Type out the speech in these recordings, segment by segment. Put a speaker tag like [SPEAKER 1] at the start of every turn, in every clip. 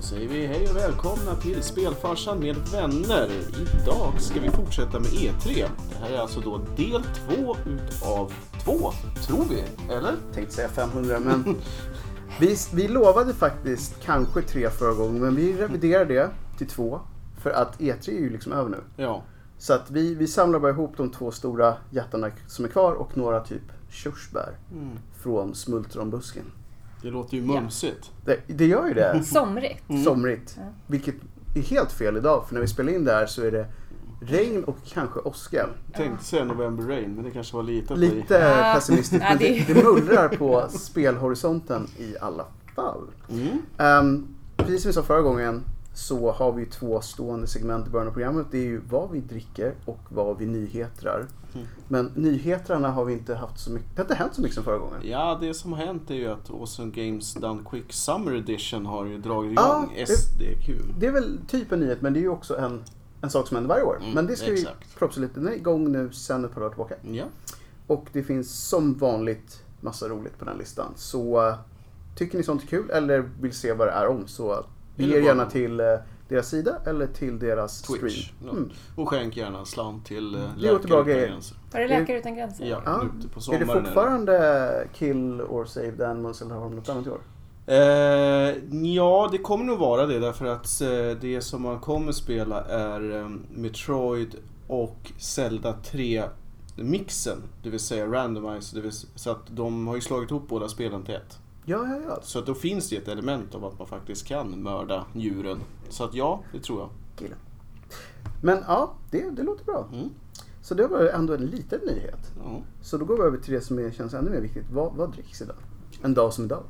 [SPEAKER 1] säger vi hej och välkomna till Spelfarsan med vänner. Idag ska vi fortsätta med E3. Det här är alltså då del två utav två, tror vi. Eller?
[SPEAKER 2] tänkte säga 500 men vi, vi lovade faktiskt kanske tre förra gången men vi reviderar det till två. För att E3 är ju liksom över nu.
[SPEAKER 1] Ja.
[SPEAKER 2] Så att vi, vi samlar bara ihop de två stora jättarna som är kvar och några typ körsbär
[SPEAKER 3] Mm.
[SPEAKER 2] från smultronbusken.
[SPEAKER 1] Det låter ju mumsigt.
[SPEAKER 2] Det, det gör ju det.
[SPEAKER 3] Somrigt.
[SPEAKER 1] Mm.
[SPEAKER 2] Somrigt. Vilket är helt fel idag för när vi spelar in det här så är det regn och kanske åska.
[SPEAKER 1] Tänkte säga November Rain, men det kanske var lite att vi-
[SPEAKER 2] Lite
[SPEAKER 3] Ah.
[SPEAKER 2] pessimistiskt
[SPEAKER 3] Ja,
[SPEAKER 2] men det,
[SPEAKER 3] det-
[SPEAKER 2] det mullrar på spelhorisonten i alla fall.
[SPEAKER 1] Mm.
[SPEAKER 2] Ehm, precis som vi sa förra gången så har vi ju två stående segment i början av programmet. Det är ju vad vi dricker och vad vi nyhetrar.
[SPEAKER 1] Mm.
[SPEAKER 2] Men nyhetrarna har vi inte haft så mycket. Det har inte hänt så mycket som förra gången.
[SPEAKER 1] Ja, det som har hänt är ju att Awesome Games Done Quick Summer Edition har ju dragit
[SPEAKER 2] Ja,
[SPEAKER 1] igång SDQ.
[SPEAKER 2] Det är väl typ en nyhet men det är ju också en, en sak som händer varje år.
[SPEAKER 1] Mm,
[SPEAKER 2] men det ska vi
[SPEAKER 1] exakt.
[SPEAKER 2] propsa lite. Den är igång nu sen ett par dagar tillbaka.
[SPEAKER 1] Ja.
[SPEAKER 2] Och det finns som vanligt massa roligt på den listan. Så eh, tycker ni sånt är kul eller vill se vad det är om så
[SPEAKER 1] Eller
[SPEAKER 2] ge er gärna
[SPEAKER 1] bara-
[SPEAKER 2] till eh, deras sida eller till deras
[SPEAKER 1] Twitch.
[SPEAKER 2] stream.
[SPEAKER 1] Ja.
[SPEAKER 2] Mm.
[SPEAKER 1] Och skänk gärna en slant till eh,
[SPEAKER 2] Det låter
[SPEAKER 1] Läkare
[SPEAKER 2] bra
[SPEAKER 1] Utan
[SPEAKER 2] grejer.
[SPEAKER 1] Gränser.
[SPEAKER 3] Var det Läkare Utan Gränser?
[SPEAKER 1] Ja,
[SPEAKER 2] Ja.
[SPEAKER 1] ute på
[SPEAKER 2] Är
[SPEAKER 1] sommaren.
[SPEAKER 2] det
[SPEAKER 1] eller-
[SPEAKER 2] fortfarande kill or save the animals eller har de något annat i år?
[SPEAKER 1] Eh, ja, det kommer nog vara det därför att eh, det som man kommer spela är eh, Metroid och Zelda 3-mixen. Det vill säga randomize. Det vill, s- så att de har ju slagit ihop båda spelen till ett.
[SPEAKER 2] Ja, ja, ja.
[SPEAKER 1] Så att då finns det ett element av att man faktiskt kan mörda djuren. Så att ja, det tror jag.
[SPEAKER 2] Kill. Men ja, det, det låter bra.
[SPEAKER 1] Mm.
[SPEAKER 2] Så det var ändå en liten nyhet.
[SPEAKER 1] Ja.
[SPEAKER 2] Så då går vi över till det som är, känns ännu mer viktigt. Vad, vad dricks idag? En dag som idag.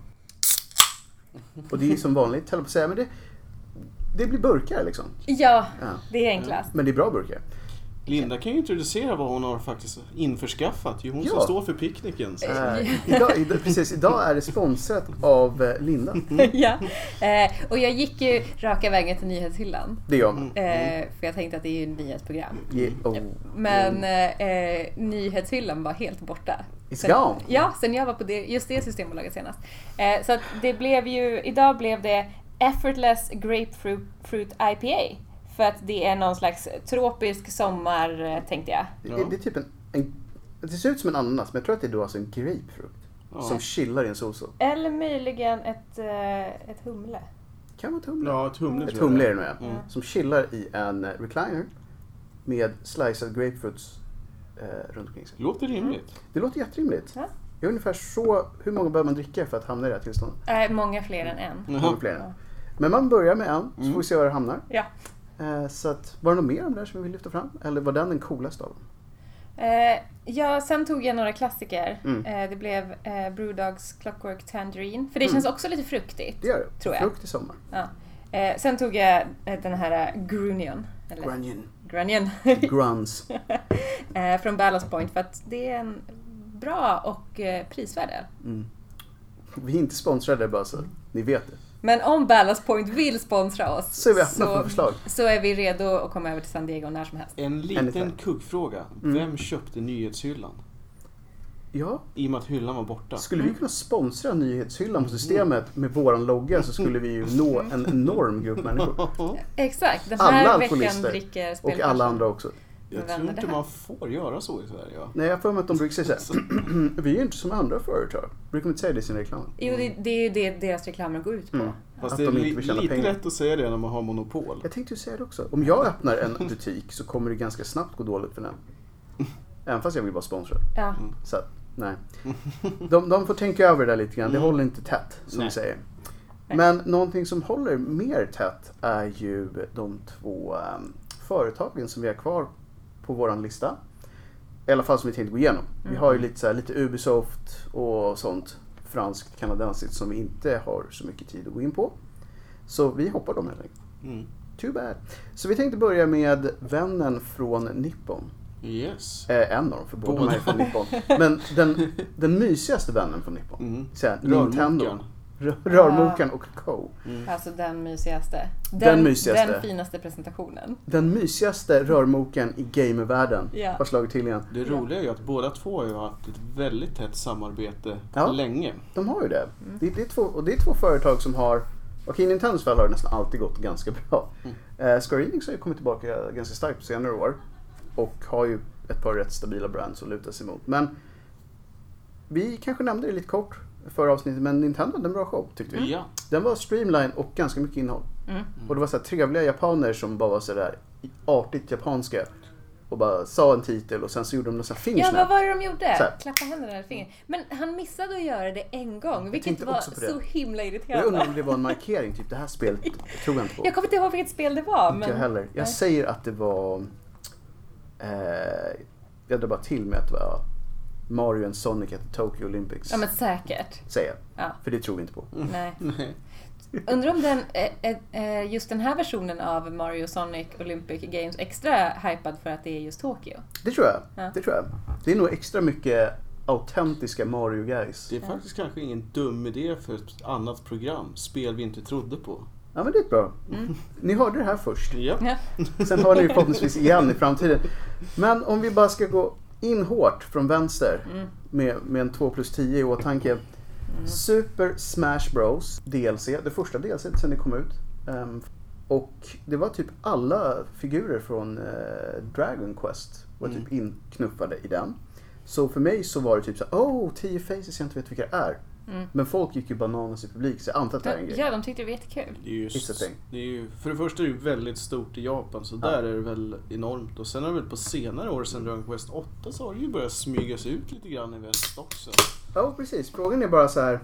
[SPEAKER 2] Och det är som vanligt, höll jag på att säga, men det, det blir burkar liksom.
[SPEAKER 3] Ja,
[SPEAKER 2] Ja.
[SPEAKER 3] det är enklast.
[SPEAKER 2] Men det är bra burkar.
[SPEAKER 1] Linda kan ju introducera vad hon har faktiskt införskaffat. Det är ju hon som
[SPEAKER 2] Ja.
[SPEAKER 1] står för picknicken. Så.
[SPEAKER 2] Eh, idag, idag, precis, idag är det sponsrat av eh, Linda.
[SPEAKER 1] Mm.
[SPEAKER 3] ja. Eh, och jag gick ju raka vägen till nyhetshyllan.
[SPEAKER 2] Det är jag.
[SPEAKER 1] Mm.
[SPEAKER 2] med.
[SPEAKER 3] Eh, för jag tänkte att det är ju ett nyhetsprogram.
[SPEAKER 2] Yeah, oh.
[SPEAKER 3] Men
[SPEAKER 1] Mm.
[SPEAKER 3] eh, eh, nyhetshyllan var helt borta.
[SPEAKER 2] It's
[SPEAKER 3] Sen-
[SPEAKER 2] gone.
[SPEAKER 3] Ja, sen jag var på det, just det Systembolaget senast. Eh, så att det blev ju, idag blev det Effortless Grapefruit Fruit IPA. För att det är någon slags tropisk sommar, eh, tänkte jag.
[SPEAKER 1] Ja.
[SPEAKER 2] Det, det är typ en, en... Det ser ut som en ananas, men jag tror att det är då alltså en grapefrukt.
[SPEAKER 1] Ja.
[SPEAKER 2] Som chillar i en solsol.
[SPEAKER 3] Eller möjligen ett, eh, ett humle.
[SPEAKER 2] Kan vara ett humle.
[SPEAKER 1] Ja, ett humle
[SPEAKER 2] ett
[SPEAKER 1] tror jag
[SPEAKER 2] humle
[SPEAKER 1] det
[SPEAKER 2] är det nog ja.
[SPEAKER 1] Mm.
[SPEAKER 2] Som chillar i en eh, recliner med slicead grapefruits eh, runt omkring sig.
[SPEAKER 1] Låter rimligt.
[SPEAKER 2] Det låter jätterimligt.
[SPEAKER 3] Ja.
[SPEAKER 2] Det är ungefär så, hur många behöver man dricka för att hamna i det här tillståndet?
[SPEAKER 3] Eh, många fler än en.
[SPEAKER 2] Många
[SPEAKER 1] Jaha. Mm.
[SPEAKER 2] fler. Men man börjar med en, så får vi se var det hamnar.
[SPEAKER 3] Ja.
[SPEAKER 2] Eh, så att, var det något mer om det här som vi vill lyfta fram? Eller var den den coolaste av dem?
[SPEAKER 3] Eh, ja, sen tog jag några klassiker.
[SPEAKER 2] Mm.
[SPEAKER 3] Eh, det blev eh, Brewdogs Clockwork Tangerine. För det känns också lite fruktigt.
[SPEAKER 2] Det gör det.
[SPEAKER 3] Tror jag.
[SPEAKER 2] Mm. Frukt i sommar.
[SPEAKER 3] Ja. Eh, sen tog jag eh, den här eh, Grunion. Eller
[SPEAKER 2] Grunion.
[SPEAKER 3] Grunion.
[SPEAKER 2] Gruns.
[SPEAKER 3] eh, från Ballast Point för att det är en bra och eh, prisvärd öl.
[SPEAKER 2] Mm. Vi är inte sponsrade bara så ni vet det.
[SPEAKER 3] Men om Ballast Point vill sponsra oss
[SPEAKER 2] Så är vi öppna för förslag.
[SPEAKER 3] så är vi redo att komma över till San Diego när som helst.
[SPEAKER 1] En
[SPEAKER 2] Anytime.
[SPEAKER 1] liten kuggfråga.
[SPEAKER 2] Mm.
[SPEAKER 1] Vem köpte nyhetshyllan?
[SPEAKER 2] Ja,
[SPEAKER 1] I och med att hyllan var borta.
[SPEAKER 2] Skulle vi kunna sponsra nyhetshyllan på systemet med våran logga så skulle vi ju nå en enorm grupp människor.
[SPEAKER 3] Exakt, den
[SPEAKER 2] Alla
[SPEAKER 3] här veckan
[SPEAKER 2] alkoholister
[SPEAKER 3] dricker
[SPEAKER 2] Och
[SPEAKER 3] spelfarsan.
[SPEAKER 2] alla andra också.
[SPEAKER 1] Jag
[SPEAKER 3] Vem är
[SPEAKER 1] tror
[SPEAKER 3] det
[SPEAKER 1] inte
[SPEAKER 3] här?
[SPEAKER 1] man får göra så i Sverige. va?
[SPEAKER 2] Nej, jag får mig att de brukar säga så här. Vi är ju inte som andra företag. Brukar de inte säga det i sin reklam?
[SPEAKER 3] Jo, det, det är ju det deras reklamer går ut på.
[SPEAKER 2] Mm.
[SPEAKER 1] Fast
[SPEAKER 2] Att
[SPEAKER 1] det är
[SPEAKER 2] de
[SPEAKER 1] li-
[SPEAKER 2] inte vill tjäna
[SPEAKER 1] lite
[SPEAKER 2] pengar.
[SPEAKER 1] lätt att säga det när man har monopol.
[SPEAKER 2] Jag tänkte ju säga det också. Om jag öppnar en butik så kommer det ganska snabbt gå dåligt för den. Även fast jag vill vara sponsrad.
[SPEAKER 3] Ja.
[SPEAKER 2] Så att, nej. De, de får tänka över det där lite grann. Det håller inte tätt, som
[SPEAKER 1] Nej.
[SPEAKER 2] vi säger.
[SPEAKER 3] Nej.
[SPEAKER 2] Men någonting som håller mer tätt är ju de två ehm, företagen som vi har kvar på vår lista. I alla fall som vi tänkte gå igenom. Vi har ju lite, så här, lite Ubisoft och sånt franskt kanadensiskt som vi inte har så mycket tid att gå in på. Så vi hoppar dem helt enkelt.
[SPEAKER 1] Mm.
[SPEAKER 2] Too bad. Så vi tänkte börja med vännen från Nippon.
[SPEAKER 1] Yes.
[SPEAKER 2] Eh, en av dem, för båda
[SPEAKER 1] Båda.
[SPEAKER 2] de här är från Nippon. Men den, den mysigaste vännen från Nippon.
[SPEAKER 1] Mm.
[SPEAKER 2] Så här,
[SPEAKER 1] Rörmokaren. Mm.
[SPEAKER 2] Nintendo. Rör- Rörmokaren och Co.
[SPEAKER 3] Alltså den mysigaste. Den,
[SPEAKER 2] mysigaste.
[SPEAKER 3] den finaste presentationen.
[SPEAKER 2] Den mysigaste rörmokaren i gamervärlden
[SPEAKER 3] Ja.
[SPEAKER 2] har slagit till igen.
[SPEAKER 1] Det roliga är ju att båda två har ju haft ett väldigt tätt samarbete
[SPEAKER 2] Ja.
[SPEAKER 1] länge. Mm.
[SPEAKER 2] De har ju det. Det, det, är två, och det är två företag som har Okej, i Nintendos fall har det nästan alltid gått ganska bra.
[SPEAKER 1] Mm.
[SPEAKER 2] Eh, Square Enix har ju kommit tillbaka ganska starkt på senare år. Och har ju ett par rätt stabila brands att luta sig mot. Men vi kanske nämnde det lite kort förra avsnittet, men Nintendo hade en bra show tyckte vi.
[SPEAKER 1] Ja.
[SPEAKER 2] Den var streamline och ganska mycket innehåll.
[SPEAKER 3] Mm.
[SPEAKER 2] Och det var så här trevliga japaner som bara var så där artigt japanska. Och bara sa en titel och sen så gjorde de någon sån här
[SPEAKER 3] Ja, vad
[SPEAKER 2] fingersnap.
[SPEAKER 3] var det de gjorde?
[SPEAKER 2] Så här.
[SPEAKER 3] Klappa händerna eller fingret. Men han missade att göra det en gång, vilket
[SPEAKER 2] tänkte
[SPEAKER 3] var
[SPEAKER 2] också på det.
[SPEAKER 3] så himla
[SPEAKER 2] Jag undrar om
[SPEAKER 3] irriterande.
[SPEAKER 2] det var en markering, typ det här spelet tror jag inte på.
[SPEAKER 3] Jag kommer inte ihåg vilket spel det var.
[SPEAKER 2] Inte jag
[SPEAKER 3] Men...
[SPEAKER 2] heller. Jag
[SPEAKER 3] Nej.
[SPEAKER 2] säger att det var... Eh, jag drar bara till med att det var Mario and Sonic at the Tokyo Olympics.
[SPEAKER 3] Ja, men säkert.
[SPEAKER 2] Säger jag.
[SPEAKER 3] Ja.
[SPEAKER 2] För det tror vi inte på.
[SPEAKER 3] Nej.
[SPEAKER 1] Mm. Nej.
[SPEAKER 3] Undrar om den, eh, eh, eh, just den här versionen av Mario Sonic Olympic Games är extra hypad för att det är just Tokyo.
[SPEAKER 2] Det tror jag.
[SPEAKER 3] Ja.
[SPEAKER 2] Det tror jag. Det är nog extra mycket autentiska Mario guys.
[SPEAKER 1] Det är faktiskt kanske ingen dum idé för ett annat program. Spel vi inte trodde på.
[SPEAKER 2] Ja men det är bra. Ni hörde det här först.
[SPEAKER 1] Ja.
[SPEAKER 3] Mm. Ja.
[SPEAKER 2] Sen har ni det förhoppningsvis igen i framtiden. Men om vi bara ska gå in hårt från vänster
[SPEAKER 3] Mm.
[SPEAKER 2] med, med en 2 plus 10 i åtanke. Super Smash Bros DLC, det första DLC et sen det kom ut. Ehm, och det var typ alla figurer från eh, Dragon Quest var typ inknuffade i den. Så för mig så var det typ så här, oh, 10 faces jag inte vet vilka det är.
[SPEAKER 3] Mm.
[SPEAKER 2] Men folk gick ju bananas i publik så jag antar att det här är en grej.
[SPEAKER 3] ja, de tyckte det var jättekul.
[SPEAKER 1] Det är ju,
[SPEAKER 2] It's a thing.
[SPEAKER 1] det är ju, för det första är det ju väldigt stort i Japan så
[SPEAKER 2] Ja.
[SPEAKER 1] där är det väl enormt. Och sen har det väl på senare år sedan Dragon Quest 8 så har det ju börjat smygas ut lite grann i väst också.
[SPEAKER 2] Ja, precis. Frågan är bara så här.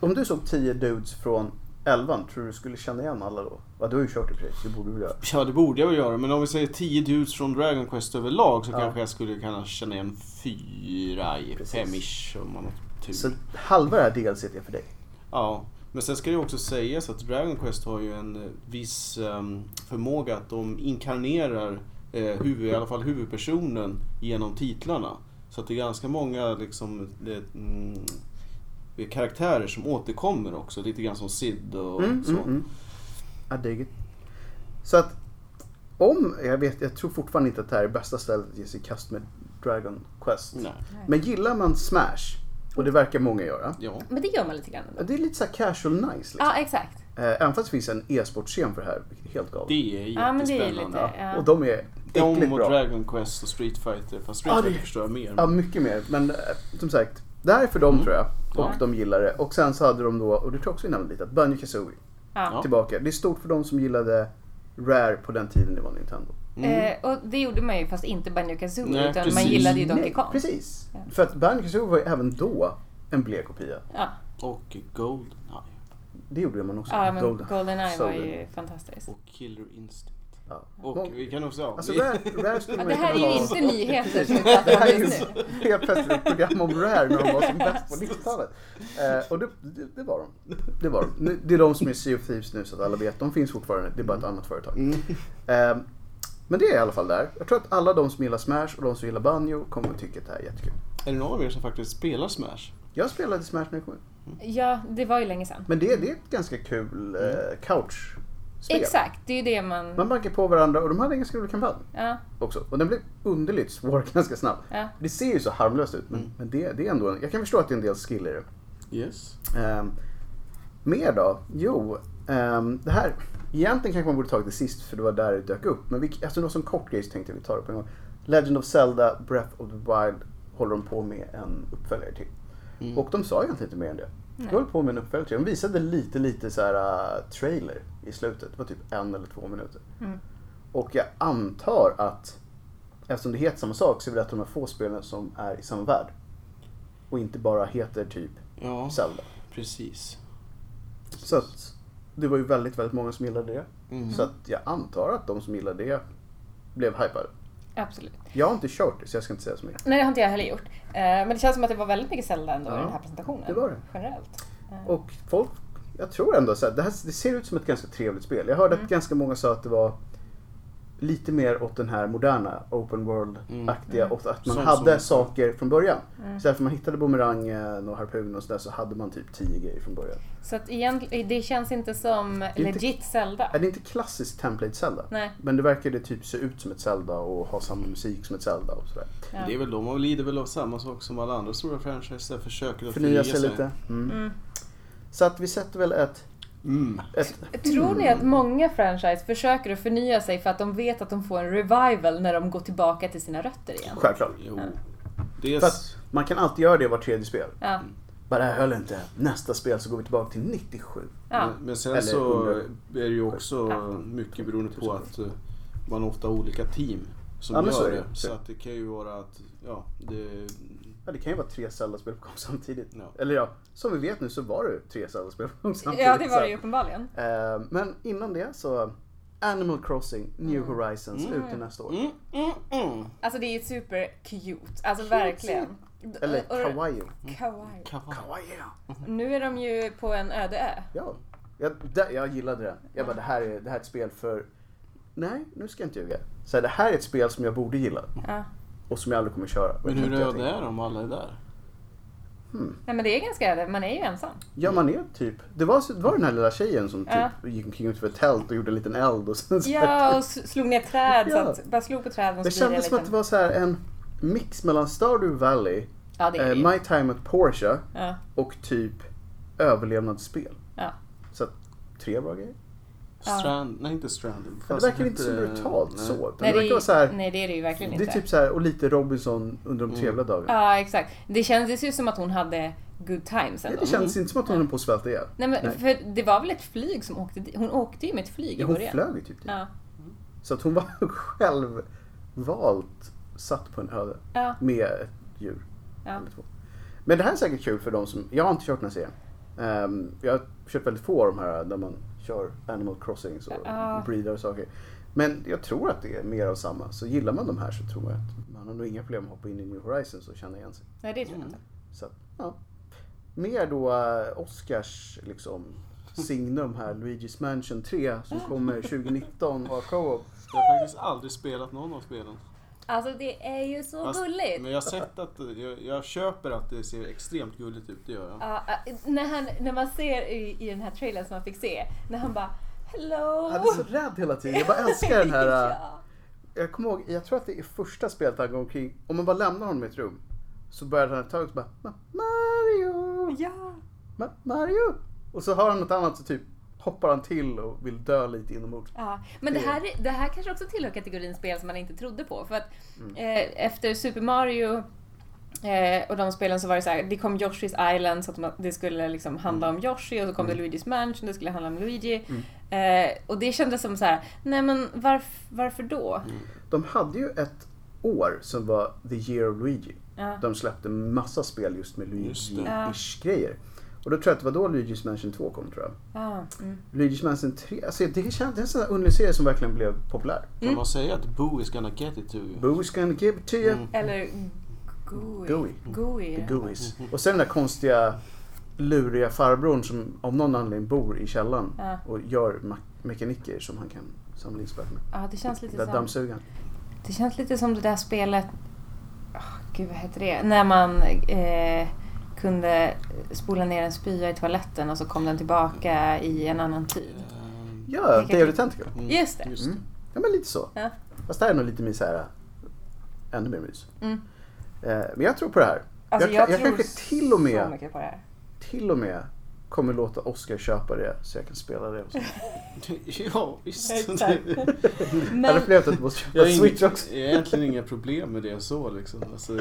[SPEAKER 2] Om du såg 10 dudes från 11, tror du du skulle känna igen alla då? Ja, du har ju kört det precis, det borde du göra.
[SPEAKER 1] Ja det borde jag väl göra men om vi säger 10 dudes från Dragon Quest överlag så
[SPEAKER 2] Ja.
[SPEAKER 1] kanske jag skulle kunna känna igen fyra,
[SPEAKER 2] Precis.
[SPEAKER 1] fem-ish om man har tur.
[SPEAKER 2] Så halva det här DLC är för dig.
[SPEAKER 1] Ja, men sen ska det ju också sägas att Dragon Quest har ju en eh, viss ehm, förmåga att de inkarnerar eh, huvud, i alla fall huvudpersonen genom titlarna. Så att det är ganska många liksom, eh, mm, karaktärer som återkommer också, lite grann som Sid och
[SPEAKER 2] Mm,
[SPEAKER 1] så.
[SPEAKER 2] mm, mm. I dig it. Så att om, jag vet, jag tror fortfarande inte att det här är bästa stället att ge sig i kast med Dragon Quest.
[SPEAKER 1] Nej.
[SPEAKER 2] Men gillar man Smash, och det verkar många göra,
[SPEAKER 1] Ja.
[SPEAKER 3] Men det gör man lite grann ändå.
[SPEAKER 2] det är lite så här casual nice liksom.
[SPEAKER 3] Ja, exakt.
[SPEAKER 2] Eh, Även fast det finns en e-sportscen för det här, vilket är helt galet.
[SPEAKER 1] Det är
[SPEAKER 3] Ja, men det är ju
[SPEAKER 1] jättespännande.
[SPEAKER 2] Ja,
[SPEAKER 1] Ja,
[SPEAKER 3] Ja.
[SPEAKER 2] Och de är äckligt
[SPEAKER 1] De och
[SPEAKER 2] bra.
[SPEAKER 1] Dragon Quest och Street Fighter, fast Street
[SPEAKER 2] Ja, det-
[SPEAKER 1] Fighter förstår jag mer.
[SPEAKER 2] Ja, mycket mer. Men eh, som sagt, det här är för dem tror jag. Och
[SPEAKER 3] Mm. Ja.
[SPEAKER 2] de gillar det. Och sen så hade de då, och det tror jag också vi nämnde lite, att Banjo Kazooie
[SPEAKER 3] Ja.
[SPEAKER 2] tillbaka. Det är stort för de som gillade Rare på den tiden det var Nintendo.
[SPEAKER 1] Mm.
[SPEAKER 3] Eh, och det gjorde man ju fast inte Banjo Kazooie
[SPEAKER 1] Nej,
[SPEAKER 3] utan man
[SPEAKER 1] precis.
[SPEAKER 3] gillade ju Donkey
[SPEAKER 2] Nej,
[SPEAKER 3] Kong.
[SPEAKER 2] Precis.
[SPEAKER 3] Ja.
[SPEAKER 2] För att Banjo Kazooie var ju även då en blek kopia.
[SPEAKER 3] Ja,
[SPEAKER 1] Och Goldeneye
[SPEAKER 2] Det gjorde man också.
[SPEAKER 3] ja men
[SPEAKER 2] Golden.
[SPEAKER 3] Goldeneye var
[SPEAKER 2] Soul.
[SPEAKER 3] ju fantastisk.
[SPEAKER 1] och Killer Instinct.
[SPEAKER 2] Ja.
[SPEAKER 1] Och vi kan också... Ja,
[SPEAKER 2] Alltså
[SPEAKER 1] vi-
[SPEAKER 2] Rare, Rare skulle
[SPEAKER 3] Ja,
[SPEAKER 2] man
[SPEAKER 3] det här är
[SPEAKER 2] kunna
[SPEAKER 3] ju
[SPEAKER 2] ha-
[SPEAKER 3] inte nyheter som vi
[SPEAKER 2] Det
[SPEAKER 3] pratar
[SPEAKER 2] här
[SPEAKER 3] om
[SPEAKER 2] är ju
[SPEAKER 3] just nu.
[SPEAKER 2] helt plötsligt ett program om Rare när de var som bäst på 90-talet. Eh, och det, det, det var de. Det var de. Nu- Det är de som är Sea of Thieves nu så att alla vet. De finns fortfarande. Det är bara ett annat företag.
[SPEAKER 1] Mm.
[SPEAKER 2] Eh, men det är i alla fall där. Jag tror att alla de som gillar Smash och de som gillar Banjo kommer att tycka att det här är jättekul.
[SPEAKER 1] Är det någon av er som faktiskt spelar Smash?
[SPEAKER 2] Jag spelade Smash när det kom ut.
[SPEAKER 3] Ja, det var ju länge sedan.
[SPEAKER 2] Men det, det är ett ganska kul eh, couchspel.
[SPEAKER 3] Exakt, det är ju det man...
[SPEAKER 2] Man bankar på varandra och de hade en ganska rolig kampanj
[SPEAKER 3] Ja,
[SPEAKER 2] också. Och den blev underligt svår ganska snabbt.
[SPEAKER 3] ja.
[SPEAKER 2] Det ser ju så harmlöst ut men,
[SPEAKER 1] Mm.
[SPEAKER 2] men det, det är ändå en, Jag kan förstå att det är en del skill i det.
[SPEAKER 1] Yes.
[SPEAKER 2] Ehm, mer då? Jo, ehm, det här. Egentligen kanske man borde tagit det sist för det var där det dök upp. Men vi, eftersom det var så en kort grej så tänkte jag vi tar det på en gång. Legend of Zelda Breath of the Wild håller de på med en uppföljare till.
[SPEAKER 1] Mm.
[SPEAKER 2] Och de sa egentligen inte mer än det.
[SPEAKER 3] Nej.
[SPEAKER 2] De höll på med en uppföljare till. De visade lite, lite så här äh, trailer i slutet. Det var typ en eller två minuter.
[SPEAKER 3] Mm.
[SPEAKER 2] Och jag antar att eftersom det heter samma sak så är det att de här få spelen som är i samma värld. Och inte bara heter typ
[SPEAKER 1] Ja,
[SPEAKER 2] Zelda.
[SPEAKER 1] precis.
[SPEAKER 2] Så att det var ju väldigt, väldigt många som gillade det.
[SPEAKER 1] Mm.
[SPEAKER 2] Så att jag antar att de som gillade det blev hypade.
[SPEAKER 3] Absolut.
[SPEAKER 2] Jag har inte kört det så jag ska inte säga så mycket.
[SPEAKER 3] Nej, det har inte jag heller gjort. Eh, Men det känns som att det var väldigt mycket Zelda ändå
[SPEAKER 2] Ja,
[SPEAKER 3] i den här presentationen.
[SPEAKER 2] det var det.
[SPEAKER 3] Generellt. Eh,
[SPEAKER 2] Och folk, jag tror ändå så här, det här det ser ut som ett ganska trevligt spel. Jag hörde att ganska många sa att det var lite mer åt den här moderna open world-aktiga
[SPEAKER 3] Mm.
[SPEAKER 2] och att man
[SPEAKER 1] Sånt
[SPEAKER 2] hade
[SPEAKER 1] som-
[SPEAKER 2] saker från början.
[SPEAKER 3] Mm.
[SPEAKER 2] Så här, för man hittade bumerangen och harpunen och sådär så hade man typ 10 grejer från början.
[SPEAKER 3] Så att egentligen, det känns inte som
[SPEAKER 2] inte-
[SPEAKER 3] legit Zelda.
[SPEAKER 2] Är det inte klassiskt template Zelda?
[SPEAKER 3] Nej.
[SPEAKER 2] Men det verkade typ se ut som ett Zelda och ha samma musik som ett Zelda och sådär.
[SPEAKER 3] Ja.
[SPEAKER 1] Det är väl, de lider väl av samma sak som alla andra stora franchises. Försöker att
[SPEAKER 2] Förnya sig lite. Mm.
[SPEAKER 3] Mm.
[SPEAKER 2] Så att vi sätter väl ett
[SPEAKER 1] Mm.
[SPEAKER 2] Ett,
[SPEAKER 3] Tror ni att många franchise försöker att förnya sig för att de vet att de får en revival när de går tillbaka till sina rötter igen?
[SPEAKER 2] självklart.
[SPEAKER 1] Jo.
[SPEAKER 3] Ja.
[SPEAKER 1] Dels...
[SPEAKER 2] För att man kan alltid göra det var tredje spel.
[SPEAKER 3] Ja,
[SPEAKER 2] Bara det här höll inte. Nästa spel så går vi tillbaka till 97.
[SPEAKER 3] ja,
[SPEAKER 1] Men, men sen
[SPEAKER 2] Eller
[SPEAKER 1] så
[SPEAKER 2] hundra.
[SPEAKER 1] är det ju också
[SPEAKER 3] Ja.
[SPEAKER 1] mycket beroende på att eh, man ofta har olika team som
[SPEAKER 2] Ja, men
[SPEAKER 1] gör
[SPEAKER 2] så är
[SPEAKER 1] det.
[SPEAKER 2] det.
[SPEAKER 1] Så att det kan ju vara att, ja, det...
[SPEAKER 2] Ja, det kan ju vara tre Zelda-spel på gång samtidigt.
[SPEAKER 1] Ja.
[SPEAKER 2] Eller ja, som vi vet nu så var det tre Zelda-spel på gång samtidigt.
[SPEAKER 3] ja det var
[SPEAKER 2] så-
[SPEAKER 3] det ju uppenbarligen.
[SPEAKER 2] Eh, Men innan det så Animal Crossing New
[SPEAKER 3] Mm.
[SPEAKER 2] Horizons ute nästa år.
[SPEAKER 1] Mm, mm, mm.
[SPEAKER 3] Alltså det är super cute, alltså verkligen.
[SPEAKER 2] Eller
[SPEAKER 3] Eh, Och- och-
[SPEAKER 2] Kawaii.
[SPEAKER 3] kawaii.
[SPEAKER 1] Kavaj.
[SPEAKER 2] Kawaii!
[SPEAKER 3] Nu är de ju på en öde ö.
[SPEAKER 2] Ja. Jag, där, jag gillade den. Jag bara, det här, är, det här är ett spel för... Nej, nu ska jag inte ljuga. Så här, det här är ett spel som jag borde gilla
[SPEAKER 3] Ja.
[SPEAKER 2] och som jag aldrig kommer köra. Och
[SPEAKER 1] Men
[SPEAKER 2] jag
[SPEAKER 1] hur
[SPEAKER 2] tänkte, jag
[SPEAKER 1] röda
[SPEAKER 2] tänkte,
[SPEAKER 1] är de alla är där?
[SPEAKER 3] Nej men det är ganska öde, man är ju ensam.
[SPEAKER 2] Ja, man är typ... Det var, så- det var den här lilla tjejen som typ
[SPEAKER 3] Ja.
[SPEAKER 2] gick omkring utanför ett tält och gjorde en liten eld och sen så här-
[SPEAKER 3] Ja, och s- slog ner träd. Så
[SPEAKER 2] Ja.
[SPEAKER 3] att, bara slog på träden och
[SPEAKER 2] Det
[SPEAKER 3] så liksom. blir
[SPEAKER 2] kändes som
[SPEAKER 3] liten-
[SPEAKER 2] att det var så här en mix mellan Stardew Valley,
[SPEAKER 3] Ja, det är
[SPEAKER 2] eh,
[SPEAKER 3] det ju.
[SPEAKER 2] My Time at Porsche
[SPEAKER 3] Ja,
[SPEAKER 2] och typ överlevnadsspel.
[SPEAKER 3] ja.
[SPEAKER 2] Så att, tre bra grejer.
[SPEAKER 3] Ja.
[SPEAKER 1] Strand... Nej, inte Strand.
[SPEAKER 2] Men
[SPEAKER 1] Fast
[SPEAKER 2] det verkar inte så
[SPEAKER 1] heter-
[SPEAKER 2] brutalt
[SPEAKER 1] nej.
[SPEAKER 2] så. utan
[SPEAKER 3] Nej,
[SPEAKER 2] det
[SPEAKER 3] det
[SPEAKER 2] verkar
[SPEAKER 3] är,
[SPEAKER 2] vara så här,
[SPEAKER 3] nej, det är det ju verkligen
[SPEAKER 2] det är
[SPEAKER 3] inte.
[SPEAKER 2] typ så här, och lite Robinson under
[SPEAKER 1] Mm.
[SPEAKER 2] de trevliga dagarna.
[SPEAKER 3] Ja, exakt. Det kändes ju som att hon hade good times
[SPEAKER 2] Nej,
[SPEAKER 3] ändå.
[SPEAKER 2] Det känns inte som att
[SPEAKER 3] Mm.
[SPEAKER 2] hon är på att svälta ihjäl.
[SPEAKER 3] Nej, men för det var väl ett flyg som åkte dit? Hon åkte ju med ett flyg i
[SPEAKER 2] Ja, hon
[SPEAKER 3] början.
[SPEAKER 2] flög ju typ dit.
[SPEAKER 3] Ja.
[SPEAKER 2] Så att hon var självvalt satt på en öde
[SPEAKER 3] Ja.
[SPEAKER 2] med ett djur.
[SPEAKER 3] Ja.
[SPEAKER 2] Eller två. Men det här är säkert kul för de som, jag har inte kört den här serien. Ehm, jag har kört väldigt få av de här där man kör Animal Crossing och
[SPEAKER 3] Ja.
[SPEAKER 2] breedar och saker. Men jag tror att det är mer av samma. Så gillar man de här så tror jag att man har nog inga problem att hoppa in i New Horizons och känna igen sig.
[SPEAKER 3] Nej, det tror jag inte.
[SPEAKER 2] Så att, ja. Mer då eh, Oscars liksom signum här, Luigi's Mansion 3 som kommer 2019 och co-op.
[SPEAKER 1] Jag har faktiskt aldrig spelat någon av spelen.
[SPEAKER 3] Alltså det är ju så
[SPEAKER 1] Fast-
[SPEAKER 3] gulligt.
[SPEAKER 1] Men jag har sett att, det- jag, jag köper att det ser extremt gulligt ut, det gör jag.
[SPEAKER 3] Ja, ja, när, han, när man ser i, i den här trailern som man fick se, när han bara Hello!
[SPEAKER 2] Jag är så rädd hela tiden. Jag bara älskar den här. eh,
[SPEAKER 3] ja.
[SPEAKER 2] Jag kommer ihåg, jag tror att det är första spelet han går omkring. Om man bara lämnar honom i ett rum så börjar han ett tag och så bara "Ma- Mario,
[SPEAKER 3] ja.
[SPEAKER 2] Ma- Mario. Och så hör han något annat så typ hoppar han till och vill dö lite inombords.
[SPEAKER 3] Ja, men det här, det här kanske också tillhör kategorin spel som man inte trodde på. För att
[SPEAKER 2] Mm.
[SPEAKER 3] eh, efter Super Mario eh, och de spelen så var det så här, det kom Yoshi's Island så att man- det skulle liksom
[SPEAKER 2] Mm.
[SPEAKER 3] handla om Yoshi och så kom det Luigi's Mansion, det skulle handla om Luigi. Eh, och det kändes som så här, nej men varf, varför då?
[SPEAKER 2] De hade ju ett år som var the year of Luigi.
[SPEAKER 3] Ja.
[SPEAKER 2] De släppte massa spel just med
[SPEAKER 1] Just det.
[SPEAKER 2] Luigi-ish grejer. Och då tror jag att det var då Luigi's Mansion 2 kom tror jag.
[SPEAKER 3] Ja, mm.
[SPEAKER 2] Luigi's Mansion 3, alltså det, känns, det är en sån där underlig serie som verkligen blev populär.
[SPEAKER 1] Kan man säga att Boo is gonna get it to you?
[SPEAKER 2] Boo's gonna give it to you.
[SPEAKER 1] Mm.
[SPEAKER 3] Eller
[SPEAKER 2] Mm.
[SPEAKER 3] Gooey.
[SPEAKER 2] Gooey.
[SPEAKER 3] Gooey.
[SPEAKER 2] The Gooies. Och sen den där konstiga luriga farbrorn som av någon anledning bor i källaren
[SPEAKER 3] Ja.
[SPEAKER 2] och gör ma- mekaniker som han kan samla in spöet med.
[SPEAKER 3] Ja, det känns lite
[SPEAKER 2] Den där
[SPEAKER 3] som...
[SPEAKER 2] dammsugaren.
[SPEAKER 3] Det känns lite som det där spelet... ah, gud, vad heter det? När man eh, kunde spola ner en spya i toaletten och så kom den tillbaka i en annan tid.
[SPEAKER 1] Ehm,
[SPEAKER 2] Ja,
[SPEAKER 3] Vilka-
[SPEAKER 2] David Tentacle.
[SPEAKER 1] mm,
[SPEAKER 3] Just det.
[SPEAKER 1] Just det.
[SPEAKER 2] Ja men lite så.
[SPEAKER 3] Ja.
[SPEAKER 2] Fast det här är nog lite mer så här, äh, ännu mer mys.
[SPEAKER 3] Mm.
[SPEAKER 2] Eh, Men jag tror på det här.
[SPEAKER 3] Alltså,
[SPEAKER 2] jag, kan-
[SPEAKER 3] jag
[SPEAKER 2] jag
[SPEAKER 3] tror
[SPEAKER 2] kanske till och
[SPEAKER 3] Så
[SPEAKER 2] med,
[SPEAKER 3] mycket på det här.
[SPEAKER 2] till och med kommer låta Oscar köpa det så jag kan spela det. Mm.
[SPEAKER 1] Ja, visst.
[SPEAKER 3] Exakt.
[SPEAKER 2] Jag hade
[SPEAKER 3] Men,
[SPEAKER 2] upplevt att du måste
[SPEAKER 1] Jag
[SPEAKER 2] köpa
[SPEAKER 1] har
[SPEAKER 2] Switch
[SPEAKER 1] ing-
[SPEAKER 2] också.
[SPEAKER 1] jag har egentligen inga problem med det så liksom. Alltså,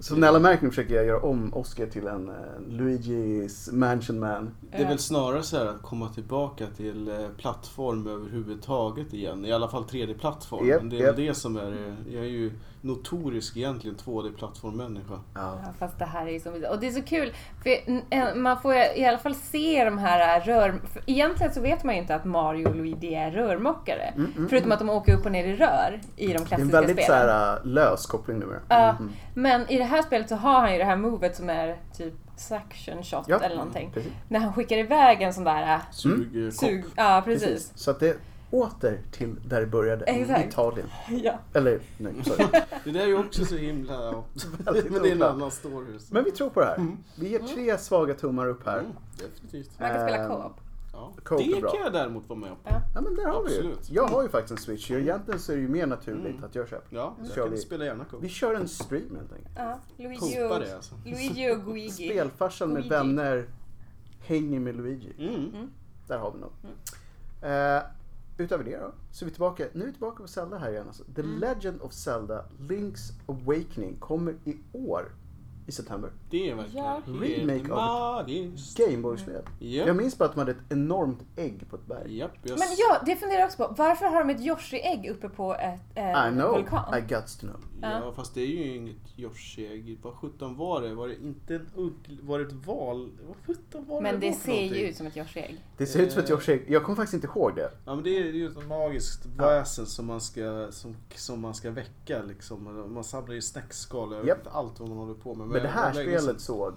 [SPEAKER 2] Som ni alla märker nu försöker jag göra om Oscar till en eh, Luigi's Mansion Man.
[SPEAKER 1] det är
[SPEAKER 3] Ja.
[SPEAKER 1] väl snarare så här att komma tillbaka till eh, plattform överhuvudtaget igen. I alla fall 3D-plattform.
[SPEAKER 2] Japp,
[SPEAKER 1] Men det är väl
[SPEAKER 2] japp.
[SPEAKER 1] det som är... eh, Jag är ju notorisk egentligen 2D-plattformmänniska.
[SPEAKER 2] Ja.
[SPEAKER 3] ja, fast det här är ju så Och det är så kul, för eh, man får i alla fall se de här eh, rör... för Egentligen så vet man ju inte att Mario och Luigi är rörmokare.
[SPEAKER 2] Mm,
[SPEAKER 3] förutom att de åker upp och ner i rör i de
[SPEAKER 2] Det är en
[SPEAKER 3] klassiska
[SPEAKER 2] väldigt så
[SPEAKER 3] spelen.
[SPEAKER 2] här, äh, lös koppling numera. Mhm,
[SPEAKER 3] Ja, men i det här spelet så har han ju det här movet som är typ suction shot
[SPEAKER 2] Ja,
[SPEAKER 3] eller någonting.
[SPEAKER 2] precis.
[SPEAKER 3] När han skickar iväg en sån där äh,
[SPEAKER 1] Sug... eh, kopp.
[SPEAKER 3] sug... Ja, precis.
[SPEAKER 2] Så att det är åter till där det började.
[SPEAKER 3] Exakt.
[SPEAKER 2] Italien.
[SPEAKER 3] Ja.
[SPEAKER 2] Eller, nej, sorry.
[SPEAKER 1] Det där är ju också så himla... ja.
[SPEAKER 2] Väldigt
[SPEAKER 1] Men det är en
[SPEAKER 2] oklart.
[SPEAKER 1] annan story. så.
[SPEAKER 2] Men vi tror på det här. Vi ger tre svaga tummar upp här.
[SPEAKER 1] Mm, definitivt.
[SPEAKER 3] Man kan spela
[SPEAKER 2] Ehm,
[SPEAKER 3] co-op.
[SPEAKER 1] Ja.
[SPEAKER 2] Coke är
[SPEAKER 1] Det
[SPEAKER 2] bra.
[SPEAKER 1] kan jag däremot vara med på.
[SPEAKER 3] Ja.
[SPEAKER 2] Ja men där har vi ju.
[SPEAKER 1] Absolut.
[SPEAKER 2] Jag har ju faktiskt en Switch. så Egentligen så är det ju mer naturligt
[SPEAKER 1] Mm.
[SPEAKER 2] att jag köper.
[SPEAKER 1] Ja,
[SPEAKER 2] Mm.
[SPEAKER 1] jag
[SPEAKER 2] Kör
[SPEAKER 1] kan
[SPEAKER 2] vi.
[SPEAKER 1] spela gärna Coop.
[SPEAKER 2] Vi kör en stream helt enkelt.
[SPEAKER 3] Ja, Luigi
[SPEAKER 1] Kopa
[SPEAKER 3] och,
[SPEAKER 1] det alltså.
[SPEAKER 3] Luigi och Guigi.
[SPEAKER 2] Spelfarsan med
[SPEAKER 3] Luigi.
[SPEAKER 2] vänner hänger med Luigi.
[SPEAKER 1] Mm.
[SPEAKER 2] Där har vi nog.
[SPEAKER 3] Mm.
[SPEAKER 2] Eh, utöver det då, så är vi tillbaka. Nu är vi tillbaka på Zelda här igen. Alltså. The
[SPEAKER 3] Mm.
[SPEAKER 2] Legend of Zelda Link's Awakening kommer i år i september.
[SPEAKER 1] Det är verkligen
[SPEAKER 3] Ja.
[SPEAKER 1] helt
[SPEAKER 2] Remake av
[SPEAKER 1] magiskt.
[SPEAKER 2] Gameboy-spel.
[SPEAKER 3] Mm.
[SPEAKER 1] Japp,
[SPEAKER 2] Jag minns bara att de hade ett enormt ägg på ett berg.
[SPEAKER 1] japp. jag
[SPEAKER 3] Men ja, det funderar jag också på. Varför har de ett Yoshi-ägg uppe på ett,
[SPEAKER 2] I
[SPEAKER 3] en
[SPEAKER 2] know,
[SPEAKER 3] vulkan?
[SPEAKER 2] I got to know.
[SPEAKER 1] Ja, fast det är ju inget Yoshi-ägg. Vad sjutton var det? Var det inte en uggl... Var det ett val? Vad sjutton var det
[SPEAKER 3] Men
[SPEAKER 1] var
[SPEAKER 3] det
[SPEAKER 1] för
[SPEAKER 3] ser ju
[SPEAKER 1] någonting?
[SPEAKER 3] ut som ett Yoshi-ägg.
[SPEAKER 2] Det ser ut som ett
[SPEAKER 1] Eh.
[SPEAKER 2] Yoshi-ägg. Jag kommer faktiskt inte ihåg det.
[SPEAKER 1] Ja men det är ju ett magiskt väsen som man ska, som, som man ska väcka liksom. Man samlar ju snäckskal, jag vet
[SPEAKER 2] Japp.
[SPEAKER 1] inte allt vad man håller på med.
[SPEAKER 2] Men det här
[SPEAKER 1] jag lägger-
[SPEAKER 2] spelet såg...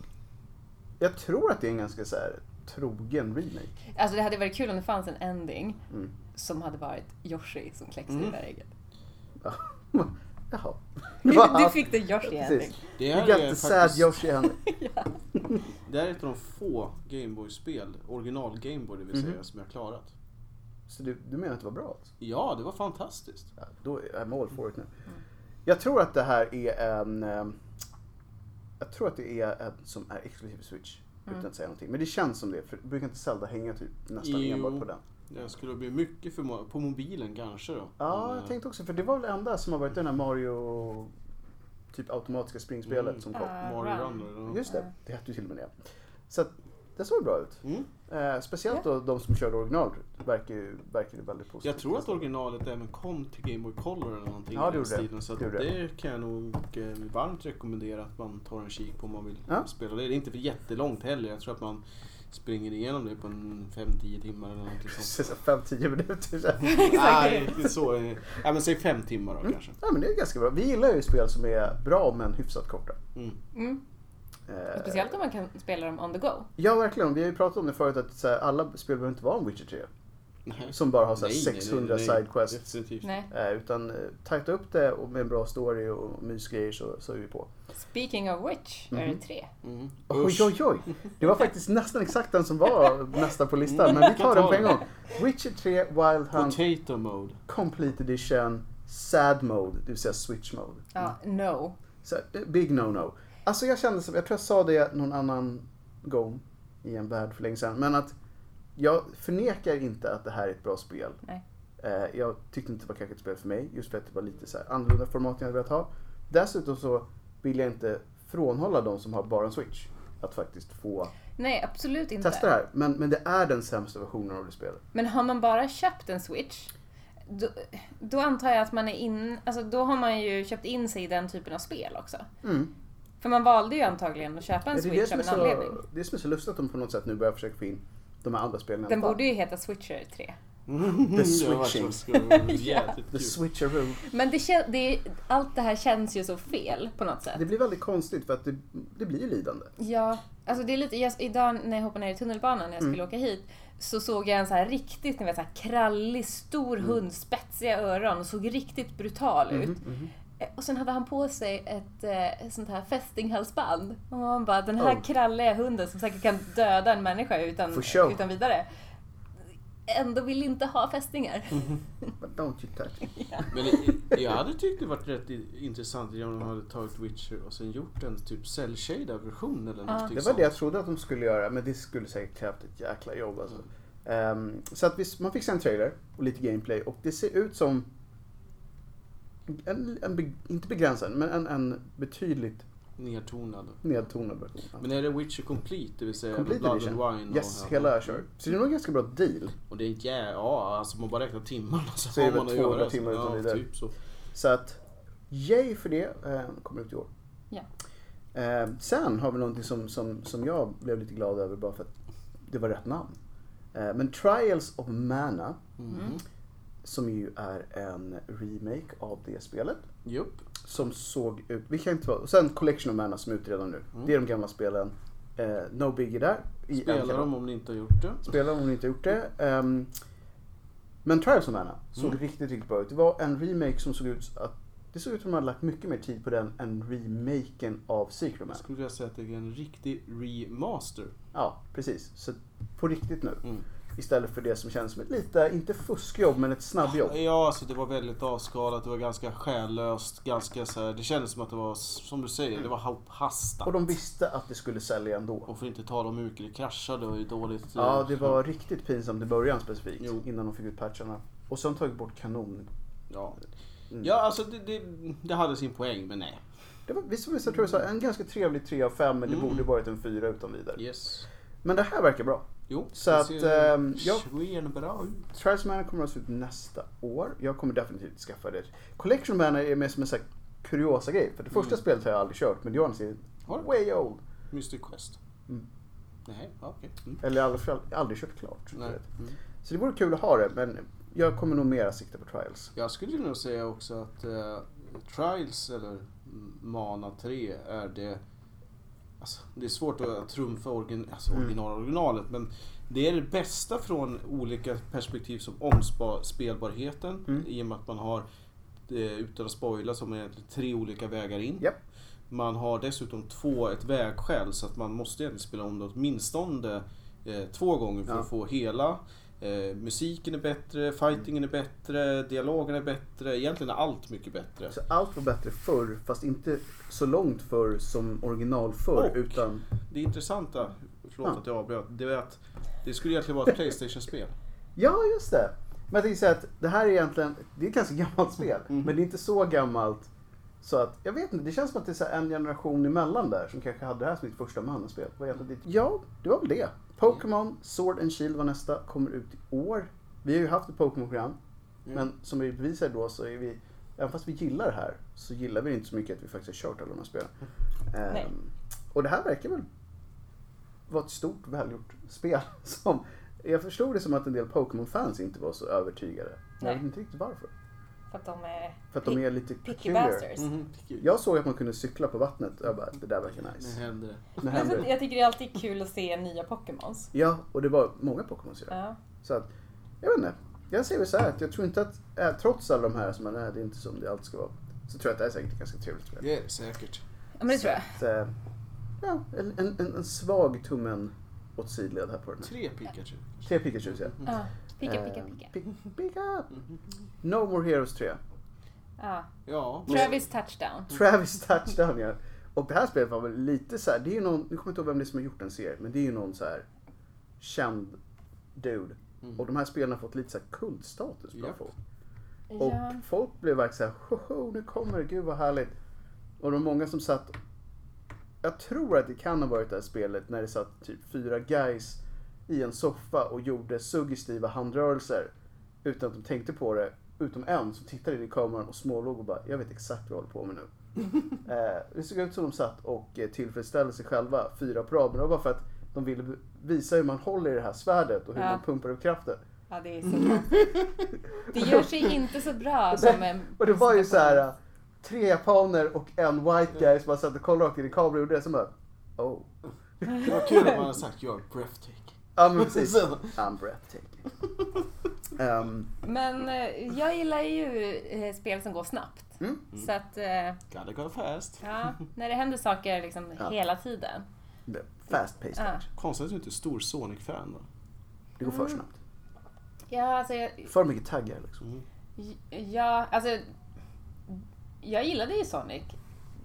[SPEAKER 2] Jag tror att det är en ganska så här, trogen remake.
[SPEAKER 3] Alltså det hade varit kul om det fanns en ending
[SPEAKER 2] Mm.
[SPEAKER 3] som hade varit Yoshi som kläcks i
[SPEAKER 1] Mm.
[SPEAKER 3] det där ägget.
[SPEAKER 2] Ja. Jaha.
[SPEAKER 3] Du fick det Yoshi-ending.
[SPEAKER 2] Precis.
[SPEAKER 1] Det
[SPEAKER 2] You
[SPEAKER 1] här
[SPEAKER 2] got
[SPEAKER 1] är
[SPEAKER 2] the sad
[SPEAKER 1] faktiskt,
[SPEAKER 2] Yoshi hand.
[SPEAKER 1] det här är ett av de få Gameboy-spel, original Gameboy det vill
[SPEAKER 2] Mhm.
[SPEAKER 1] säga, som jag klarat.
[SPEAKER 2] Så du, du menar att det var bra alltså?
[SPEAKER 1] Ja, det var fantastiskt.
[SPEAKER 2] Ja, då är jag all for it nu. Jag tror att det här är en... ehm, Jag tror att det är en som är exklusiv för Switch. Utan att säga någonting. Men det känns som det. För brukar inte Zelda hänga typ nästan
[SPEAKER 1] Jo.
[SPEAKER 2] enbart på den?
[SPEAKER 1] Det skulle bli mycket för, mo- på mobilen kanske då.
[SPEAKER 2] Ja,
[SPEAKER 1] Men,
[SPEAKER 2] jag
[SPEAKER 1] eh,
[SPEAKER 2] tänkte också. För det var väl det enda som har varit den här Mario... Typ automatiska springspelet
[SPEAKER 1] Mm.
[SPEAKER 2] som kom.
[SPEAKER 3] Ja.
[SPEAKER 1] Mario
[SPEAKER 3] Run.
[SPEAKER 1] Run eller något.
[SPEAKER 2] Just det, det hette ju till och med det. Så att, det såg bra ut.
[SPEAKER 1] Mm.
[SPEAKER 2] Eh, speciellt då de som körde original verkar ju verkar ju väldigt positivt.
[SPEAKER 1] Jag tror att originalet även kom till Game Boy Color eller någonting
[SPEAKER 2] Ja, det
[SPEAKER 1] i den
[SPEAKER 2] gjorde det.
[SPEAKER 1] stilen. Så att
[SPEAKER 2] Det gjorde det.
[SPEAKER 1] det kan jag nog eh, varmt rekommendera att man tar en kik på om man vill
[SPEAKER 2] Ja.
[SPEAKER 1] spela det. Det är inte för jättelångt heller. Jag tror att man springer igenom det på en 5-10 timmar eller någonting sånt.
[SPEAKER 2] Precis, 5-10 minuter så här.
[SPEAKER 3] Exakt.
[SPEAKER 1] Nej, inte så. eh, Nej, men säg 5 timmar då kanske.
[SPEAKER 2] Ja men det är ganska bra. Vi gillar ju spel som är bra men hyfsat korta.
[SPEAKER 1] Mm.
[SPEAKER 3] Mm.
[SPEAKER 2] Eh,
[SPEAKER 3] Speciellt om man kan spela dem on the go.
[SPEAKER 2] Ja verkligen, vi har ju pratat om det förut att så här, alla spel behöver inte vara en Witcher 3.
[SPEAKER 1] Nej.
[SPEAKER 2] Som bara har så här,
[SPEAKER 1] Nej, nej, nej,
[SPEAKER 2] 600
[SPEAKER 1] nej.
[SPEAKER 2] sidequests.
[SPEAKER 1] Definitivt.
[SPEAKER 3] Nej.
[SPEAKER 2] Eh, utan eh, tajta upp det och med en bra story och mysgrejer så, så är vi på.
[SPEAKER 3] Speaking of which, är
[SPEAKER 2] Mhm.
[SPEAKER 3] det tre?
[SPEAKER 1] Mm.
[SPEAKER 2] Oj,
[SPEAKER 1] Usch.
[SPEAKER 2] oj, oj! Det var faktiskt nästan exakt den som var nästa på listan, men vi tar den på en gång. Witcher 3 Wild Hunt
[SPEAKER 1] Potato mode.
[SPEAKER 2] Complete Edition Sad Mode, det vill säga Switch Mode.
[SPEAKER 3] Ja, no.
[SPEAKER 2] Så, eh, big no-no. Alltså jag kände som, jag tror jag sa det någon annan gång i en värld för länge sedan, men att jag förnekar inte att det här är ett bra spel.
[SPEAKER 3] Nej.
[SPEAKER 2] Eh, Jag tyckte inte det var kanske ett spel för mig, just för att det var lite så här annorlunda format jag hade velat ha. Dessutom så vill jag inte frånhålla de som har bara en Switch att faktiskt få
[SPEAKER 3] Nej, absolut inte.
[SPEAKER 2] testa det här. Men, men det är den sämsta versionen av det spelet.
[SPEAKER 3] Men har man bara köpt en Switch, då, då antar jag att man är in, alltså då har man ju köpt in sig i den typen av spel också.
[SPEAKER 2] Mm.
[SPEAKER 3] För man valde ju antagligen att köpa en
[SPEAKER 2] Men det, är det,
[SPEAKER 3] Switch
[SPEAKER 2] som
[SPEAKER 3] av
[SPEAKER 2] är
[SPEAKER 3] en
[SPEAKER 2] så,
[SPEAKER 3] anledning.
[SPEAKER 2] det som är så lustigt att de på något sätt nu börjar försöka få in de här andra spelen i
[SPEAKER 3] Den
[SPEAKER 2] alla fall.
[SPEAKER 3] borde ju heta Switcher 3.
[SPEAKER 1] The
[SPEAKER 2] switching.
[SPEAKER 1] Jävligt
[SPEAKER 2] The
[SPEAKER 1] kul.
[SPEAKER 2] switcheroo.
[SPEAKER 3] Men det, kän- det, är- allt det här känns ju så fel på något sätt.
[SPEAKER 2] Det blir väldigt konstigt för att det, det blir ju lidande.
[SPEAKER 3] Ja, alltså det är lite, jag, idag när jag hoppade ner i tunnelbanan när jag
[SPEAKER 2] Mm.
[SPEAKER 3] skulle åka hit så såg jag en så här riktigt, ni vet, så här krallig, stor
[SPEAKER 2] Mm.
[SPEAKER 3] hund, spetsiga öron och såg riktigt brutal
[SPEAKER 2] Mm-hmm.
[SPEAKER 3] ut.
[SPEAKER 2] Mhm,
[SPEAKER 3] Eh, Och sen hade han på sig ett eh, sånt här fästinghalsband. Och man bara, den här
[SPEAKER 2] Oh.
[SPEAKER 3] kralliga hunden som säkert kan döda en människa utan,
[SPEAKER 2] For sure.
[SPEAKER 3] utan vidare. Ändå vill inte ha fästingar.
[SPEAKER 2] Mm. But don't you touch it.
[SPEAKER 1] Men i- jag hade tyckt det varit rätt i- intressant om de hade tagit Witcher och sen gjort en typ cell version eller någonting
[SPEAKER 2] Det var
[SPEAKER 1] sånt.
[SPEAKER 2] det jag trodde att de skulle göra men det skulle säkert krävt ett jäkla jobb alltså. Ehm, så att vi, man fick se en trailer och lite gameplay och det ser ut som en, en be, inte begränsad, men en, en betydligt
[SPEAKER 1] Mm. Nedtonad.
[SPEAKER 2] nedtonad version.
[SPEAKER 1] Men är det Witcher Complete, det vill säga
[SPEAKER 2] Complete
[SPEAKER 1] Blood
[SPEAKER 2] Edition.
[SPEAKER 1] and Wine?
[SPEAKER 2] Yes,
[SPEAKER 1] och,
[SPEAKER 2] hela kör. Så det är nog en ganska bra deal.
[SPEAKER 1] Och det är ja, ja alltså man bara räknar timmarna så,
[SPEAKER 2] Så är
[SPEAKER 1] har
[SPEAKER 2] det
[SPEAKER 1] man att
[SPEAKER 2] 200
[SPEAKER 1] göra.
[SPEAKER 2] timmar utan
[SPEAKER 1] ja,
[SPEAKER 2] vidare.
[SPEAKER 1] typ så.
[SPEAKER 2] Så att, yay för det. Eh, kommer ut i år.
[SPEAKER 3] Ja.
[SPEAKER 2] Eh, sen har vi någonting som, som, som jag blev lite glad över bara för att det var rätt namn. Eh, men Trials of Mana,
[SPEAKER 1] Mm.
[SPEAKER 2] som ju är en remake av det spelet.
[SPEAKER 1] Jupp.
[SPEAKER 2] Som såg ut, vi kan inte vara, och sen Collection of Mana som är ute redan nu. Det är de gamla spelen. Eh, no Biggie där. i en
[SPEAKER 1] Spela
[SPEAKER 2] kanal.
[SPEAKER 1] dem om ni inte har gjort det.
[SPEAKER 2] spela om ni inte gjort det. Ehm, men Trials of Mana såg
[SPEAKER 1] Mm.
[SPEAKER 2] riktigt, riktigt bra ut. Det var en remake som såg ut att det såg ut som att de hade lagt mycket mer tid på den än remaken av Secret of
[SPEAKER 1] Jag
[SPEAKER 2] Mana.
[SPEAKER 1] skulle vilja säga att det är en riktig remaster.
[SPEAKER 2] Ja, precis. Så på riktigt nu.
[SPEAKER 1] Mm.
[SPEAKER 2] Istället för det som känns som ett lite, inte fuskjobb, men ett snabbjobb.
[SPEAKER 1] Ja, alltså det var väldigt avskalat, det var ganska själlöst, ganska så här, det kändes som att det var, som du säger, det var ha-
[SPEAKER 2] Och
[SPEAKER 1] hasta.
[SPEAKER 2] de visste att det skulle sälja ändå.
[SPEAKER 1] Och för inte tala om hur mycket det kraschade och hur dåligt... eh,
[SPEAKER 2] Ja, det var riktigt pinsamt i början specifikt.
[SPEAKER 1] Jo.
[SPEAKER 2] Innan de fick ut patcharna. Och sen tagit bort kanon.
[SPEAKER 1] Ja,
[SPEAKER 2] Mm.
[SPEAKER 1] ja alltså det, det, det hade sin poäng, men nej.
[SPEAKER 2] Det var, visst, visst, jag tror jag sa en ganska trevlig 3 av 5 men det
[SPEAKER 1] Mm.
[SPEAKER 2] borde varit en 4 utan vidare.
[SPEAKER 1] Yes.
[SPEAKER 2] Men det här verkar bra.
[SPEAKER 1] Jo,
[SPEAKER 2] Så
[SPEAKER 1] det
[SPEAKER 2] att,
[SPEAKER 1] ser
[SPEAKER 2] ehm, ja.
[SPEAKER 1] skenbra ut.
[SPEAKER 2] Trials Manor kommer alltså ut nästa år. Jag kommer definitivt skaffa det. Collection Manor är mer som en sån här kuriosa grej. För det första
[SPEAKER 1] Mm.
[SPEAKER 2] spelet har jag aldrig kört men det är å andra sidan
[SPEAKER 1] Har du?
[SPEAKER 2] way old.
[SPEAKER 1] Mystic Quest.
[SPEAKER 2] Mm.
[SPEAKER 1] Nej, ja, okej. Mm.
[SPEAKER 2] Eller i alla fall aldrig kört klart.
[SPEAKER 1] Nej.
[SPEAKER 2] spelet.
[SPEAKER 1] Mm.
[SPEAKER 2] Så det vore kul att ha det men jag kommer nog mera sikta på Trials.
[SPEAKER 1] Jag skulle nog säga också att eh, Trials eller Mana 3 är det Alltså, det är svårt att trumfa origin, alltså
[SPEAKER 2] Mm.
[SPEAKER 1] original, originalet men det är det bästa från olika perspektiv som omspelbarheten
[SPEAKER 2] Mm.
[SPEAKER 1] i och med att man har eh, utan att spoila som är egentligen tre olika vägar in.
[SPEAKER 2] Japp.
[SPEAKER 1] Man har dessutom två, ett vägskäl så att man måste egentligen spela om det åtminstone eh, två gånger för
[SPEAKER 2] Ja.
[SPEAKER 1] att få hela. Eh, musiken är bättre, fightingen är bättre, dialogen är bättre, egentligen är allt mycket bättre.
[SPEAKER 2] Så allt var bättre förr, fast inte så långt förr som original förr,
[SPEAKER 1] Och-
[SPEAKER 2] utan
[SPEAKER 1] Det intressanta, förlåt
[SPEAKER 2] Ja.
[SPEAKER 1] att jag avbröt, det är att det skulle egentligen vara ett Playstation-spel.
[SPEAKER 2] Ja, just det. Men jag tänkte säga att det här är egentligen, det är ett ganska gammalt spel,
[SPEAKER 1] Mm.
[SPEAKER 2] men det är inte så gammalt så att, jag vet inte, det känns som att det är så här en generation emellan där som kanske hade det här som sitt första mannaspel. Vad heter det? Ja, det var väl det. Pokémon Sword and Shield var nästa, kommer ut i år. Vi har ju haft ett Pokémon-program,
[SPEAKER 1] Mm.
[SPEAKER 2] men som vi bevisar då så är vi, även fast vi gillar det här, så gillar vi det inte så mycket att vi faktiskt har kört alla de här spelen.
[SPEAKER 3] Mm. Nej.
[SPEAKER 2] Ehm, och det här verkar väl var ett stort välgjort spel. Som, jag förstod det som att en del Pokémon-fans inte var så övertygade. Men Jag
[SPEAKER 3] Nej.
[SPEAKER 2] vet inte riktigt varför.
[SPEAKER 3] För att de är
[SPEAKER 2] För att de är lite
[SPEAKER 3] picky
[SPEAKER 2] peculiar. Mm.
[SPEAKER 3] bastards.
[SPEAKER 1] Mhm.
[SPEAKER 2] Jag såg att man kunde cykla på vattnet och jag bara, det där verkar
[SPEAKER 1] Nu
[SPEAKER 3] Mm.
[SPEAKER 2] nice. Mm.
[SPEAKER 1] händer det.
[SPEAKER 2] Nu
[SPEAKER 3] Men
[SPEAKER 2] händer
[SPEAKER 3] så,
[SPEAKER 2] det.
[SPEAKER 3] Alltså, jag tycker det är alltid kul att se nya Pokémons.
[SPEAKER 2] Ja, och det var många Pokémon som gjorde det.
[SPEAKER 3] Ja.
[SPEAKER 2] Så att, jag vet inte. Jag säger väl så här att jag tror inte att, eh, trots alla de här som man är, det är inte som det alltid ska vara. Så tror jag att det här är säkert ett ganska trevligt spel.
[SPEAKER 1] Det är det säkert.
[SPEAKER 3] ja, men det tror jag.
[SPEAKER 2] Så att, eh, ja, en, en, en, en svag tummen åt sidled här på den. här.
[SPEAKER 1] Tre Pikachu. Mm.
[SPEAKER 2] Tre Pikachu ja.
[SPEAKER 3] Ja. Pika, pika,
[SPEAKER 2] Eh,
[SPEAKER 3] pika.
[SPEAKER 2] pi- pika. No More Heroes 3.
[SPEAKER 3] Ja.
[SPEAKER 1] Ja.
[SPEAKER 3] Travis Touchdown.
[SPEAKER 2] Travis Touchdown ja. Och det här spelet var väl lite så här, det är ju någon, nu kommer jag inte ihåg vem det är som har gjort den serien, men det är ju någon så här känd dude.
[SPEAKER 1] Mm.
[SPEAKER 2] Och de här spelarna har fått lite så här kultstatus bland
[SPEAKER 1] Japp.
[SPEAKER 2] folk. Och
[SPEAKER 3] Ja.
[SPEAKER 2] folk blev verkligen så här, hoho, nu kommer det, gud vad härligt. Och det var många som satt, jag tror att det kan ha varit det här spelet när det satt typ fyra guys i en soffa och gjorde suggestiva handrörelser utan att de tänkte på det. Utom en som tittade in i kameran och smålog och bara, jag vet exakt vad jag håller på med nu. eh, det såg ut som de satt och eh, tillfredsställde sig själva, fyra på rad. Men det var bara för att de ville be- visa hur man håller i det här svärdet och hur
[SPEAKER 3] Ja.
[SPEAKER 2] man pumpar upp kraften.
[SPEAKER 3] ja, det är så bra. Det gör sig inte så bra som en...
[SPEAKER 2] Och det var ju
[SPEAKER 3] som en-
[SPEAKER 2] så här eh, tre japaner och en white guy som bara satt och kollade rakt in i kameran och gjorde det som bara, oh.
[SPEAKER 1] Det var kul om man hade sagt you're breathtaking.
[SPEAKER 2] Ja men precis.
[SPEAKER 1] Så.
[SPEAKER 2] I'm breathtaking. Ehm,
[SPEAKER 3] Men eh, jag gillar ju eh, spel som går snabbt.
[SPEAKER 2] Mm.
[SPEAKER 3] Så att, eh,
[SPEAKER 1] Gotta go fast.
[SPEAKER 3] ja, när det händer saker liksom
[SPEAKER 2] Ja.
[SPEAKER 3] hela tiden.
[SPEAKER 2] fast paced
[SPEAKER 3] Ja.
[SPEAKER 2] action.
[SPEAKER 1] Konstigt att du inte är stor Sonic-fan
[SPEAKER 2] Mm.
[SPEAKER 1] då.
[SPEAKER 2] Det går
[SPEAKER 3] Mm.
[SPEAKER 2] för snabbt.
[SPEAKER 3] Ja, alltså jag,
[SPEAKER 2] För mycket taggar liksom.
[SPEAKER 3] ja, alltså, jag gillade ju Sonic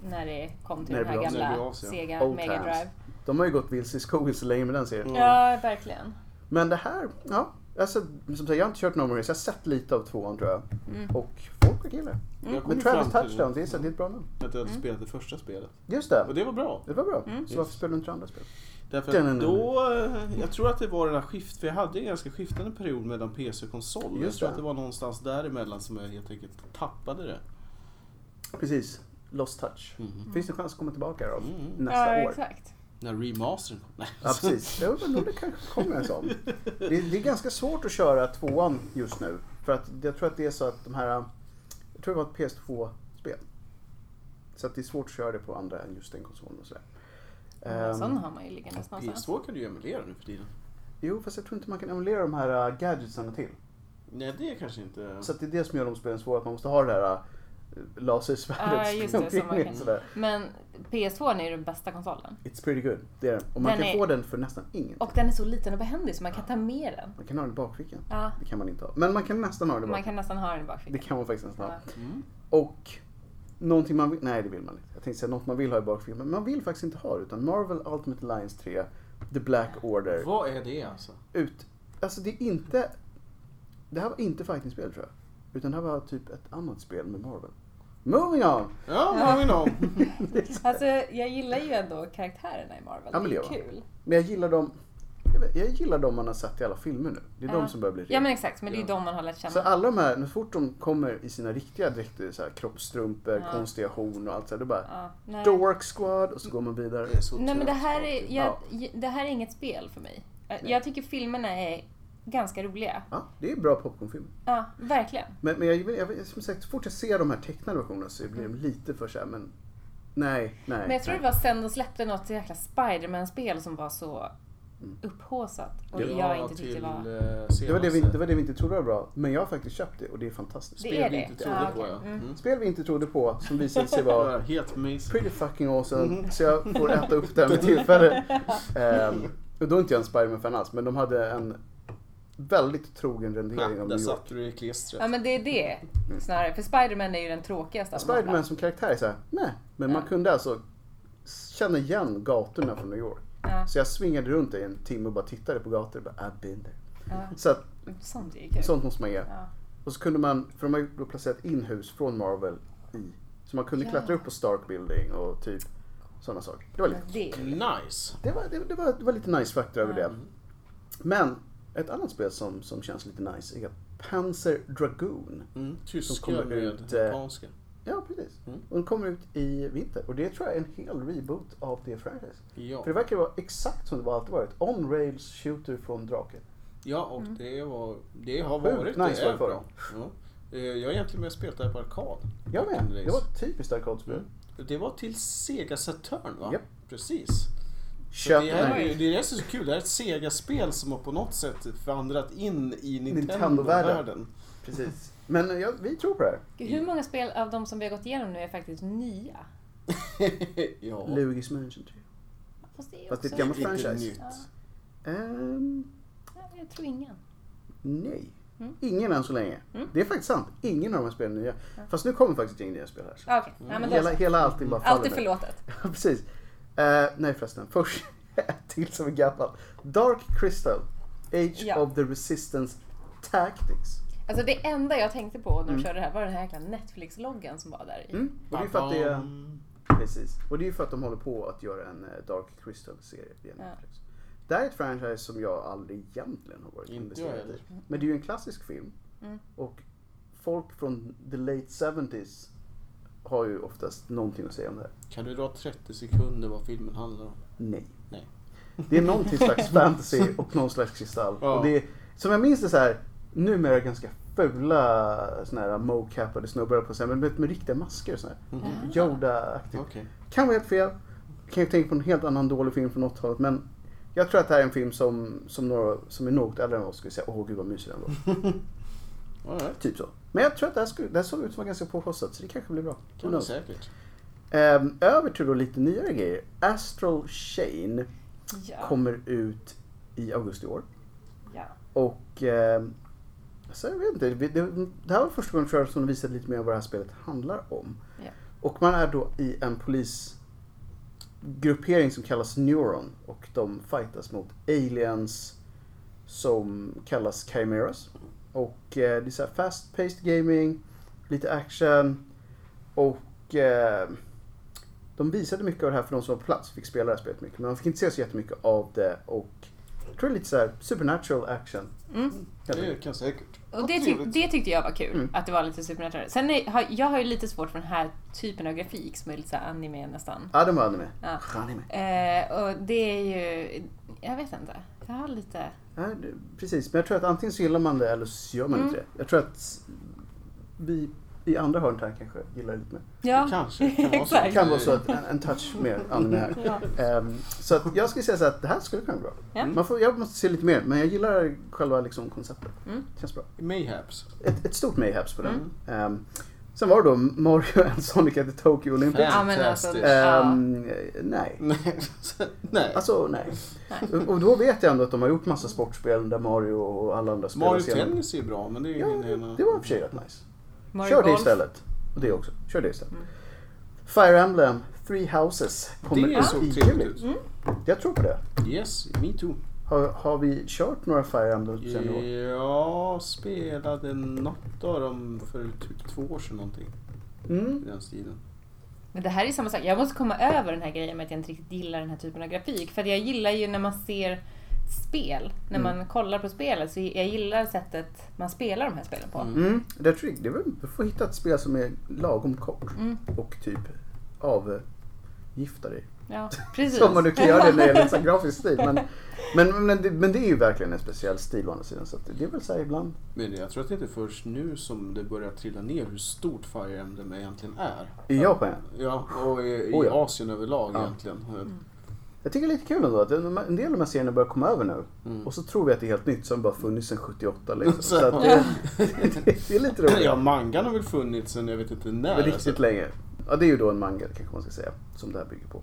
[SPEAKER 3] när det kom till
[SPEAKER 2] När
[SPEAKER 3] den
[SPEAKER 2] det
[SPEAKER 3] här
[SPEAKER 2] blev
[SPEAKER 1] när det
[SPEAKER 2] av-
[SPEAKER 1] blev
[SPEAKER 3] gamla
[SPEAKER 1] av sig, ja.
[SPEAKER 3] Sega
[SPEAKER 2] Old
[SPEAKER 3] Mega
[SPEAKER 2] times. Mm.
[SPEAKER 3] Drive.
[SPEAKER 2] De har ju gått vilse i skogen så länge med den
[SPEAKER 1] Mm.
[SPEAKER 2] serien.
[SPEAKER 3] Ja, verkligen.
[SPEAKER 2] Men det här, ja. Alltså, som sagt, jag har inte kört No More Heroes. Jag har sett lite av tvåan tror jag.
[SPEAKER 3] Mm.
[SPEAKER 2] Och folk verkar gilla det.
[SPEAKER 1] Jag kom
[SPEAKER 2] Men Travis
[SPEAKER 1] fram till Mm.
[SPEAKER 2] Touchdown, det är, så- det är ett bra namn.
[SPEAKER 1] Att jag hade spelat det första spelet.
[SPEAKER 2] Just
[SPEAKER 1] Och
[SPEAKER 2] det.
[SPEAKER 1] det var bra.
[SPEAKER 2] Det var bra.
[SPEAKER 3] Mm.
[SPEAKER 2] Så varför spelar du inte andra spel?
[SPEAKER 1] Därför
[SPEAKER 2] Den är
[SPEAKER 1] att då, eh, jag tror att det var den här skift, för jag hade en ganska skiftande period mellan PC och konsol. Jag
[SPEAKER 2] Just
[SPEAKER 1] tror
[SPEAKER 2] det.
[SPEAKER 1] att det var någonstans däremellan som jag helt enkelt tappade det.
[SPEAKER 2] Precis. Lost Touch. Finns det chans att komma tillbaka då?
[SPEAKER 1] Mm.
[SPEAKER 2] Nästa
[SPEAKER 3] Mm. ja,
[SPEAKER 2] år.
[SPEAKER 3] exakt.
[SPEAKER 1] När remastern kom. Nej.
[SPEAKER 2] Ja, precis. Jag undrar om det kanske kommer en sån. Det, det är ganska svårt att köra tvåan just nu. För att jag tror att det är så att de här... Jag tror det var ett PS2-spel. Så att det är svårt att köra det på andra än just den konsolen och sådär.
[SPEAKER 3] En sån
[SPEAKER 2] Ehm,
[SPEAKER 3] har man ju liggandes någonstans.
[SPEAKER 1] PS2 kan du ju emulera nu för tiden.
[SPEAKER 2] jo, fast jag tror inte man kan emulera de här äh, gadgetsarna till.
[SPEAKER 1] Nej, det är kanske inte...
[SPEAKER 2] Så att det är det som gör de spelen svåra, att man måste ha det här äh, lasersvärdet
[SPEAKER 3] Ah, just det,
[SPEAKER 2] sprang
[SPEAKER 3] som
[SPEAKER 2] in
[SPEAKER 3] man
[SPEAKER 2] i
[SPEAKER 3] kan-
[SPEAKER 2] sådär.
[SPEAKER 3] Men PS2 är ju den bästa konsolen.
[SPEAKER 2] It's pretty good. Det är den. Och man
[SPEAKER 3] Den
[SPEAKER 2] kan
[SPEAKER 3] är-
[SPEAKER 2] få den för nästan ingenting.
[SPEAKER 3] Och den är så liten och behändig så man kan ta med den.
[SPEAKER 2] Man kan ha den i bakfickan.
[SPEAKER 3] Ja,
[SPEAKER 2] Det kan man inte ha. Men man kan nästan ha den i
[SPEAKER 3] man
[SPEAKER 2] bakfickan.
[SPEAKER 3] kan nästan ha den i
[SPEAKER 2] Det
[SPEAKER 3] bakfickan.
[SPEAKER 2] kan man faktiskt nästan ha.
[SPEAKER 3] Ja.
[SPEAKER 1] Mm.
[SPEAKER 2] Och någonting man vill, nej det vill man inte. Jag tänkte säga något man vill ha i bakfickan men man vill faktiskt inte ha det utan Marvel Ultimate Alliance 3, The Black Order.
[SPEAKER 1] Vad är det alltså?
[SPEAKER 2] Ut, alltså det är inte, det här var inte fightingspel tror jag. Utan det här var typ ett annat spel med Marvel. Moving on!
[SPEAKER 1] Ja, vad har vi någon?
[SPEAKER 3] Alltså jag gillar ju ändå karaktärerna i Marvel.
[SPEAKER 2] Ja, men
[SPEAKER 3] det är
[SPEAKER 2] det gör
[SPEAKER 3] kul.
[SPEAKER 2] Men jag gillar dem, jag, vet, jag gillar dem man har sett i alla filmer nu. Det är
[SPEAKER 3] Ja.
[SPEAKER 2] de som börjar bli riktiga.
[SPEAKER 3] Ja men exakt, men det är ju
[SPEAKER 1] Ja.
[SPEAKER 3] de man har lärt
[SPEAKER 2] Så
[SPEAKER 3] känna.
[SPEAKER 2] alla de här, så fort de kommer i sina riktiga dräkter, så här, kroppstrumpor,
[SPEAKER 3] Ja.
[SPEAKER 2] konstiga horn och allt så här, då bara
[SPEAKER 3] Ja, nej.
[SPEAKER 2] Dork Squad och så går man vidare.
[SPEAKER 1] Det är så
[SPEAKER 3] Nej men det
[SPEAKER 1] trött
[SPEAKER 3] här,
[SPEAKER 1] alltid.
[SPEAKER 3] är, jag, det här är inget spel för mig. Jag, jag tycker filmerna är ganska roliga.
[SPEAKER 2] Ja, det är bra popcornfilm.
[SPEAKER 3] Ja, verkligen.
[SPEAKER 2] Men, men jag, jag, jag, som sagt, så fort jag ser de här tecknade versionerna så blir de lite för såhär, men nej, nej.
[SPEAKER 3] Men jag tror
[SPEAKER 2] nej.
[SPEAKER 3] det var sen de släppte något jäkla Spiderman-spel som var så
[SPEAKER 2] Mm.
[SPEAKER 3] upphaussat och
[SPEAKER 1] Det
[SPEAKER 3] jag inte tyckte
[SPEAKER 1] till,
[SPEAKER 3] var...
[SPEAKER 1] eh,
[SPEAKER 2] det, var det, vi,
[SPEAKER 1] senaste.
[SPEAKER 2] det var det vi inte trodde var bra, men jag har faktiskt köpt det och det är fantastiskt.
[SPEAKER 3] Det är
[SPEAKER 1] Spel vi
[SPEAKER 3] det.
[SPEAKER 1] inte
[SPEAKER 3] Ja,
[SPEAKER 1] trodde på
[SPEAKER 3] okej.
[SPEAKER 1] ja.
[SPEAKER 3] Mm.
[SPEAKER 1] Mm.
[SPEAKER 2] Spel vi inte trodde på som visade sig
[SPEAKER 1] Det
[SPEAKER 2] vara
[SPEAKER 1] var helt amazing.
[SPEAKER 2] pretty fucking awesome, så jag får äta upp det här med tillfälle. Ehm, och då är inte jag en Spiderman-fan alls, men de hade en väldigt trogen rendering
[SPEAKER 1] Ja,
[SPEAKER 2] av
[SPEAKER 1] där
[SPEAKER 2] New York.
[SPEAKER 1] satt du i klistret.
[SPEAKER 3] Ja men det är det snarare. För Spiderman är ju den tråkigaste av dem alla.
[SPEAKER 2] Mm. Spiderman som karaktär är såhär, nej. Men man
[SPEAKER 3] Ja.
[SPEAKER 2] kunde alltså känna igen gatorna från New York.
[SPEAKER 3] Ja,
[SPEAKER 2] Så jag svingade runt i en timme och bara tittade på gator och bara, I've been
[SPEAKER 1] Mm.
[SPEAKER 2] there.
[SPEAKER 3] ja.
[SPEAKER 2] Så att,
[SPEAKER 3] Sånt är ju kul.
[SPEAKER 2] sånt måste man ge.
[SPEAKER 3] Ja.
[SPEAKER 2] Och så kunde man, för de har ju då placerat in hus från Marvel i. Så man kunde
[SPEAKER 3] Ja.
[SPEAKER 2] klättra upp på Stark Building och typ sådana saker. Det var lite,
[SPEAKER 3] Det.
[SPEAKER 1] Nice!
[SPEAKER 2] det var, det, det var, det var lite nice faktor över det.
[SPEAKER 1] Mm.
[SPEAKER 2] Men, ett annat spel som, som känns lite nice är Panzer Dragoon.
[SPEAKER 1] Mm.
[SPEAKER 2] Som
[SPEAKER 1] Tyska
[SPEAKER 2] kommer
[SPEAKER 1] med
[SPEAKER 2] ut, eh,
[SPEAKER 1] japanska.
[SPEAKER 2] Ja, precis.
[SPEAKER 1] Mm.
[SPEAKER 2] Och den kommer ut i vinter. Och det tror jag är en hel reboot av det franchise.
[SPEAKER 1] Ja.
[SPEAKER 2] För det verkar vara exakt som det alltid varit. On-rails shooter från draken.
[SPEAKER 1] ja, och det, var, det har
[SPEAKER 2] Sjukt
[SPEAKER 1] varit,
[SPEAKER 2] nice
[SPEAKER 1] det är
[SPEAKER 2] var det förra.
[SPEAKER 1] bra. Ja. Eh, Jag har egentligen börjat spela det här på arkad.
[SPEAKER 2] Jag med.
[SPEAKER 1] Rails.
[SPEAKER 2] Det var ett typiskt arkadspel.
[SPEAKER 1] Mm. Det var till Sega Saturn va?
[SPEAKER 2] Japp.
[SPEAKER 1] Precis. Så
[SPEAKER 2] Köp
[SPEAKER 1] det, här, är
[SPEAKER 2] den.
[SPEAKER 1] ju- det är det som är så kul, det här är ett Sega-spel som har på något sätt vandrat in i
[SPEAKER 2] Nintendo-världen.
[SPEAKER 1] Nintendo-världen.
[SPEAKER 2] Precis. Men ja, vi tror på det här.
[SPEAKER 3] Gud, Hur många spel av de som vi har gått igenom nu är faktiskt nya?
[SPEAKER 1] ja,
[SPEAKER 2] Lugis Mansion 3.
[SPEAKER 3] Fast det är
[SPEAKER 2] Fast det är
[SPEAKER 3] också...
[SPEAKER 2] ett gammalt
[SPEAKER 1] inte
[SPEAKER 2] franchise.
[SPEAKER 1] nytt.
[SPEAKER 3] Ja.
[SPEAKER 2] Ehm,
[SPEAKER 3] Ja, Jag tror ingen.
[SPEAKER 2] nej.
[SPEAKER 3] Mm.
[SPEAKER 2] Ingen än så länge.
[SPEAKER 3] Mm.
[SPEAKER 2] Det är faktiskt sant. Ingen av de här spelen är nya. Fast nu kommer faktiskt inga nya spel här. Så.
[SPEAKER 3] Ah, Okej, ja, men då
[SPEAKER 2] hela,
[SPEAKER 3] så.
[SPEAKER 2] hela allting bara faller
[SPEAKER 3] Allt är
[SPEAKER 2] nu.
[SPEAKER 3] förlåtet.
[SPEAKER 2] Ja, Precis. Eh, nej förresten, först ett till som är gammalt. Dark Crystal, Age
[SPEAKER 3] Ja.
[SPEAKER 2] of the Resistance Tactics.
[SPEAKER 3] Alltså det enda jag tänkte på när de körde det här var den här jäkla Netflix-loggan som var där i.
[SPEAKER 2] Mm. Och det är ju för att det är,
[SPEAKER 1] Ba-bam.
[SPEAKER 2] precis. Och det är ju för att de håller på att göra en eh, Dark Crystal-serie via
[SPEAKER 3] Ja.
[SPEAKER 2] Netflix. Det här är ett franchise som jag aldrig egentligen har varit
[SPEAKER 1] Inte jag
[SPEAKER 2] investerad
[SPEAKER 1] heller.
[SPEAKER 2] i. Men det är ju en klassisk film.
[SPEAKER 3] Mm.
[SPEAKER 2] Och folk från the late 70s har ju oftast någonting att säga om det här.
[SPEAKER 1] Kan du dra 30 sekunder vad filmen handlar om?
[SPEAKER 2] Nej.
[SPEAKER 1] Nej.
[SPEAKER 2] Det är någonting slags fantasy och någon slags kristall.
[SPEAKER 1] Ja.
[SPEAKER 2] Och det är, som jag minns det så här, numera ganska fula såna här mocapade snubbar på sig, men med, med riktiga masker och sådär.
[SPEAKER 1] Mhm.
[SPEAKER 2] Yoda-aktigt.
[SPEAKER 1] Okej.
[SPEAKER 2] Kan vara helt fel. Kan ju tänka på en helt annan dålig film från 80-talet, men jag tror att det här är en film som, som, några, som är något äldre än oss skulle säga, åh gud vad mysig den var.
[SPEAKER 1] Mm. All right.
[SPEAKER 2] typ så. Men jag tror att det här, skulle, det här såg ut som var ganska påkostat, så det kanske blir bra.
[SPEAKER 1] Kan
[SPEAKER 2] Who
[SPEAKER 1] du
[SPEAKER 2] knows?
[SPEAKER 1] säkert.
[SPEAKER 2] Ehm, över till då lite nyare grejer. Astral Chain
[SPEAKER 3] Ja.
[SPEAKER 2] kommer ut i augusti i år.
[SPEAKER 3] ja.
[SPEAKER 2] Och eh, så jag vet inte, det, det, det här var första gången tror jag som de visade lite mer om vad det här spelet handlar om.
[SPEAKER 3] Ja.
[SPEAKER 2] Och man är då i en polisgruppering som kallas Neuron och de fightas mot aliens som kallas Chimeras. Och eh, det är så här fast paced gaming, lite action och eh, de visade mycket av det här för de som var på plats, fick spela det här spelet mycket. Men de fick inte se så jättemycket av det och jag tror det är lite så här supernatural action.
[SPEAKER 3] Mm.
[SPEAKER 2] helt
[SPEAKER 1] Det
[SPEAKER 2] enkelt.
[SPEAKER 1] kan säkert.
[SPEAKER 3] Och
[SPEAKER 1] Vad
[SPEAKER 3] det, tyck-
[SPEAKER 1] trevligt.
[SPEAKER 3] det tyckte jag var kul,
[SPEAKER 2] Mm.
[SPEAKER 3] att det var lite supernatural. Sen är, har, jag har ju lite svårt för den här typen av grafik som är lite så här anime nästan.
[SPEAKER 2] Ja, den var anime.
[SPEAKER 3] Ja.
[SPEAKER 2] Anime.
[SPEAKER 3] Eh, och det är ju, jag vet inte. Jag har lite,
[SPEAKER 2] Ja, det- precis, men jag tror att antingen så gillar man det eller så gör man
[SPEAKER 3] Mm.
[SPEAKER 2] inte det. Jag tror att vi i andra hörnet här kanske gillar det lite mer.
[SPEAKER 3] ja.
[SPEAKER 1] Det kanske kan vara så.
[SPEAKER 3] Exakt.
[SPEAKER 2] Det kan vara så att en, en touch mer anime här.
[SPEAKER 3] Ja.
[SPEAKER 2] Ehm, så att jag skulle säga så att det här skulle kunna vara bra.
[SPEAKER 3] Ja.
[SPEAKER 2] Man får, jag måste se lite mer, men jag gillar själva liksom konceptet.
[SPEAKER 3] Mm.
[SPEAKER 2] Det känns bra.
[SPEAKER 1] Mayhaps.
[SPEAKER 2] Ett, ett stort mayhaps på den. Ehm, Sen var det då Mario and Sonic at the Tokyo Olympics.
[SPEAKER 3] Ja, men alltså,
[SPEAKER 1] Fantastiskt.
[SPEAKER 3] ja.
[SPEAKER 2] Ehm, nej.
[SPEAKER 1] Nej. så- Nej.
[SPEAKER 2] Alltså nej. Och- Och då vet jag ändå att de har gjort massa sportspel där Mario och alla andra spelar
[SPEAKER 1] Mario
[SPEAKER 2] senare.
[SPEAKER 1] Tennis är ju bra men det är ju
[SPEAKER 2] Ja,
[SPEAKER 1] ingen ena...
[SPEAKER 2] det var i och för sig rätt nice.
[SPEAKER 3] Mario
[SPEAKER 2] Kör det
[SPEAKER 3] Golf. Mm.
[SPEAKER 2] istället. Och det också. Kör det istället. Fire Emblem, Three Houses kommer
[SPEAKER 1] Det såg
[SPEAKER 2] i
[SPEAKER 1] trevligt
[SPEAKER 2] juli.
[SPEAKER 1] ut.
[SPEAKER 3] Mm.
[SPEAKER 2] Jag tror på det.
[SPEAKER 1] Yes, me too.
[SPEAKER 2] Har, har vi kört några Fire Emblem sen då?
[SPEAKER 1] Jag spelade något av dem för typ två år sedan någonting. I
[SPEAKER 2] Mm.
[SPEAKER 1] den stilen.
[SPEAKER 3] Men det här är samma sak. Jag måste komma över den här grejen med att jag inte riktigt gillar den här typen av grafik. För att jag gillar ju när man ser spel. När
[SPEAKER 2] Mm.
[SPEAKER 3] man kollar på spelet. Så jag gillar sättet man spelar de här spelen på.
[SPEAKER 1] Mm.
[SPEAKER 2] Mm. Det tror jag, det är väl, du får hitta ett spel som är lagom kort
[SPEAKER 3] Mm.
[SPEAKER 2] och typ avgifta dig.
[SPEAKER 3] Ja, precis.
[SPEAKER 2] Som man nu kan göra det när det gäller en grafisk stil. Men, men, men, det, men det är ju verkligen en speciell stil å andra sidan. Så att det är väl så här ibland.
[SPEAKER 1] Men jag tror att det inte är först nu som det börjar trilla ner hur stort Fire Emblem egentligen är.
[SPEAKER 2] I Japan.
[SPEAKER 1] Ja, och i, i
[SPEAKER 2] Oh ja.
[SPEAKER 1] Asien överlag
[SPEAKER 2] Ja. Mm.
[SPEAKER 1] egentligen.
[SPEAKER 2] Jag tycker det är lite kul ändå att en en del av de här serierna börjar komma över nu.
[SPEAKER 1] Mm.
[SPEAKER 2] Och så tror vi att det är helt nytt som bara funnits sedan 78 liksom.
[SPEAKER 1] Så-
[SPEAKER 2] Så att det, det, är lite roligt.
[SPEAKER 1] Ja, mangan har väl funnits sen jag vet inte när.
[SPEAKER 2] Men riktigt
[SPEAKER 1] alltså.
[SPEAKER 2] länge. Ja, det är ju då en manga kanske man ska säga. Som det här bygger på.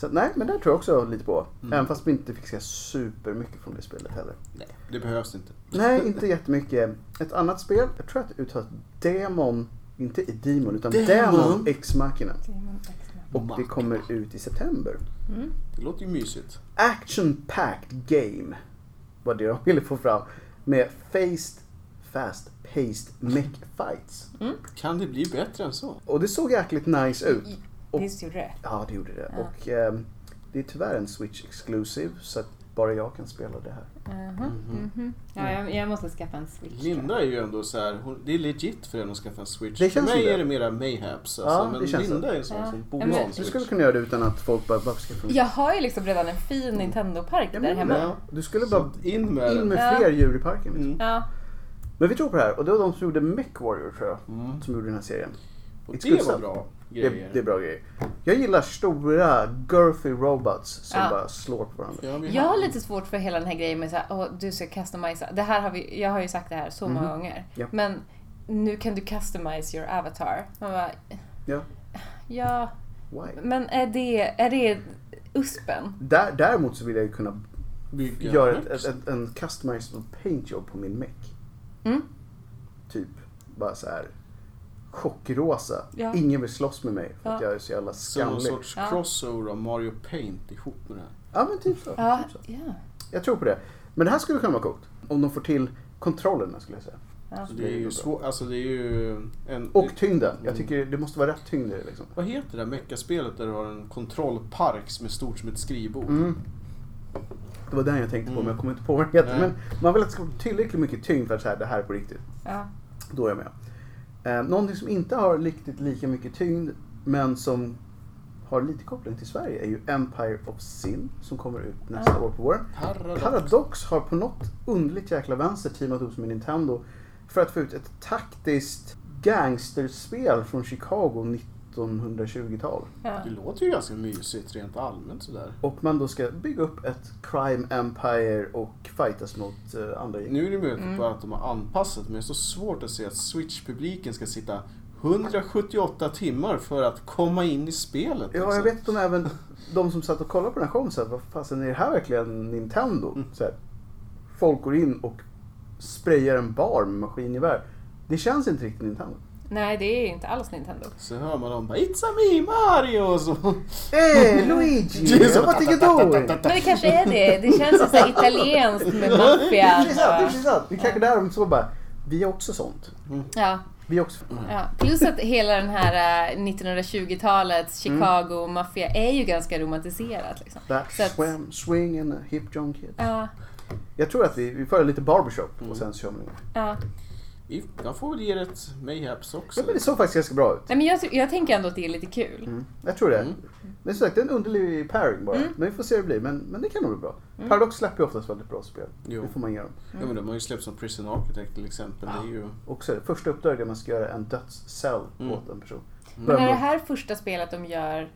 [SPEAKER 2] Så att, nej, men där tror jag också lite på.
[SPEAKER 1] Mm.
[SPEAKER 2] Även fast vi inte fick se supermycket från det spelet heller.
[SPEAKER 1] Nej, det behövs inte.
[SPEAKER 2] Nej, inte jättemycket. Ett annat spel, jag tror att det uttalas Demon, inte i Demon utan
[SPEAKER 1] Demon.
[SPEAKER 2] Demon, X Machina. Och det kommer ut i september.
[SPEAKER 3] Mm.
[SPEAKER 1] Det låter ju mysigt.
[SPEAKER 2] Action-packed game var det de ville få fram. Med faced, fast-paced mech fights.
[SPEAKER 1] Kan det bli bättre än så?
[SPEAKER 2] Och det såg jäkligt nice ut. Och-
[SPEAKER 3] Visst gjorde det?
[SPEAKER 2] Ja, det gjorde det.
[SPEAKER 3] Ja.
[SPEAKER 2] Och ehm, det är tyvärr en Switch exclusive så att bara jag kan spela det här.
[SPEAKER 3] Aha. Mhm. Ja, jag, jag måste skaffa en switch. tror jag.
[SPEAKER 1] Linda är ju ändå så här, hon, det är legit för henne att skaffa en switch.
[SPEAKER 2] Det
[SPEAKER 1] för
[SPEAKER 2] känns
[SPEAKER 1] mig
[SPEAKER 2] som det.
[SPEAKER 1] är det mera mayhaps. Alltså,
[SPEAKER 2] Ja,
[SPEAKER 1] men
[SPEAKER 2] det känns
[SPEAKER 1] Linda
[SPEAKER 2] så.
[SPEAKER 1] är en sån
[SPEAKER 3] Ja.
[SPEAKER 1] som
[SPEAKER 3] Ja,
[SPEAKER 1] borde
[SPEAKER 3] men-
[SPEAKER 1] ha en
[SPEAKER 2] Du
[SPEAKER 1] switch.
[SPEAKER 2] skulle kunna göra det utan att folk bara, varför ska jag få
[SPEAKER 3] Jag har ju liksom redan en fin Nintendo-park
[SPEAKER 2] Ja,
[SPEAKER 3] där
[SPEAKER 2] men-
[SPEAKER 3] hemma.
[SPEAKER 1] Ja.
[SPEAKER 2] Du skulle
[SPEAKER 1] Så
[SPEAKER 2] bara
[SPEAKER 1] att in med
[SPEAKER 2] in
[SPEAKER 1] den.
[SPEAKER 2] med
[SPEAKER 3] Ja.
[SPEAKER 2] fler djur i parken. Liksom.
[SPEAKER 1] Mm.
[SPEAKER 3] Ja.
[SPEAKER 2] Men vi tror på det här och det var de som gjorde Mech Warrior tror jag.
[SPEAKER 1] Mm.
[SPEAKER 2] Som gjorde den här serien.
[SPEAKER 1] Och det var
[SPEAKER 2] Exclusive.
[SPEAKER 1] bra
[SPEAKER 2] Det,
[SPEAKER 1] grejer.
[SPEAKER 2] det är bra grejer. Jag gillar stora, girthy robots som
[SPEAKER 3] Ja.
[SPEAKER 2] bara slår på varandra.
[SPEAKER 1] Ja, vi
[SPEAKER 3] Jag har lite svårt för hela den här grejen med att oh, du ska customisa. Det här har vi, jag har ju sagt det här så många gånger.
[SPEAKER 2] Ja.
[SPEAKER 3] Men nu kan du customize your avatar. Man bara,
[SPEAKER 2] Ja.
[SPEAKER 3] ja,
[SPEAKER 2] Why?
[SPEAKER 3] men är det, är det USPen?
[SPEAKER 2] Där, däremot så vill jag ju kunna
[SPEAKER 1] bygga
[SPEAKER 2] göra
[SPEAKER 1] en
[SPEAKER 2] ett, ett, ett, en customized paintjob på min Mech.
[SPEAKER 3] Mm.
[SPEAKER 2] Typ bara så här chockrosa.
[SPEAKER 3] Ja.
[SPEAKER 2] Ingen vill slåss med mig för att
[SPEAKER 3] Ja.
[SPEAKER 2] jag är så jävla
[SPEAKER 1] Som någon
[SPEAKER 2] skallig.
[SPEAKER 1] sorts
[SPEAKER 3] Ja.
[SPEAKER 1] crossover av Mario Paint ihop med det här.
[SPEAKER 2] Ja men typ så,
[SPEAKER 3] Ja,
[SPEAKER 2] typ så.
[SPEAKER 3] ja.
[SPEAKER 2] Jag tror på det. Men det här skulle kunna vara coolt. Om de får till kontrollerna skulle jag säga.
[SPEAKER 3] ja.
[SPEAKER 1] Så
[SPEAKER 2] Det
[SPEAKER 1] det är
[SPEAKER 2] är
[SPEAKER 1] ju
[SPEAKER 2] bra.
[SPEAKER 1] svårt, alltså det är ju en...
[SPEAKER 2] Och tyngden.
[SPEAKER 1] Mm.
[SPEAKER 2] Jag tycker det måste vara rätt tyngd i det liksom.
[SPEAKER 1] vad heter det där meckaspelet där du har en kontrollpark som är stort som ett skrivbord?
[SPEAKER 2] Mm. Det var den jag tänkte på
[SPEAKER 1] Mm.
[SPEAKER 2] men jag kommer inte på vad den heter.
[SPEAKER 1] Nej.
[SPEAKER 2] Men man vill att det ska vara tillräckligt mycket tyngd för att säga det här är på riktigt.
[SPEAKER 3] ja.
[SPEAKER 2] Då är jag med. Eh, någonting som inte har riktigt lika mycket tyngd men som har lite koppling till Sverige är ju Empire of Sin som kommer ut nästa
[SPEAKER 3] Ja.
[SPEAKER 2] år på våren.
[SPEAKER 1] Paradox.
[SPEAKER 2] Paradox har på något underligt jäkla vänster teamat ihop sig med Nintendo för att få ut ett taktiskt gangsterspel från Chicago 1920-tal.
[SPEAKER 3] ja.
[SPEAKER 1] Det låter ju ganska mysigt rent allmänt sådär.
[SPEAKER 2] Och man då ska bygga upp ett crime empire och fightas mot eh, andra gäng.
[SPEAKER 1] Nu är det möjligt på att de har anpassat men det är så svårt att se att Switch-publiken ska sitta 178 timmar för att komma in i spelet.
[SPEAKER 2] Ja, jag
[SPEAKER 1] liksom.
[SPEAKER 2] vet de även de som satt och kollade på den här showen så här, vad fasen är det här verkligen Nintendo?
[SPEAKER 1] Mm.
[SPEAKER 2] Så här, folk går in och sprayar en bar med maskingevär. Det känns inte riktigt Nintendo.
[SPEAKER 3] Nej, det är inte alls Nintendo.
[SPEAKER 1] Så hör man dem bara It's a me Mario! och Så.
[SPEAKER 2] Hey Luigi!
[SPEAKER 1] Mm. Jesus.
[SPEAKER 2] What are you doing?
[SPEAKER 3] Men det kanske är det. Det känns ju så här italienskt med maffian.
[SPEAKER 2] Det är sant, det är
[SPEAKER 3] och-
[SPEAKER 2] sant. Det är kanske där de så bara, vi är också sånt.
[SPEAKER 3] Ja.
[SPEAKER 2] Vi är också...
[SPEAKER 3] Ja, plus att hela den här eh, 1920-talets
[SPEAKER 2] Mm.
[SPEAKER 3] Chicago maffia är ju ganska romantiserat. Liksom. Så
[SPEAKER 2] That
[SPEAKER 3] att-
[SPEAKER 2] swam, swing and a hip young kid.
[SPEAKER 3] Ja,
[SPEAKER 2] Jag tror att vi, vi får lite barbershop
[SPEAKER 1] Mm.
[SPEAKER 2] och sen så kör man igång.
[SPEAKER 3] ja.
[SPEAKER 1] Vi- Jag får väl ge det ett mayhaps också.
[SPEAKER 2] Ja, men det såg faktiskt ganska bra ut.
[SPEAKER 3] Nej, men jag, ty- jag tänker ändå att det är lite kul.
[SPEAKER 2] Jag tror det.
[SPEAKER 1] Mm.
[SPEAKER 2] Men som sagt, det är en underlig pairing bara. Men vi får se hur det blir. Men, men det kan nog bli bra.
[SPEAKER 3] Mm.
[SPEAKER 2] Paradox släpper ju oftast väldigt bra spel.
[SPEAKER 1] Jo.
[SPEAKER 2] Det får man ge dem.
[SPEAKER 1] Ja, men de har ju släppt som Prison Architect till exempel. Det är ju...
[SPEAKER 2] Och så är det första uppdraget är att man ska göra en dödscell
[SPEAKER 1] Mm.
[SPEAKER 2] åt en person.
[SPEAKER 3] Men är det
[SPEAKER 2] Börja med-
[SPEAKER 3] här första spelet de gör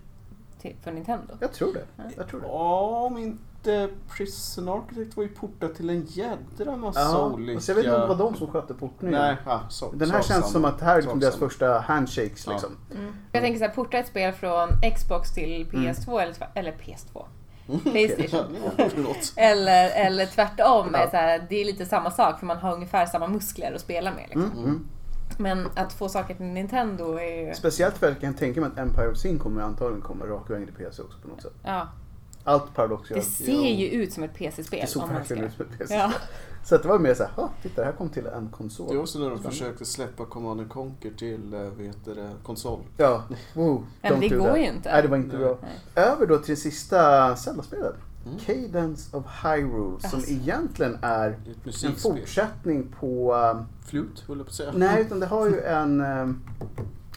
[SPEAKER 3] till, för Nintendo?
[SPEAKER 2] Jag tror det. Jag tror det.
[SPEAKER 1] Ja, om inte skötte Prison Architect var ju portat till en jädra massa olika...
[SPEAKER 2] Alltså, jag vet inte om det var de som skötte portningen.
[SPEAKER 1] Nej, ja, så,
[SPEAKER 2] Den här
[SPEAKER 1] så
[SPEAKER 2] känns
[SPEAKER 1] samma.
[SPEAKER 2] som att det här är
[SPEAKER 1] Så
[SPEAKER 2] liksom deras
[SPEAKER 1] samma.
[SPEAKER 2] första handshakes
[SPEAKER 1] Ja.
[SPEAKER 2] liksom.
[SPEAKER 3] Mm. Jag tänker så här, porta ett spel från Xbox till
[SPEAKER 2] Mm.
[SPEAKER 3] PS2 eller, tv- eller PS2. Mm, Playstation.
[SPEAKER 1] Förlåt.
[SPEAKER 3] Eller, eller tvärtom,
[SPEAKER 2] Ja.
[SPEAKER 3] så här, det är lite samma sak för man har ungefär samma muskler att spela med. Liksom.
[SPEAKER 2] Mm. Mm.
[SPEAKER 3] Men att få saker till Nintendo är ju...
[SPEAKER 2] Speciellt för att jag kan tänka mig att Empire of Sin kommer antagligen komma raka vägen till PC också på något sätt.
[SPEAKER 3] Ja,
[SPEAKER 2] Allt Paradox gör.
[SPEAKER 3] det ser ju ut som ett PC-spel.
[SPEAKER 2] Det såg
[SPEAKER 3] om man
[SPEAKER 2] verkligen
[SPEAKER 3] ska-
[SPEAKER 2] ut som ett PC.
[SPEAKER 3] Ja.
[SPEAKER 2] Så att det var mer såhär, "Ah, titta det här kom till en konsol.
[SPEAKER 1] Det var också när de
[SPEAKER 2] Spännande.
[SPEAKER 1] försökte släppa Command and Conquer till eh, vad heter det, konsol.
[SPEAKER 2] Ja, wow,
[SPEAKER 3] Men
[SPEAKER 2] don't
[SPEAKER 3] det
[SPEAKER 2] do
[SPEAKER 3] går
[SPEAKER 2] that.
[SPEAKER 3] ju inte.
[SPEAKER 2] Nej, det var inte
[SPEAKER 1] Nej.
[SPEAKER 2] bra. Över då till det sista Zelda-spelet. Cadence of Hyrule som
[SPEAKER 3] Alltså.
[SPEAKER 2] egentligen är
[SPEAKER 1] Det är Ett
[SPEAKER 2] en
[SPEAKER 1] musikspel.
[SPEAKER 2] fortsättning på... ehm,
[SPEAKER 1] Flut, höll jag på att säga. Mm.
[SPEAKER 2] nej, utan det har ju en, ehm,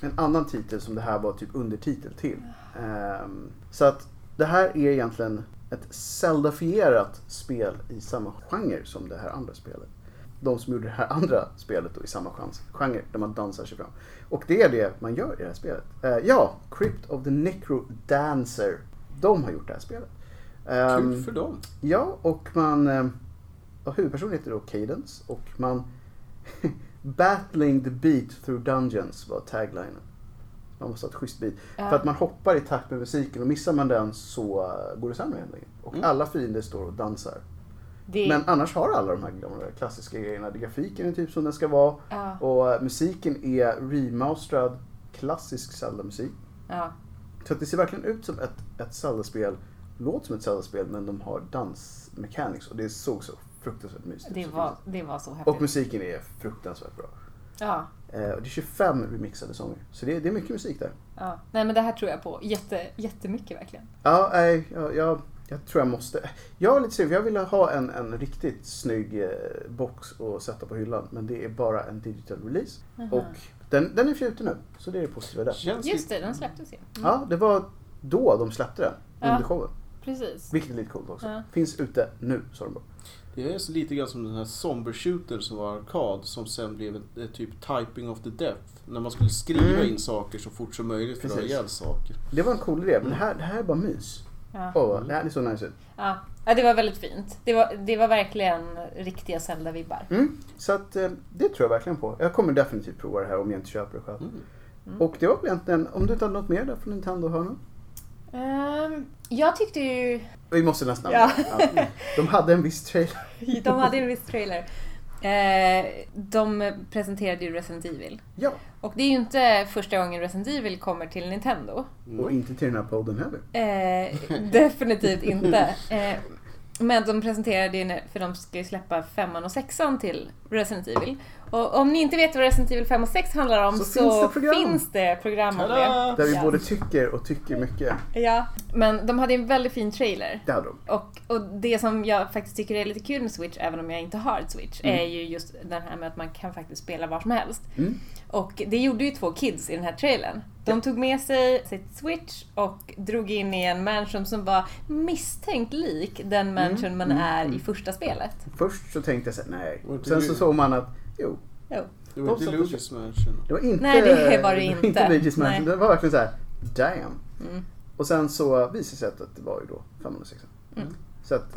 [SPEAKER 2] en annan titel som det här var typ undertitel till. Ehm, så att det här är egentligen ett Zelda-fierat spel i samma genre som det här andra spelet. De som gjorde det här andra spelet då i samma chans, genre, där man dansar sig fram. Och det är det man gör i det här spelet. Eh, ja, Crypt of the Necro Dancer. De har gjort det här spelet. Ehm,
[SPEAKER 1] Kul för dem.
[SPEAKER 2] Ja, och man... eh, Och huvudpersonen heter då Cadence och man... Battling the beat through dungeons var taglinen. Man måste ha ett schysst beat.
[SPEAKER 3] Ja.
[SPEAKER 2] För att man hoppar i takt med musiken och missar man den så eh, går det sämre helt enkelt. Och
[SPEAKER 1] Mm.
[SPEAKER 2] alla fiender står och dansar.
[SPEAKER 3] Det,
[SPEAKER 2] Men annars har alla de här gamla klassiska grejerna. Grafiken är typ som den ska vara
[SPEAKER 3] ja,
[SPEAKER 2] och eh, musiken är remasterad klassisk Zelda-musik.
[SPEAKER 3] ja.
[SPEAKER 2] Så att det ser verkligen ut som ett, ett Zelda-spel, låter som ett Zelda-spel men de har dansmechanics och det såg så fruktansvärt mysigt ut.
[SPEAKER 3] Det, var, det var så
[SPEAKER 2] Och
[SPEAKER 3] häftigt.
[SPEAKER 2] musiken är fruktansvärt bra.
[SPEAKER 3] Ja,
[SPEAKER 2] Eh, och det är 25 remixade sånger, så det, det är mycket musik där.
[SPEAKER 3] ja. Nej men det här tror jag på jätte, jättemycket verkligen.
[SPEAKER 2] Ja, nej, jag, jag, jag tror jag måste. Jag är lite sugen, för jag ville ha en, en riktigt snygg eh, box att sätta på hyllan men det är bara en digital release.
[SPEAKER 3] Mhm.
[SPEAKER 2] Och den, den är fjuten nu, så det är det positiva där.
[SPEAKER 1] Känns
[SPEAKER 3] Just
[SPEAKER 1] lite-
[SPEAKER 3] det, den släpptes ju. Mm,
[SPEAKER 2] Ja, det var då de släppte den,
[SPEAKER 3] Ja.
[SPEAKER 2] under showen.
[SPEAKER 3] Precis.
[SPEAKER 2] Vilket är lite coolt också.
[SPEAKER 3] Ja.
[SPEAKER 2] Finns ute nu, sa de bara.
[SPEAKER 1] Det är så lite grann som den här Somber Shooter som var arkad som sen blev en, eh, typ Typing of the Depth. När man skulle skriva
[SPEAKER 2] Mm.
[SPEAKER 1] in saker så fort som möjligt för att ha
[SPEAKER 2] Precis.
[SPEAKER 1] ihjäl saker.
[SPEAKER 2] Det var en cool idé, men det här, det här är bara mys.
[SPEAKER 3] Ja.
[SPEAKER 2] Åh, det här är så nice ut.
[SPEAKER 3] Ja. ja, det var väldigt fint. Det var, det var verkligen riktiga Zelda-vibbar.
[SPEAKER 2] Mm. Så att, eh, det tror jag verkligen på. Jag kommer definitivt prova det här om jag inte köper det själv.
[SPEAKER 1] Mm.
[SPEAKER 2] Och det var väl egentligen, om du inte hade något mer där från Nintendo-hörnan?
[SPEAKER 3] Ehm, jag tyckte ju...
[SPEAKER 2] Vi måste nästan.
[SPEAKER 3] Ja.
[SPEAKER 2] Ja. De hade en viss trailer.
[SPEAKER 3] De hade en viss trailer. Eh, de presenterade ju Resident Evil.
[SPEAKER 2] Ja,
[SPEAKER 3] Och det är ju inte första gången Resident Evil kommer till Nintendo.
[SPEAKER 2] och
[SPEAKER 1] Mm.
[SPEAKER 2] inte till den här podden heller.
[SPEAKER 3] Eh, definitivt inte. Eh, men de presenterade ju, när- för de ska ju släppa femman och sexan till Resident Evil. Och om ni inte vet vad Resident Evil 5 och 6 handlar om så,
[SPEAKER 2] Så finns det program.
[SPEAKER 3] finns det program om det.
[SPEAKER 1] Tada!
[SPEAKER 2] Där vi
[SPEAKER 3] Ja.
[SPEAKER 2] både tycker och tycker mycket.
[SPEAKER 3] Ja. Men de hade en väldigt fin trailer.
[SPEAKER 2] Det hade de.
[SPEAKER 3] Och, och det som jag faktiskt tycker är lite kul med Switch, även om jag inte har ett Switch, är ju just den här med att man kan faktiskt spela var som helst.
[SPEAKER 2] Mm.
[SPEAKER 3] Och det gjorde ju två kids i den här trailern. De tog med sig sitt Switch och drog in i en mansion som var misstänkt lik
[SPEAKER 2] Mm.
[SPEAKER 3] den mansion man är i första spelet.
[SPEAKER 2] Först så tänkte jag såhär, nej.
[SPEAKER 1] Var inte
[SPEAKER 2] Sen så
[SPEAKER 1] du-
[SPEAKER 2] såg man att, jo.
[SPEAKER 3] Jo.
[SPEAKER 1] Det var inte
[SPEAKER 2] De satte
[SPEAKER 1] Luigi's Mansion.
[SPEAKER 2] Det var inte...
[SPEAKER 3] Nej, det var det inte.
[SPEAKER 2] inte Luigi's Mansion.
[SPEAKER 3] Nej.
[SPEAKER 2] Det var verkligen så här, damn.
[SPEAKER 3] Mm.
[SPEAKER 2] Och sen så visade det sig att- att det var ju då 506.
[SPEAKER 3] Mm.
[SPEAKER 2] Mm. Så att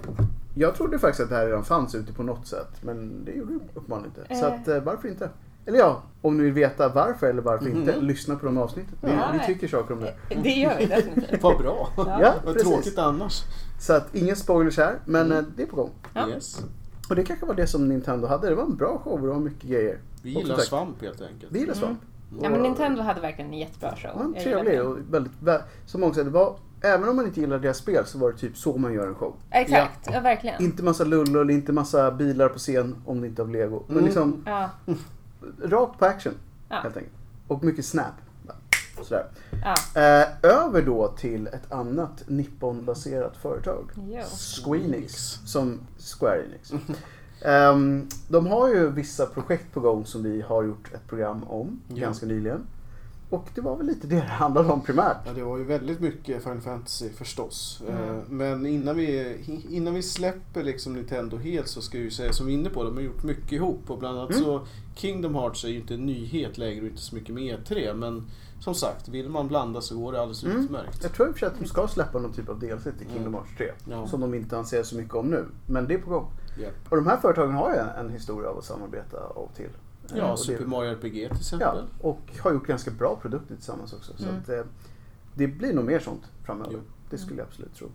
[SPEAKER 2] jag trodde faktiskt att det här redan fanns ute på något sätt. Men det gjorde det uppenbarligen inte. Så
[SPEAKER 3] Eh.
[SPEAKER 2] att eh, varför inte? Eller ja, om ni vill veta varför eller varför inte, lyssna på de avsnitten. Vi,
[SPEAKER 3] Ja. Eh.
[SPEAKER 2] vi tycker saker om det.
[SPEAKER 3] Det gör vi definitivt.
[SPEAKER 1] Vad bra!
[SPEAKER 2] Ja,
[SPEAKER 1] Vad
[SPEAKER 2] precis.
[SPEAKER 1] tråkigt annars.
[SPEAKER 2] Så att inga spoilers här, men
[SPEAKER 1] Mm.
[SPEAKER 2] eh, det är på gång.
[SPEAKER 3] Ja.
[SPEAKER 1] Yes.
[SPEAKER 2] Och det kanske var det som Nintendo hade. Det var en bra show och det var mycket grejer.
[SPEAKER 1] Vi
[SPEAKER 2] Och som
[SPEAKER 1] gillar
[SPEAKER 2] sagt,
[SPEAKER 1] svamp helt enkelt.
[SPEAKER 2] Vi gillar svamp.
[SPEAKER 3] Mm. Ja men
[SPEAKER 2] Och-
[SPEAKER 3] Nintendo hade verkligen en jättebra show.
[SPEAKER 2] Ja,
[SPEAKER 3] Jag gillar
[SPEAKER 2] trevlig
[SPEAKER 3] den.
[SPEAKER 2] och väldigt, vä- som många säger, det var, även om man inte gillar deras spel så var det typ så man gör en show.
[SPEAKER 3] Exakt, ja verkligen.
[SPEAKER 2] Inte massa lullull, inte massa bilar på scen om det inte var lego. Men
[SPEAKER 1] Mm.
[SPEAKER 2] liksom
[SPEAKER 3] Ja,
[SPEAKER 2] rakt på action
[SPEAKER 3] Ja.
[SPEAKER 2] helt enkelt. Och mycket snap. Sådär.
[SPEAKER 3] ja.
[SPEAKER 2] Eh, över då till ett annat Nippon-baserat företag.
[SPEAKER 3] Jo.
[SPEAKER 2] Squeenix. Som Square Enix. Ehm, de har ju vissa projekt på gång som vi har gjort ett program om
[SPEAKER 1] Ja.
[SPEAKER 2] ganska nyligen. Och det var väl lite det det handlade om primärt.
[SPEAKER 1] Ja, det var ju väldigt mycket Final Fantasy förstås.
[SPEAKER 3] Mm.
[SPEAKER 1] Eh, Men innan vi, innan vi släpper liksom Nintendo helt så ska jag ju säga, som vi är inne på, de har gjort mycket ihop. Och bland annat
[SPEAKER 2] Mm.
[SPEAKER 1] så Kingdom Hearts är ju inte en nyhet längre och inte så mycket med E3. Men som sagt, vill man blanda så går det alldeles
[SPEAKER 2] Mm.
[SPEAKER 1] utmärkt.
[SPEAKER 2] Jag tror i och för sig att de ska släppa någon typ av DLC till
[SPEAKER 1] Mm.
[SPEAKER 2] Kingdom Hearts 3.
[SPEAKER 1] Ja.
[SPEAKER 2] Som de inte anser så mycket om nu. Men det är på gång.
[SPEAKER 1] Ja.
[SPEAKER 2] Och de här företagen har ju en, en historia av att samarbeta av till. Eh, och
[SPEAKER 1] Ja,
[SPEAKER 2] det-
[SPEAKER 1] Super Mario RPG till
[SPEAKER 2] Ja,
[SPEAKER 1] exempel.
[SPEAKER 2] och har gjort ganska bra produkter tillsammans också. Så
[SPEAKER 3] Mm.
[SPEAKER 2] att, eh, det blir nog mer sånt framöver.
[SPEAKER 1] Jo.
[SPEAKER 2] Det skulle jag absolut tro.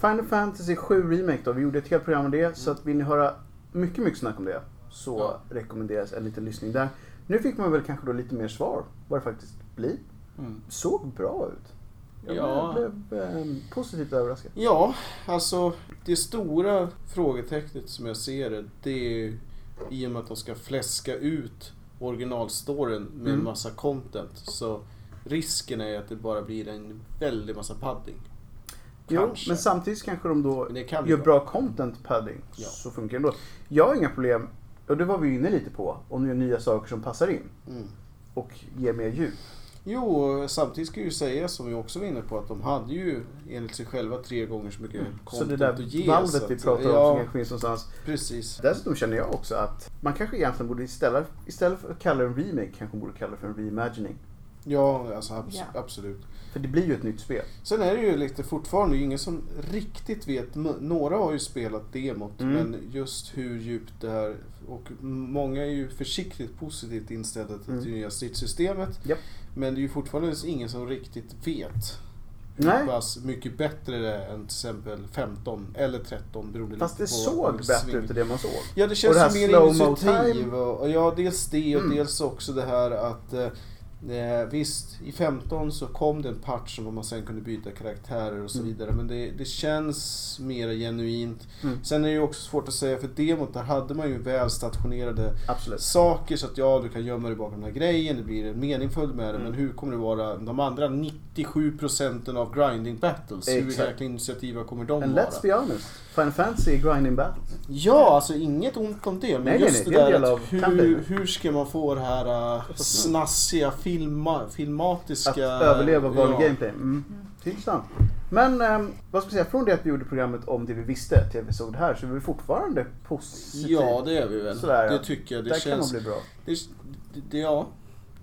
[SPEAKER 2] Final Fantasy 7 Remake då, vi gjorde ett helt program om det. Så att vill ni höra mycket, mycket snack om det så
[SPEAKER 1] Mm. Ja.
[SPEAKER 2] rekommenderas en liten lyssning där. Nu fick man väl kanske då lite mer svar vad det faktiskt blir.
[SPEAKER 1] Mm.
[SPEAKER 2] Såg bra ut. Jag
[SPEAKER 1] Ja.
[SPEAKER 2] blev eh, positivt överraskad.
[SPEAKER 1] Ja, alltså det stora frågetecknet som jag ser det, det är ju i och med att de ska fläska ut originalstoryn med en
[SPEAKER 2] Mm.
[SPEAKER 1] massa content så risken är att det bara blir en väldig massa padding.
[SPEAKER 2] Jo,
[SPEAKER 1] Kanske.
[SPEAKER 2] men samtidigt kanske de då
[SPEAKER 1] Men det kan bli
[SPEAKER 2] gör
[SPEAKER 1] bra.
[SPEAKER 2] bra content padding.
[SPEAKER 1] Ja.
[SPEAKER 2] Så funkar det ändå. Jag har inga problem, och det var vi inne lite på, om du gör nya saker som passar in
[SPEAKER 1] Mm.
[SPEAKER 2] och ger mer djup.
[SPEAKER 1] Jo, samtidigt ska jag ju säga som vi också var inne på att de hade ju enligt sig själva tre gånger så mycket
[SPEAKER 2] Så
[SPEAKER 1] content
[SPEAKER 2] det
[SPEAKER 1] att
[SPEAKER 2] där
[SPEAKER 1] ge.
[SPEAKER 2] valvet
[SPEAKER 1] så
[SPEAKER 2] vi
[SPEAKER 1] att-
[SPEAKER 2] pratar om som
[SPEAKER 1] ja,
[SPEAKER 2] kanske finns någonstans.
[SPEAKER 1] precis.
[SPEAKER 2] Dessutom känner jag också att man kanske egentligen borde istället, istället för att kalla det en remake kanske borde kalla det för en reimagining.
[SPEAKER 1] Ja, alltså abs-
[SPEAKER 3] Ja.
[SPEAKER 1] absolut.
[SPEAKER 2] För det blir ju ett nytt spel.
[SPEAKER 1] Sen är det ju lite fortfarande ingen som riktigt vet. M- Några har ju spelat demot
[SPEAKER 2] Mm.
[SPEAKER 1] men just hur djupt det här och m- många är ju försiktigt positivt inställda till
[SPEAKER 2] Mm.
[SPEAKER 1] det nya stridssystemet.
[SPEAKER 2] Japp.
[SPEAKER 1] Men det är ju fortfarande ingen som riktigt vet hur
[SPEAKER 2] Nej,
[SPEAKER 1] pass mycket bättre det är än till exempel 15 eller 13 beroende
[SPEAKER 2] fast det
[SPEAKER 1] lite på
[SPEAKER 2] såg
[SPEAKER 1] om
[SPEAKER 2] bättre
[SPEAKER 1] sving-
[SPEAKER 2] ut än det man såg.
[SPEAKER 1] Ja, det
[SPEAKER 2] Och det
[SPEAKER 1] känns
[SPEAKER 2] här
[SPEAKER 1] ju mer
[SPEAKER 2] slow-mo
[SPEAKER 1] initiativ.
[SPEAKER 2] time.
[SPEAKER 1] Och, och ja, dels det och
[SPEAKER 2] Mm.
[SPEAKER 1] dels också det här att eh, eh, visst, i 15 så kom det en patch som man sen kunde byta karaktärer och så
[SPEAKER 2] Mm.
[SPEAKER 1] vidare. Men det, det känns mer genuint.
[SPEAKER 2] Mm.
[SPEAKER 1] Sen är det ju också svårt att säga för demot där hade man ju väl stationerade
[SPEAKER 2] Absolut.
[SPEAKER 1] saker så att ja, du kan gömma dig bakom den här grejen, det blir meningsfullt med det.
[SPEAKER 2] Mm.
[SPEAKER 1] Men hur kommer det vara de andra 97 procenten av grinding battles? Hur
[SPEAKER 2] Exakt.
[SPEAKER 1] jäkla initiativa kommer de
[SPEAKER 2] And
[SPEAKER 1] vara?
[SPEAKER 2] let's be honest, Final Fantasy är grinding battles.
[SPEAKER 1] Ja, alltså inget ont om det. Men
[SPEAKER 2] Nej, nej,
[SPEAKER 1] just
[SPEAKER 2] nej,
[SPEAKER 1] det
[SPEAKER 2] det är
[SPEAKER 1] där
[SPEAKER 2] en del
[SPEAKER 1] att
[SPEAKER 2] av
[SPEAKER 1] hur,
[SPEAKER 2] kampen.
[SPEAKER 1] hur ska man få det här uh, snassiga, filma, filmatiska...
[SPEAKER 2] Att överleva vanlig
[SPEAKER 1] ja.
[SPEAKER 2] gameplay. Mm. Det är intressant. Men ehm, vad ska jag säga, från det att vi gjorde programmet om det vi visste till att vi såg det här så är vi fortfarande positiva.
[SPEAKER 1] Ja, det är vi väl.
[SPEAKER 2] Sådär, ja.
[SPEAKER 1] det tycker jag.
[SPEAKER 2] det
[SPEAKER 1] Det
[SPEAKER 2] där kan
[SPEAKER 1] känns...
[SPEAKER 2] nog bli bra.
[SPEAKER 1] Det, det, ja.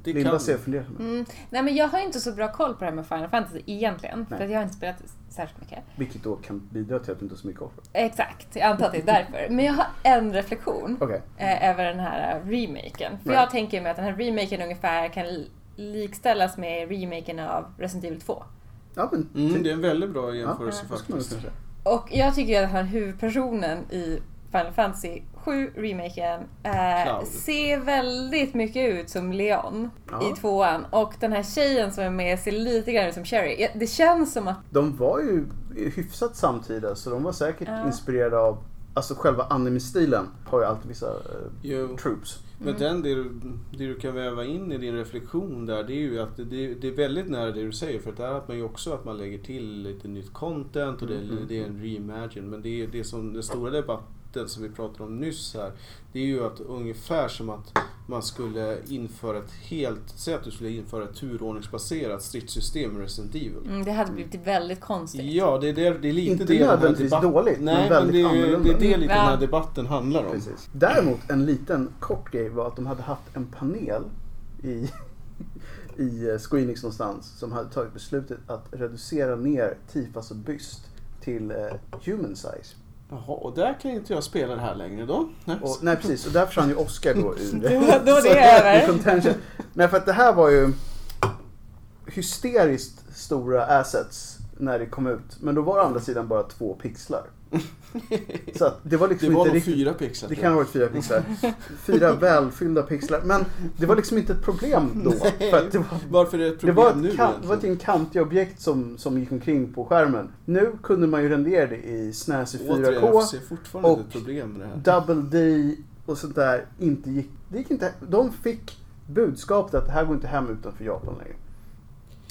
[SPEAKER 1] Det
[SPEAKER 2] Linda
[SPEAKER 1] kan...
[SPEAKER 2] ser fundersam ut.
[SPEAKER 3] Mm. Nej men jag har ju inte så bra koll på det här med Final Fantasy egentligen.
[SPEAKER 2] Nej.
[SPEAKER 3] För att jag har inte spelat särskilt mycket.
[SPEAKER 2] Vilket då kan bidra till att du inte har så mycket offer.
[SPEAKER 3] Exakt, jag antar att det är därför. Men jag har en reflektion
[SPEAKER 2] Okej.
[SPEAKER 3] eh, över den här remaken. För
[SPEAKER 2] Nej.
[SPEAKER 3] jag tänker mig att den här remaken ungefär kan li- likställas med remaken av Resident Evil 2.
[SPEAKER 2] Ja men
[SPEAKER 1] Mm,
[SPEAKER 2] typ.
[SPEAKER 1] det är en väldigt bra
[SPEAKER 2] ja,
[SPEAKER 1] jämförelse
[SPEAKER 2] vad ska man
[SPEAKER 1] faktiskt.
[SPEAKER 2] kunna säga?
[SPEAKER 3] Och jag tycker ju att han huvudpersonen i Final Fantasy 7 remaken eh,
[SPEAKER 1] Cloud.
[SPEAKER 3] ser väldigt mycket ut som Leon
[SPEAKER 2] Ja.
[SPEAKER 3] i tvåan. Och den här tjejen som är med ser lite grann ut som Sherry. Ja, Det känns som att
[SPEAKER 2] De var ju hyfsat samtida så de var säkert
[SPEAKER 3] Ja.
[SPEAKER 2] inspirerade av Alltså själva anime-stilen har ju alltid vissa eh,
[SPEAKER 1] Jo.
[SPEAKER 2] troops.
[SPEAKER 1] Men den, det, du, det du kan väva in i din reflektion där, det är ju att det, det, det är väldigt nära det du säger. För att där att man ju också att man lägger till lite nytt content och det,
[SPEAKER 2] Mm, mm,
[SPEAKER 1] det är en reimagine. Men det är det som den stora debatten som vi pratade om nyss här. Det är ju att ungefär som att man skulle införa ett helt, säg att du skulle införa ett turordningsbaserat stridssystem i Resident Evil.
[SPEAKER 3] Mm, det hade blivit väldigt konstigt.
[SPEAKER 1] Ja, det är, det, det är lite
[SPEAKER 2] Inte
[SPEAKER 1] det den här
[SPEAKER 2] nödvändigtvis
[SPEAKER 1] debatten-
[SPEAKER 2] dåligt, men
[SPEAKER 1] Nej, men,
[SPEAKER 2] väldigt
[SPEAKER 1] det, är, ju- det
[SPEAKER 2] annorlunda.
[SPEAKER 1] är det lite den här
[SPEAKER 3] Ja.
[SPEAKER 1] debatten handlar om.
[SPEAKER 2] Precis. Däremot en liten kort grej var att de hade haft en panel i, i eh, Squeenix någonstans som hade tagit beslutet att reducera ner Tifas och byst till eh, human size.
[SPEAKER 1] Jaha, och där kan inte jag spela det här längre då. Nej,
[SPEAKER 2] Och, nej precis, och där försvann ju Oscar då ur
[SPEAKER 3] Då, då är
[SPEAKER 2] Så
[SPEAKER 3] det
[SPEAKER 2] där- ur
[SPEAKER 3] över.
[SPEAKER 2] contention. Nej för att det här var ju hysteriskt stora assets när det kom ut. Men då var det å andra sidan bara två pixlar. Så att det var liksom
[SPEAKER 1] Det var
[SPEAKER 2] inte
[SPEAKER 1] nog
[SPEAKER 2] riktigt
[SPEAKER 1] fyra pixlar.
[SPEAKER 2] Det
[SPEAKER 1] tror
[SPEAKER 2] kan ha varit fyra pixlar. Fyra välfyllda pixlar. Men det var liksom inte ett problem då.
[SPEAKER 1] Nej.
[SPEAKER 2] För att det var,
[SPEAKER 1] jag. Varför är det ett
[SPEAKER 2] det
[SPEAKER 1] problem
[SPEAKER 2] var,
[SPEAKER 1] nu
[SPEAKER 2] ett, kan, det var ett
[SPEAKER 1] egentligen?
[SPEAKER 2] en kantig objekt som, som gick omkring på skärmen. Nu kunde man ju rendera det i snäsig
[SPEAKER 1] Återigen, jag
[SPEAKER 2] 4K,
[SPEAKER 1] ser fortfarande
[SPEAKER 2] och
[SPEAKER 1] ett problem med det här.
[SPEAKER 2] Double D och sånt där. Inte gick, det gick inte, de fick budskapet att det här går inte hem utanför Japan längre.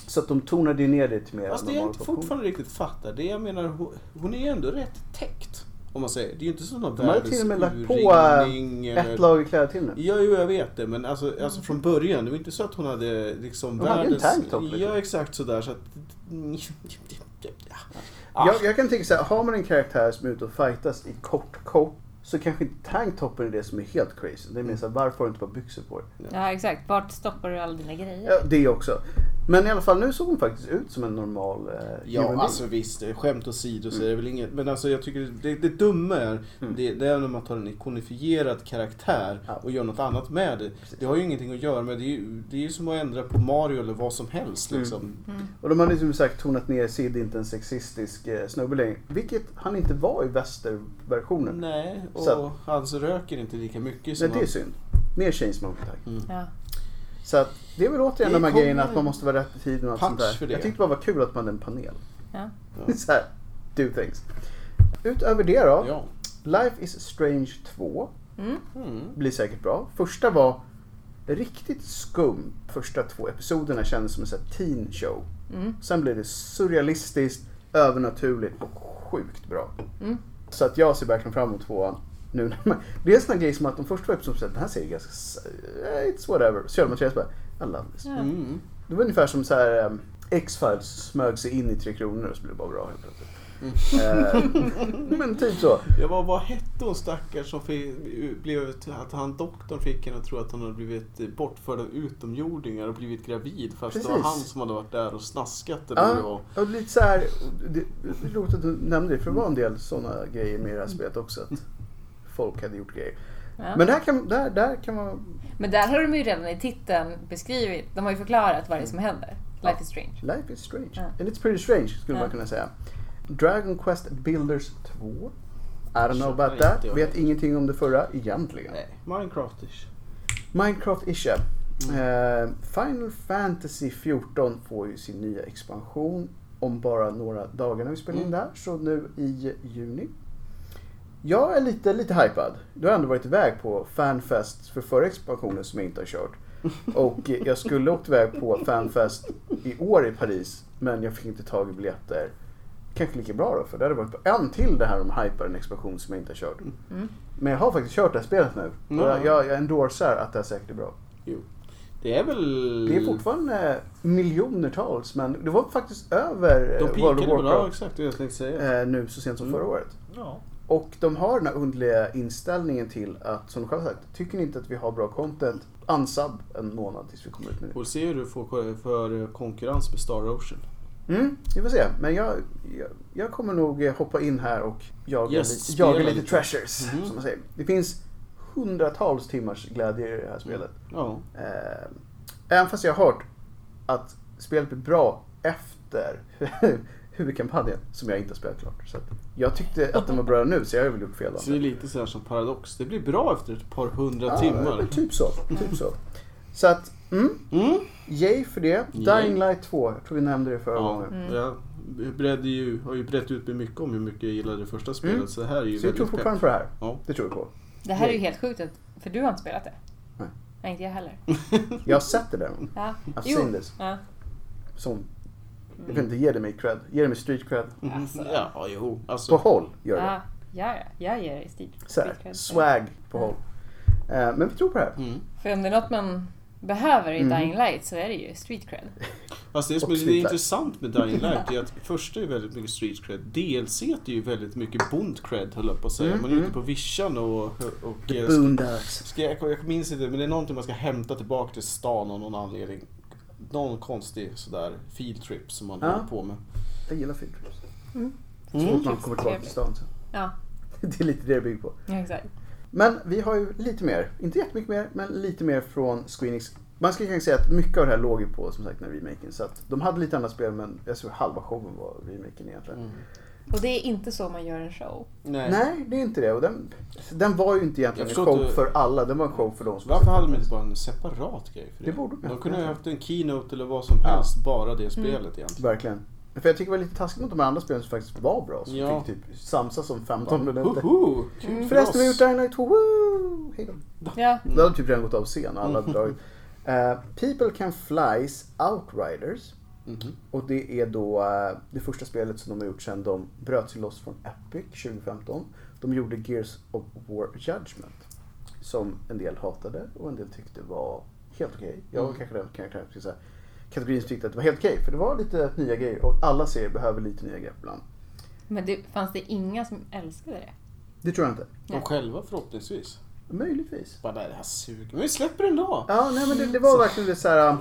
[SPEAKER 2] Så att de tonade ju ner det till mer
[SPEAKER 1] Fast det
[SPEAKER 2] än
[SPEAKER 1] jag
[SPEAKER 2] normala
[SPEAKER 1] inte
[SPEAKER 2] proportioner.
[SPEAKER 1] fortfarande riktigt fattar, det jag menar, hon- hon är ju ändå rätt täckt. Om man säger. Det är ju inte sån här
[SPEAKER 2] De har ju till och med lagt på, äh,
[SPEAKER 1] världsuringning
[SPEAKER 2] Ett lager kläder till nu.
[SPEAKER 1] Ja, jo, jag vet det. Men alltså, alltså från början, det var inte så att hon hade liksom
[SPEAKER 2] Hon hade en tanktop, liksom.
[SPEAKER 1] Ja, exakt sådär. Så att... Ah.
[SPEAKER 2] Jag, jag kan tänka så här, har man en karaktär som är ute och fightas i kort kort så kanske inte tanktoppen är det som är helt crazy. Det är mer så här,
[SPEAKER 1] Mm.
[SPEAKER 2] varför har du inte bara byxor på dig?
[SPEAKER 3] Ja, exakt. Vart stoppar du alla dina grejer?
[SPEAKER 2] Ja, det också. Men i alla fall nu såg hon faktiskt ut som en normal eh, human
[SPEAKER 1] Ja,
[SPEAKER 2] being.
[SPEAKER 1] alltså visst. Skämt åsido så är det väl inget. Men alltså jag tycker det, det dumma är,
[SPEAKER 2] Mm.
[SPEAKER 1] det, det är när man tar en ikonifierad karaktär
[SPEAKER 2] Ja.
[SPEAKER 1] och gör något annat med det. Det har ju ingenting att göra med. Det är ju, det är ju som att ändra på Mario eller vad som helst
[SPEAKER 2] Mm.
[SPEAKER 1] liksom.
[SPEAKER 3] Mm.
[SPEAKER 2] Och de hade som sagt tonat ner Sid inte en sexistisk eh, snubbe längre. Vilket han inte var i västerversionen.
[SPEAKER 1] Nej, och
[SPEAKER 2] Så att-
[SPEAKER 1] han så röker inte lika mycket
[SPEAKER 2] Nej,
[SPEAKER 1] som
[SPEAKER 2] det är
[SPEAKER 1] han- Mm.
[SPEAKER 2] synd. Mer chainsmoking tack.
[SPEAKER 3] Ja.
[SPEAKER 2] Så att, det är väl återigen
[SPEAKER 1] Det
[SPEAKER 2] de här
[SPEAKER 1] kommer
[SPEAKER 2] grejerna att
[SPEAKER 1] en
[SPEAKER 2] man måste vara rätt i tiden och allt sånt
[SPEAKER 1] punch
[SPEAKER 2] där.
[SPEAKER 1] för det.
[SPEAKER 2] Jag tyckte bara det var kul att man hade en panel.
[SPEAKER 3] Ja.
[SPEAKER 1] Ja.
[SPEAKER 2] så här, do things. Utöver det då.
[SPEAKER 1] Ja.
[SPEAKER 2] Life is Strange 2
[SPEAKER 3] Mm.
[SPEAKER 1] Mm.
[SPEAKER 2] blir säkert bra. Första var riktigt skum. Första två episoderna kändes som en sån här teen show.
[SPEAKER 3] Mm.
[SPEAKER 2] Sen blev det surrealistiskt, övernaturligt och sjukt bra.
[SPEAKER 3] Mm.
[SPEAKER 2] Så att jag ser verkligen fram emot tvåan. Nu när man, det är en sån här grej som att de första två episoderna, den här serien är ganska... s- eh, It's whatever. Så gör de tre så bara, I love this.
[SPEAKER 3] Ja.
[SPEAKER 1] Mm.
[SPEAKER 2] Det var ungefär som så här ehm, X-Files smög sig in i Tre Kronor och så blev det bara bra helt plötsligt. Eh, men typ så.
[SPEAKER 1] Jag var, Mm. vad hette hon stackars som fick, blev, att han doktorn fick henne att tro att hon hade blivit bortförd av utomjordingar och blivit gravid fast det var
[SPEAKER 2] Precis.
[SPEAKER 1] han som hade varit där och snaskat eller vad det
[SPEAKER 2] Ja,
[SPEAKER 1] var.
[SPEAKER 2] och lite så här, det, det är roligt att du nämnde det för det var en del sådana grejer med det här spelet också. Att folk hade gjort grejer.
[SPEAKER 3] Ja.
[SPEAKER 2] Men där kan, där, där kan man...
[SPEAKER 3] Men där har de ju redan i titeln beskrivit, de har ju förklarat vad det
[SPEAKER 2] Mm.
[SPEAKER 3] är som händer. Life is strange.
[SPEAKER 2] Life is strange.
[SPEAKER 3] Ja.
[SPEAKER 2] And it's pretty strange skulle
[SPEAKER 3] Ja.
[SPEAKER 2] man kunna säga. Dragon Quest Builders 2. I don't know
[SPEAKER 1] Köper
[SPEAKER 2] about
[SPEAKER 1] inte
[SPEAKER 2] that.
[SPEAKER 1] jag.
[SPEAKER 2] Vet ingenting om det förra egentligen.
[SPEAKER 1] Nej, Minecraftish. Mm.
[SPEAKER 2] Minecraft Isha. Eh, Final Fantasy 14 får ju sin nya expansion om bara några dagar när vi spelar in
[SPEAKER 1] Mm.
[SPEAKER 2] det här. Så nu i juni. Jag är lite, lite hypad. Du har ändå varit iväg på Fanfest för förra expansionen som jag inte har kört. Och jag skulle åkt iväg på Fanfest i år i Paris men jag fick inte tag i biljetter. Kanske lika bra då för det hade varit på en till det här om hypar en expansion som jag inte har kört.
[SPEAKER 3] Mm.
[SPEAKER 2] Men jag har faktiskt kört det här spelet nu.
[SPEAKER 1] Mm.
[SPEAKER 2] Och jag, jag, jag endorsar att det här säkert är bra.
[SPEAKER 1] Jo. Det är väl...
[SPEAKER 2] Det är fortfarande miljonertals men det var faktiskt över eh,
[SPEAKER 1] De
[SPEAKER 2] World
[SPEAKER 1] pikade
[SPEAKER 2] of
[SPEAKER 1] väl, ja
[SPEAKER 2] Warcraft
[SPEAKER 1] exakt det jag tänkte säga.
[SPEAKER 2] eh, nu så sent som
[SPEAKER 1] Mm.
[SPEAKER 2] förra året.
[SPEAKER 1] Ja.
[SPEAKER 2] Och de har den här underliga inställningen till att, som de själva sagt, tycker ni inte att vi har bra content, unsub en månad tills vi kommer ut med
[SPEAKER 1] Får se hur du får för eh, konkurrens med Star Ocean.
[SPEAKER 2] det. Mm, vi får se. Men jag, jag, jag kommer nog eh, hoppa in här och jaga,
[SPEAKER 1] Yes,
[SPEAKER 2] lite, jaga
[SPEAKER 1] spela
[SPEAKER 2] lite
[SPEAKER 1] lite.
[SPEAKER 2] treasures,
[SPEAKER 1] Mhm.
[SPEAKER 2] som man säger. Det finns hundratals timmars glädje i det
[SPEAKER 1] Mm.
[SPEAKER 2] här spelet.
[SPEAKER 1] Ja.
[SPEAKER 2] Eh, även fast jag har hört att spelet blir bra efter huvudkampanjen som jag inte har spelat klart. Så att jag tyckte att den var bra nu så jag har väl gjort fel.
[SPEAKER 1] Så det är lite så här som Paradox. Det blir bra efter ett par hundra
[SPEAKER 2] Ja,
[SPEAKER 1] timmar.
[SPEAKER 2] men Typ så. Typ så. så att, mm,
[SPEAKER 1] Mm.
[SPEAKER 2] yay för det.
[SPEAKER 1] Yay.
[SPEAKER 2] Dying Light 2, jag tror vi nämnde det förra
[SPEAKER 1] Ja,
[SPEAKER 2] gången.
[SPEAKER 1] jag bredde ju, har ju brett ut mig mycket om hur mycket jag gillade det första spelet.
[SPEAKER 2] Mm.
[SPEAKER 1] Så det här är ju
[SPEAKER 2] Så vi tror
[SPEAKER 1] väldigt pepp.
[SPEAKER 2] fortfarande på det här.
[SPEAKER 1] Ja.
[SPEAKER 2] Det tror vi på.
[SPEAKER 3] Det här är ju helt sjukt, att- för du har inte spelat det.
[SPEAKER 2] Nej.
[SPEAKER 3] Nej, inte jag heller.
[SPEAKER 2] Jag har sett det däremot.
[SPEAKER 3] Ja.
[SPEAKER 2] I've
[SPEAKER 3] Jo.
[SPEAKER 2] seen this.
[SPEAKER 3] Ja.
[SPEAKER 2] Som, jag
[SPEAKER 1] Mm.
[SPEAKER 2] vet inte, ge det mig cred. Ge det mig street cred.
[SPEAKER 3] Alltså.
[SPEAKER 1] Ja, jo.
[SPEAKER 2] På
[SPEAKER 1] Alltså,
[SPEAKER 2] håll gör det.
[SPEAKER 3] Ja, ja, ja. jag ger dig stil.
[SPEAKER 2] Så här, swag på håll. Eh, men vi tror på det här.
[SPEAKER 1] mm.
[SPEAKER 3] För om det är något man behöver i
[SPEAKER 2] Mm.
[SPEAKER 3] Dying Light så är det ju street cred.
[SPEAKER 1] Fast det som
[SPEAKER 2] Och
[SPEAKER 1] är lite
[SPEAKER 2] street
[SPEAKER 1] intressant med Dying Light är att första är väldigt mycket street cred. DLC är ju väldigt mycket bond cred höll jag på att säga.
[SPEAKER 2] Mm,
[SPEAKER 1] Man är ute
[SPEAKER 2] mm.
[SPEAKER 1] på vischan och... och, och
[SPEAKER 2] The
[SPEAKER 1] eh,
[SPEAKER 2] Boondocks.
[SPEAKER 1] ska jag, jag minns inte, men det är någonting man ska hämta tillbaka till stan av någon anledning. Någon konstig sådär field trip som man
[SPEAKER 2] Ja.
[SPEAKER 1] håller på med.
[SPEAKER 2] Jag gillar field trips.
[SPEAKER 3] Mm.
[SPEAKER 2] Så fort man
[SPEAKER 3] Trevligt,
[SPEAKER 2] kommer tillbaka till stan sen.
[SPEAKER 3] Ja,
[SPEAKER 2] Det är lite det det bygger på.
[SPEAKER 3] ja exakt.
[SPEAKER 2] Men vi har ju lite mer, inte jättemycket mer, men lite mer från Squeenix. Man skulle kanske säga att mycket av det här låg ju på som sagt den här remaken. Så att de hade lite andra spel men jag tror halva showen var remaken egentligen.
[SPEAKER 1] Mm.
[SPEAKER 3] Och det är inte så man gör en show.
[SPEAKER 1] Nej.
[SPEAKER 2] Nej, det är inte det. Och den, den var ju inte egentligen en
[SPEAKER 1] Jag förstår
[SPEAKER 2] show
[SPEAKER 1] inte-
[SPEAKER 2] för alla, den var en show för de som
[SPEAKER 1] Varför hade de inte bara en separat grej för det?
[SPEAKER 2] Det borde de
[SPEAKER 1] de
[SPEAKER 2] haft,
[SPEAKER 1] kunde ha
[SPEAKER 2] egentligen.
[SPEAKER 1] haft en keynote eller vad som
[SPEAKER 2] Ja. Mm.
[SPEAKER 1] helst, bara det spelet egentligen.
[SPEAKER 2] Verkligen. För jag tycker det var lite taskigt mot de andra spelen som faktiskt var bra. Som
[SPEAKER 1] Ja.
[SPEAKER 2] fick typ samsas om 15 minuter.
[SPEAKER 1] Hoho! Kul för
[SPEAKER 2] Förresten, vi har
[SPEAKER 1] oss.
[SPEAKER 2] gjort Dying Light 2, woo! Hej då.
[SPEAKER 3] Ja,
[SPEAKER 2] Då hade typ redan gått av scen och alla hade dragit. Eh, People Can Flies Outriders.
[SPEAKER 1] Mhm.
[SPEAKER 2] Och det är då eh, det första spelet som de har gjort sedan de bröt sig loss från Epic 2015. De gjorde Gears of War Judgment. Som en del hatade och en del tyckte var helt okej. Jag var
[SPEAKER 1] Mm.
[SPEAKER 2] kanske den kan jag säga, kategorin som tyckte att det var helt okej. för det var lite nya grejer och alla serier behöver lite nya grepp ibland.
[SPEAKER 3] Men det, fanns det inga som älskade det?
[SPEAKER 2] Det tror jag inte.
[SPEAKER 1] De själva förhoppningsvis.
[SPEAKER 2] Möjligtvis.
[SPEAKER 1] Bara nej, det här suger. Men vi släpper den då.
[SPEAKER 2] Ja, nej men det, det var verkligen det så här. um,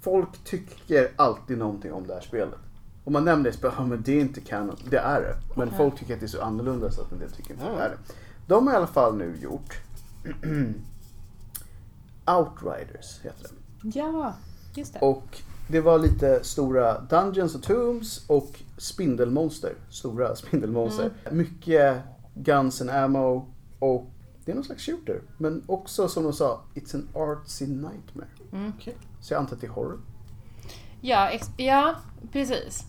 [SPEAKER 2] Folk tycker alltid någonting om det här spelet. Om man nämner det så bara, ja, men det är inte kanon. Det är det. Men
[SPEAKER 3] Ja.
[SPEAKER 2] folk tycker att det är så annorlunda så att en del tycker inte
[SPEAKER 1] Ja.
[SPEAKER 2] det är det. De har i alla fall nu gjort Outriders heter det.
[SPEAKER 3] Ja, just det.
[SPEAKER 2] Och det var lite stora Dungeons och Tombs och spindelmonster. Stora spindelmonster.
[SPEAKER 3] Mm.
[SPEAKER 2] Mycket Guns and Ammo och det är någon slags shooter. Men också som de sa, it's an artsy nightmare.
[SPEAKER 3] Mm.
[SPEAKER 1] Okej.
[SPEAKER 2] Så jag antar att det är horror.
[SPEAKER 3] Ja, ex- ja precis.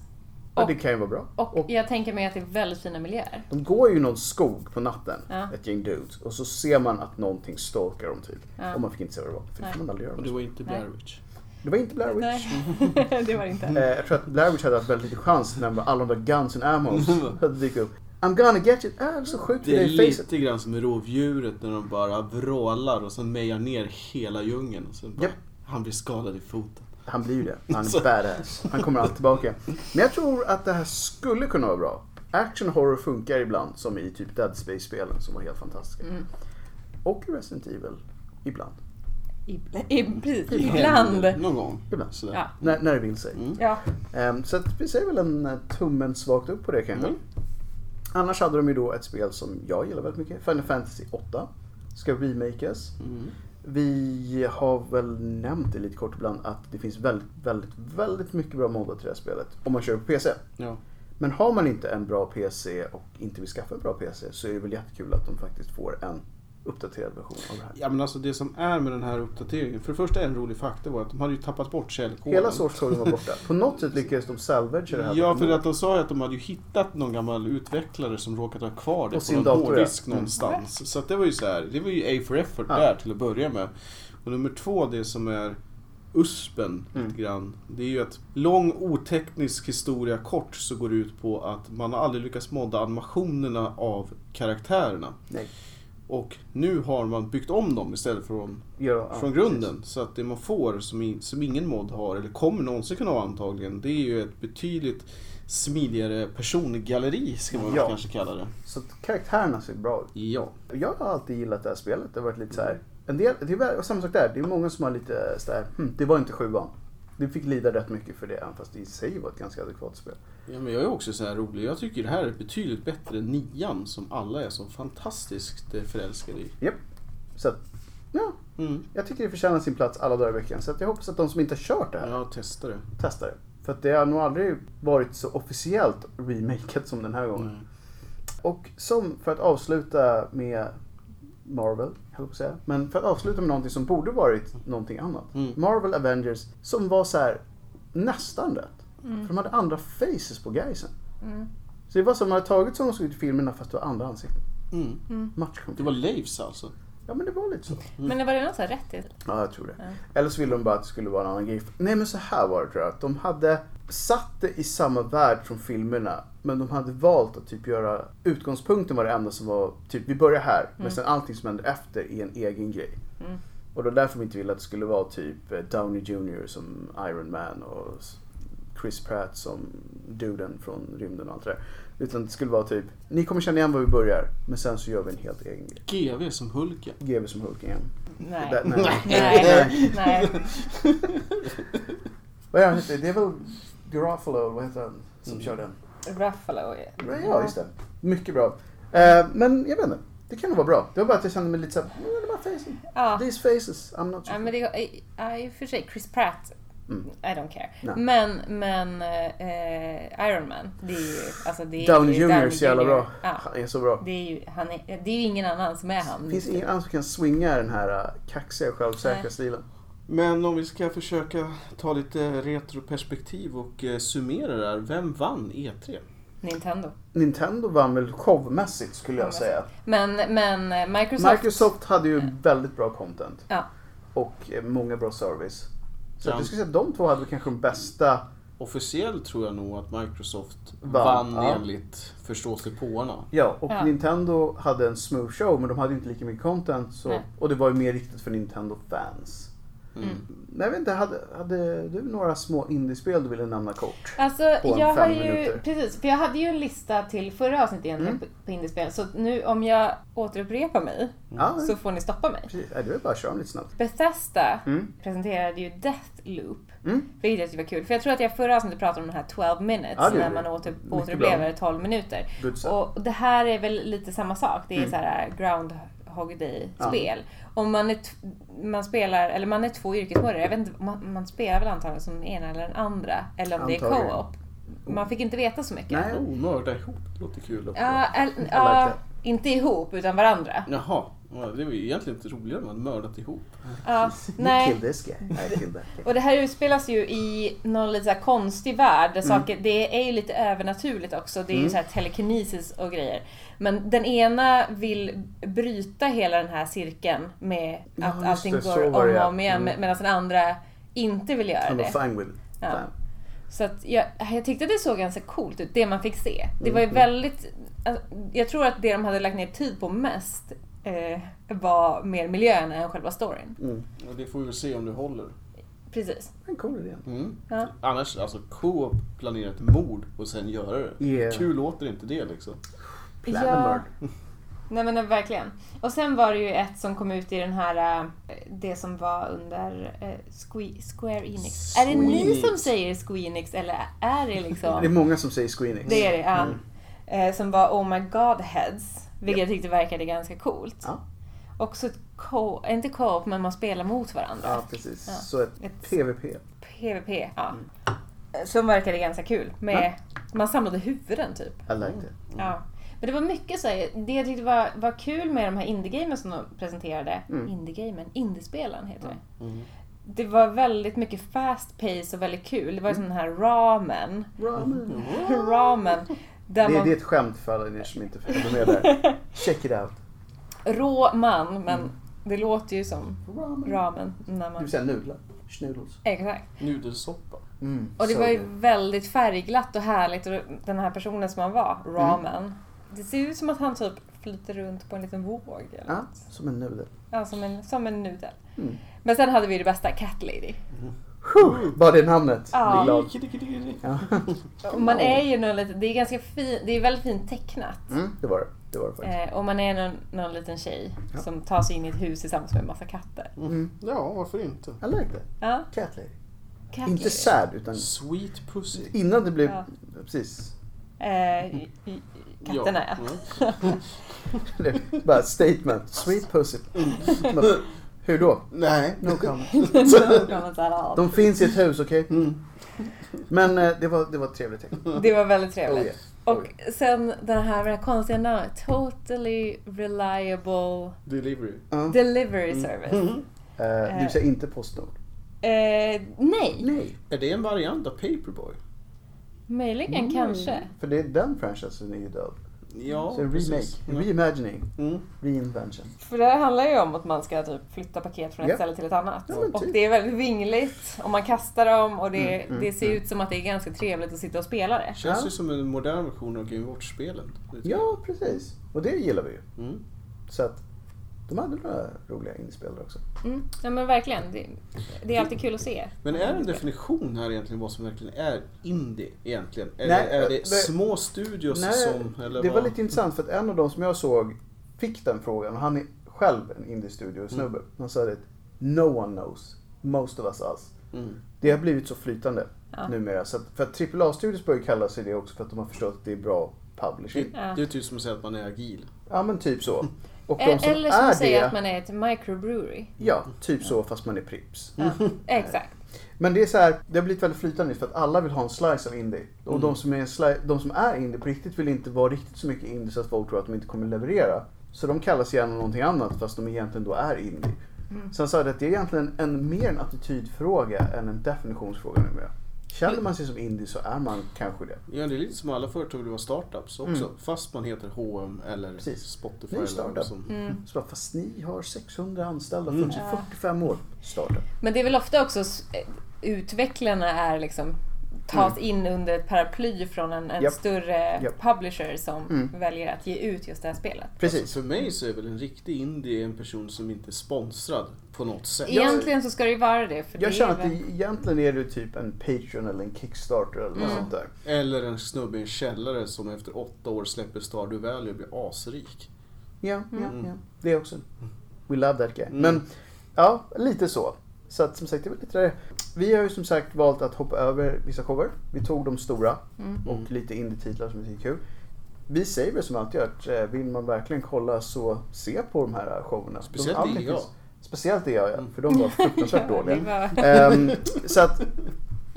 [SPEAKER 2] Och,
[SPEAKER 3] Och-
[SPEAKER 2] det kan ju vara bra.
[SPEAKER 3] Och,
[SPEAKER 2] Och
[SPEAKER 3] jag tänker mig att det är väldigt fina miljöer.
[SPEAKER 2] de går ju i någon skog på natten,
[SPEAKER 3] Ja.
[SPEAKER 2] ett gäng dudes. Och så ser man att någonting stalkar dem typ.
[SPEAKER 3] Ja.
[SPEAKER 2] Och man fick inte se vad det var, för det
[SPEAKER 3] Nej.
[SPEAKER 2] får man aldrig göra.
[SPEAKER 1] Och det var inte Blair Witch.
[SPEAKER 2] Det var inte Blair Witch.
[SPEAKER 3] Nej, det var det inte.
[SPEAKER 2] Eh, jag tror att Blair Witch hade haft väldigt lite chans när alla de där guns and ammos hade dykt upp. I'm gonna get you! Äh, så skjuter
[SPEAKER 1] Det är
[SPEAKER 2] vi dig i facet.
[SPEAKER 1] lite grann som i rovdjuret när de bara vrålar och sen mejar ner hela djungeln. Och sen bara,
[SPEAKER 2] Japp.
[SPEAKER 1] Han blir skadad i foten.
[SPEAKER 2] Han blir ju det. Han är badass. Han kommer alltid tillbaka. Men jag tror att det här skulle kunna vara bra. Action horror funkar ibland, som i typ Dead space spelen som var helt fantastiska. Och i Resident Evil, ibland.
[SPEAKER 3] Ibland. I, precis,
[SPEAKER 2] Typ
[SPEAKER 3] ibland.
[SPEAKER 1] Någon gång.
[SPEAKER 2] Ibland.
[SPEAKER 1] Sådär. Mm.
[SPEAKER 3] Ja.
[SPEAKER 2] När, när det vill sig.
[SPEAKER 3] Ja.
[SPEAKER 2] Ehm, så att vi säger väl en eh, tummen svagt upp på det kanske.
[SPEAKER 1] Mm.
[SPEAKER 2] Annars hade de ju då ett spel som jag gillar väldigt mycket. Final Fantasy 8. Ska remakas.
[SPEAKER 1] Mm.
[SPEAKER 2] Vi har väl nämnt det lite kort ibland att det finns väldigt, väldigt, väldigt mycket bra moddar till det här spelet. Om man kör på PC.
[SPEAKER 1] Ja.
[SPEAKER 2] Men har man inte en bra PC och inte vill skaffa en bra PC så är det väl jättekul att de faktiskt får en uppdaterad version av det här.
[SPEAKER 1] ja men alltså det som är med den här uppdateringen. För det första en rolig fakta var att de hade ju tappat bort källkoden.
[SPEAKER 2] Hela source coden var borta. På något sätt lyckades de salvagea det här.
[SPEAKER 1] Ja, för att de sa ju att de hade ju hittat någon gammal utvecklare som råkat ha kvar det
[SPEAKER 2] Och
[SPEAKER 1] på
[SPEAKER 2] sin
[SPEAKER 1] någon
[SPEAKER 2] dator, ja.
[SPEAKER 1] hårddisk
[SPEAKER 2] Mm.
[SPEAKER 1] någonstans. Så att det var ju så här, det var ju A for effort
[SPEAKER 2] Ja.
[SPEAKER 1] där till att börja med. Och nummer två, det som är USPen
[SPEAKER 2] Mm.
[SPEAKER 1] lite grann. Det är ju att lång oteknisk historia kort så går det ut på att man har aldrig lyckats modda animationerna av karaktärerna.
[SPEAKER 2] Nej.
[SPEAKER 1] Och nu har man byggt om dem istället från
[SPEAKER 2] Ja, ja,
[SPEAKER 1] från
[SPEAKER 2] precis.
[SPEAKER 1] grunden. Så att det man får som, i, som ingen mod har, eller kommer någonsin kunna ha antagligen, det är ju ett betydligt smidigare persongalleri, ska man väl
[SPEAKER 2] Ja.
[SPEAKER 1] kanske kalla det.
[SPEAKER 2] Så att karaktärerna ser bra ut.
[SPEAKER 1] Ja.
[SPEAKER 2] Jag har alltid gillat det här spelet. Det har varit lite så här. En del, det är väl- och samma sak där. Det är många som har lite så här. Hm, det var inte sjuan. Du fick lida rätt mycket för det, även fast det i sig var ett ganska adekvat spel.
[SPEAKER 1] ja men jag är också så här rolig. Jag tycker det här är betydligt bättre än nian som alla är så fantastiskt eh, förälskade i.
[SPEAKER 2] Japp. Så att, ja.
[SPEAKER 1] Mm.
[SPEAKER 2] Jag tycker det förtjänar sin plats alla dagar i veckan. Så att jag hoppas att de som inte har kört det här
[SPEAKER 1] Jag testar det.
[SPEAKER 2] testar det. För att det har nog aldrig varit så officiellt remakat som den här gången.
[SPEAKER 1] Mm.
[SPEAKER 2] Och som, för att avsluta med Marvel, höll jag på att säga. Men för att avsluta med någonting som borde varit någonting annat.
[SPEAKER 1] Mm.
[SPEAKER 2] Marvel Avengers, som var så här nästan rätt. För de hade andra faces på guysen.
[SPEAKER 3] Mm.
[SPEAKER 2] Så det var som de hade tagit som de såg ut i filmerna fast det var andra ansikten.
[SPEAKER 1] Mm.
[SPEAKER 2] Match
[SPEAKER 1] Det var Leifs alltså.
[SPEAKER 2] Ja men det var lite så.
[SPEAKER 3] Men var det någon sån här rättighet?
[SPEAKER 2] Ja, jag tror det. Eller så ville de bara att det skulle vara en annan grej. Nej, men så här var det tror jag. Att de hade satt det i samma värld från filmerna. Men de hade valt att typ göra... Utgångspunkten var det enda som var typ vi börjar här.
[SPEAKER 1] Mm.
[SPEAKER 2] Men sen allting som händer efter är en egen grej.
[SPEAKER 3] Mm.
[SPEAKER 2] Och det var därför de inte ville att det skulle vara typ eh, Downey Jr som Iron Man och s- Chris Pratt som duden från rymden och allt det där. Utan det skulle vara typ, ni kommer känna igen var vi börjar. Men sen så gör vi en helt egen grej.
[SPEAKER 1] GV som Hulken.
[SPEAKER 2] GW som Hulk igen.
[SPEAKER 3] Nej.
[SPEAKER 2] Där-
[SPEAKER 3] Nej. Nej.
[SPEAKER 2] Vad är han heter? Det är väl Garofalo, vad heter han, som kör den?
[SPEAKER 3] Ruffalo.
[SPEAKER 2] Mm. Ja, just det. Mycket bra. Eh, men jag vet inte, det kan nog vara bra. Det var bara att jag kände mig lite såhär, mm, de här faces.
[SPEAKER 3] Ja.
[SPEAKER 2] These faces, I'm not
[SPEAKER 3] Ja,
[SPEAKER 2] sure.
[SPEAKER 3] men det, ja, i och för sig, Chris Pratt,
[SPEAKER 2] Mm.
[SPEAKER 3] I don't care.
[SPEAKER 2] Nej.
[SPEAKER 3] Men, men eh, Iron Man, det är ju... Alltså det är
[SPEAKER 2] Downey
[SPEAKER 3] ju
[SPEAKER 2] Jr är så jävla
[SPEAKER 3] Jr.
[SPEAKER 2] bra.
[SPEAKER 3] Ja,
[SPEAKER 2] Han är så bra.
[SPEAKER 3] det, är ju, han är, det är ju ingen annan som är han.
[SPEAKER 2] Det finns ingen annan som kan swinga den här eh, kaxiga, självsäkra
[SPEAKER 3] Nej.
[SPEAKER 2] stilen.
[SPEAKER 1] Men om vi ska försöka ta lite retroperspektiv och eh, summera det här. Vem vann E E3?
[SPEAKER 3] Nintendo.
[SPEAKER 2] Nintendo vann väl showmässigt skulle jag säga.
[SPEAKER 3] Men, men eh, Microsoft...
[SPEAKER 2] Microsoft hade ju väldigt bra content.
[SPEAKER 3] Ja.
[SPEAKER 2] Och eh, många bra service. Så
[SPEAKER 1] Ja.
[SPEAKER 2] jag skulle säga att de två hade väl kanske de bästa
[SPEAKER 1] officiellt tror jag nog att Microsoft
[SPEAKER 2] Vann,
[SPEAKER 1] vann
[SPEAKER 2] ja.
[SPEAKER 1] enligt förståsigpåarna.
[SPEAKER 2] Ja, och
[SPEAKER 3] Ja.
[SPEAKER 2] Nintendo hade en smooth show men de hade ju inte lika mycket content. Så,
[SPEAKER 3] Nej.
[SPEAKER 2] och det var ju mer riktat för Nintendo-fans.
[SPEAKER 1] Mm.
[SPEAKER 3] Mm.
[SPEAKER 2] Nej, jag vet inte, hade, hade du några små indiespel du ville nämna kort?
[SPEAKER 3] Alltså,
[SPEAKER 2] På en
[SPEAKER 3] jag har
[SPEAKER 2] fem
[SPEAKER 3] ju,
[SPEAKER 2] minuter.
[SPEAKER 3] precis, för jag hade ju en lista till förra avsnittet egentligen
[SPEAKER 2] Mm.
[SPEAKER 3] på- på indiespel. Så nu om jag återupprepar mig
[SPEAKER 2] Ja,
[SPEAKER 3] Mm. så får ni stoppa mig.
[SPEAKER 2] precis. Nej, det är bara att köra dem lite snabbt.
[SPEAKER 3] Bethesda
[SPEAKER 2] Mm.
[SPEAKER 3] presenterade ju Deathloop.
[SPEAKER 2] Mm.
[SPEAKER 3] Vilket jag tyckte var kul. För jag tror att jag förra avsnittet pratade om den här 12 minutes.
[SPEAKER 2] Ja, det
[SPEAKER 3] när
[SPEAKER 2] gjorde
[SPEAKER 3] man
[SPEAKER 2] vi.
[SPEAKER 3] åter,
[SPEAKER 2] Mycket
[SPEAKER 3] återupplever
[SPEAKER 2] bra.
[SPEAKER 3] 12 minuter.
[SPEAKER 2] Good stuff.
[SPEAKER 3] Och det här är väl lite samma sak. Det är
[SPEAKER 2] Mm.
[SPEAKER 3] så här Groundhog Day-spel. Om man, är t- man spelar, eller man är två yrkesmördare. Jag vet inte, man, man spelar väl antagligen som den ena eller den andra. Eller om det är
[SPEAKER 2] Antagligen.
[SPEAKER 3] co-op. Man fick inte veta så mycket.
[SPEAKER 2] Nej.
[SPEAKER 1] Oh, mörda ihop, det låter kul också.
[SPEAKER 3] Ja, el,
[SPEAKER 2] like
[SPEAKER 3] ja,
[SPEAKER 2] that.
[SPEAKER 3] inte ihop utan varandra.
[SPEAKER 1] Jaha, ja, det var ju egentligen inte roligare om man mördat ihop.
[SPEAKER 3] Ja,
[SPEAKER 2] You
[SPEAKER 3] nej.
[SPEAKER 2] killed this guy. I killed that guy.
[SPEAKER 3] Och det här utspelas ju i någon lite så här konstig värld. Där
[SPEAKER 2] Mm.
[SPEAKER 3] saker, det är ju lite övernaturligt också. Det är ju
[SPEAKER 2] Mm.
[SPEAKER 3] så här telekinesis och grejer. Men den ena vill bryta hela den här cirkeln med att
[SPEAKER 2] Ja, just
[SPEAKER 3] allting
[SPEAKER 2] det,
[SPEAKER 3] går
[SPEAKER 2] så
[SPEAKER 3] om
[SPEAKER 2] var det,
[SPEAKER 3] och
[SPEAKER 2] ja.
[SPEAKER 3] om igen.
[SPEAKER 2] Mm.
[SPEAKER 3] Medan den andra inte vill göra
[SPEAKER 2] I'm
[SPEAKER 3] det.
[SPEAKER 2] fine with it.
[SPEAKER 3] Ja.
[SPEAKER 2] Fine.
[SPEAKER 3] Så att jag, jag tyckte att det såg ganska coolt ut, det man fick se. Det var ju väldigt... alltså, Jag tror att det de hade lagt ner tid på mest eh, var mer miljön än själva storyn.
[SPEAKER 2] Mm.
[SPEAKER 1] Och det får vi väl se om det håller.
[SPEAKER 3] Precis.
[SPEAKER 2] En cool idé.
[SPEAKER 1] Mm.
[SPEAKER 3] Ja.
[SPEAKER 1] Annars, alltså co-op planera ett mord och sen göra det.
[SPEAKER 2] Yeah.
[SPEAKER 1] Kul låter inte det liksom.
[SPEAKER 2] Plan
[SPEAKER 3] Ja.
[SPEAKER 2] and learn.
[SPEAKER 3] Nej men nej, verkligen. Och sen var det ju ett som kom ut i den här, eh, det som var under eh, Sque- Square Enix. Är det ni
[SPEAKER 1] Squeenix.
[SPEAKER 3] som säger Squeenix eller är det liksom?
[SPEAKER 2] Det är många som säger Squeenix.
[SPEAKER 3] Det är det, ja.
[SPEAKER 2] Mm.
[SPEAKER 3] Eh, Som var Oh My God Heads. Vilket jag tyckte verkade ganska coolt.
[SPEAKER 2] Ja.
[SPEAKER 3] Också ett co inte co-op, men man spelar mot varandra.
[SPEAKER 2] Ja, precis.
[SPEAKER 3] Ja.
[SPEAKER 2] Så ett,
[SPEAKER 3] Ett-
[SPEAKER 2] PVP.
[SPEAKER 3] PVP, ja.
[SPEAKER 2] Mm.
[SPEAKER 3] Eh, Som verkade ganska kul. Med, Man samlade huvuden typ.
[SPEAKER 2] I liked it.
[SPEAKER 3] Ja. Men det var mycket så här, det jag tyckte var, var kul med de här indie-gamen som de presenterade.
[SPEAKER 2] Mm.
[SPEAKER 3] Indie-gamen, indiespelen heter det. Det var väldigt mycket fast pace och väldigt kul. Det var mm. sån här ramen. Mm.
[SPEAKER 2] Ramen.
[SPEAKER 3] ramen. Där
[SPEAKER 2] Det,
[SPEAKER 3] man
[SPEAKER 2] det är ett skämt för alla er som inte hängde med där. Check it out.
[SPEAKER 3] rå man, men
[SPEAKER 2] Mm.
[SPEAKER 3] det låter ju som
[SPEAKER 2] Ramen.
[SPEAKER 3] ramen när
[SPEAKER 2] Det vill
[SPEAKER 3] man...
[SPEAKER 2] säga nudlar. Schnoodles.
[SPEAKER 3] Exakt.
[SPEAKER 1] Nudelsoppa.
[SPEAKER 2] Mm,
[SPEAKER 3] Och det
[SPEAKER 2] so
[SPEAKER 3] var ju
[SPEAKER 2] good.
[SPEAKER 3] väldigt färgglatt och härligt och den här personen som han var,
[SPEAKER 2] Mm.
[SPEAKER 3] ramen. Det ser ut som att han typ flyter runt på en liten våg. Eller?
[SPEAKER 2] Ja, som en nudel.
[SPEAKER 3] Ja, som, en, som en nudel.
[SPEAKER 2] Mm.
[SPEAKER 3] Men sen hade vi ju det bästa, Cat Lady.
[SPEAKER 2] Whew, Bara det namnet.
[SPEAKER 3] Ja.
[SPEAKER 2] Blir glad. Ja. Oh,
[SPEAKER 3] Och man är ju någon liten, det är ganska fin, det är väldigt fint tecknat.
[SPEAKER 2] Mm, det var det. Det var det faktiskt.
[SPEAKER 3] Eh, och man är någon, någon liten tjej
[SPEAKER 2] Ja.
[SPEAKER 3] som tar sig in i ett hus tillsammans med en massa katter.
[SPEAKER 2] Mm.
[SPEAKER 1] Ja, varför inte?
[SPEAKER 2] I like that.
[SPEAKER 3] Ja,
[SPEAKER 2] Cat lady.
[SPEAKER 3] Eh. Cat
[SPEAKER 2] Inte
[SPEAKER 3] Lady.
[SPEAKER 2] sad utan
[SPEAKER 1] Sweet pussy.
[SPEAKER 2] innan det blev...
[SPEAKER 3] Ja.
[SPEAKER 2] Precis.
[SPEAKER 3] Eh, i- i- katterna ja.
[SPEAKER 1] Mm.
[SPEAKER 2] Det- Bara statement. Sweet pussy. Men, Hur då?
[SPEAKER 1] Nej.
[SPEAKER 2] No comment.
[SPEAKER 3] Ja, men så här, ja.
[SPEAKER 2] De finns i ett hus, okej?
[SPEAKER 1] Mm.
[SPEAKER 2] Men eh, det var, det var ett trevligt tecken.
[SPEAKER 3] Det var väldigt
[SPEAKER 2] Oh,
[SPEAKER 3] trevligt.
[SPEAKER 2] yeah.
[SPEAKER 3] Och
[SPEAKER 2] Oh, yeah.
[SPEAKER 3] sen den här, med det här konstiga namnet. Totally Reliable
[SPEAKER 1] Delivery. Mm.
[SPEAKER 2] Ja.
[SPEAKER 3] Delivery
[SPEAKER 2] Mm.
[SPEAKER 3] Service.
[SPEAKER 2] Eh, det vill säga inte Postnord.
[SPEAKER 3] Eh, nej,
[SPEAKER 2] Nej.
[SPEAKER 1] Är det en variant av Paperboy?
[SPEAKER 3] möjligen kanske.
[SPEAKER 2] För det är den franchisen är ju död.
[SPEAKER 1] Ja,
[SPEAKER 2] Så en remake,
[SPEAKER 1] precis.
[SPEAKER 2] reimagining,
[SPEAKER 1] Mm.
[SPEAKER 2] reinvention.
[SPEAKER 3] För det här handlar ju om att man ska typ flytta paket från ett
[SPEAKER 2] Ja.
[SPEAKER 3] ställe till ett annat.
[SPEAKER 2] Ja, men
[SPEAKER 3] och
[SPEAKER 2] typ.
[SPEAKER 3] det är väldigt vingligt och man kastar dem och det,
[SPEAKER 2] Mm, mm,
[SPEAKER 3] det ser ut som att det är ganska trevligt att sitta och spela det.
[SPEAKER 1] Känns
[SPEAKER 2] Ja.
[SPEAKER 1] ju som en modern version av Game Watch-spelen. lite
[SPEAKER 2] Ja, precis. Och det gillar vi ju.
[SPEAKER 1] grann. Mm.
[SPEAKER 2] Så att de hade några roliga inspel där också.
[SPEAKER 3] Mm. Ja men verkligen, det, det är alltid kul att se.
[SPEAKER 1] Men är det en definition här egentligen vad som verkligen är indie egentligen? Eller
[SPEAKER 2] Nej,
[SPEAKER 1] är det
[SPEAKER 2] eh, men-
[SPEAKER 1] små studios som... Eller
[SPEAKER 2] det var
[SPEAKER 1] vad?
[SPEAKER 2] lite intressant för att en av de som jag såg fick den frågan och han är själv en indie-studio-snubbe. Han sa det, no one knows, most of us us.
[SPEAKER 1] Mm.
[SPEAKER 2] Det har blivit så flytande
[SPEAKER 3] Ja.
[SPEAKER 2] numera. Så att, för att AAA-studios börjar kalla sig det också för att de har förstått att det är bra publishing.
[SPEAKER 1] Det, det är typ som att säga att man är agil.
[SPEAKER 2] Ja men typ så. Och de som
[SPEAKER 3] Eh, Eller som
[SPEAKER 2] är
[SPEAKER 3] säger
[SPEAKER 2] det,
[SPEAKER 3] att man är ett microbrewery.
[SPEAKER 2] ja typ så fast man är Prips.
[SPEAKER 3] Ja, exakt.
[SPEAKER 2] Men det är så här, det har blivit väldigt flytande för att alla vill ha en slice av indie. Och de,
[SPEAKER 3] Mm.
[SPEAKER 2] som är sli- de som är indie på riktigt vill inte vara riktigt så mycket indie så att folk tror att de inte kommer leverera. Så de kallas gärna någonting annat fast de egentligen då är indie.
[SPEAKER 3] Mm.
[SPEAKER 2] Sen sa jag att det är egentligen en, mer en attitydfråga än en definitionsfråga numera. Känner man sig som indie så är man kanske det.
[SPEAKER 1] Ja, det är lite som alla företag vill vara startups också. Fast man heter H&M eller
[SPEAKER 2] Mm. Precis.
[SPEAKER 1] Spotify.
[SPEAKER 2] Ny
[SPEAKER 1] eller
[SPEAKER 2] startup. Mm.
[SPEAKER 1] något som-
[SPEAKER 3] Mm.
[SPEAKER 2] Så bara, fast ni har 600 anställda och funnits i 45 år. Starta.
[SPEAKER 3] Men det är väl ofta också s- eh, utvecklarna är liksom tas in under ett paraply från en, en
[SPEAKER 2] Mm. Japp.
[SPEAKER 3] större
[SPEAKER 2] Japp.
[SPEAKER 3] publisher som
[SPEAKER 2] Mm.
[SPEAKER 3] väljer att ge ut just det här spelet.
[SPEAKER 2] Precis.
[SPEAKER 1] Alltså, för mig så är väl en riktig indie en person som inte är sponsrad på något sätt.
[SPEAKER 2] Ja.
[SPEAKER 3] Egentligen så ska det ju vara det. För
[SPEAKER 2] Jag
[SPEAKER 3] det
[SPEAKER 2] känner
[SPEAKER 3] är
[SPEAKER 2] att
[SPEAKER 3] väl-
[SPEAKER 2] det, egentligen är du typ en Patreon eller en Kickstarter eller något
[SPEAKER 3] Mm.
[SPEAKER 2] sånt där.
[SPEAKER 1] Eller en snubbe i en källare som efter åtta år släpper Stardew Valley och blir asrik.
[SPEAKER 2] Ja, ja,
[SPEAKER 1] Mm.
[SPEAKER 2] ja. Det också. We love that guy.
[SPEAKER 1] Mm.
[SPEAKER 2] Men ja, lite så. Så att som sagt, det var lite det. Vi har ju som sagt valt att hoppa över vissa shower. Vi tog de stora
[SPEAKER 3] Mm.
[SPEAKER 2] och
[SPEAKER 1] Mm.
[SPEAKER 2] lite indie-titlar som vi tycker är kul. Vi säger väl som alltid att eh, vill man verkligen kolla så se på de här showerna.
[SPEAKER 1] Speciellt
[SPEAKER 2] de,
[SPEAKER 1] det jag.
[SPEAKER 2] finns- Speciellt det jag, ja.
[SPEAKER 1] Mm.
[SPEAKER 2] För de var fruktansvärt
[SPEAKER 3] Ja,
[SPEAKER 2] dåliga.
[SPEAKER 3] det var-
[SPEAKER 2] Ehm, så att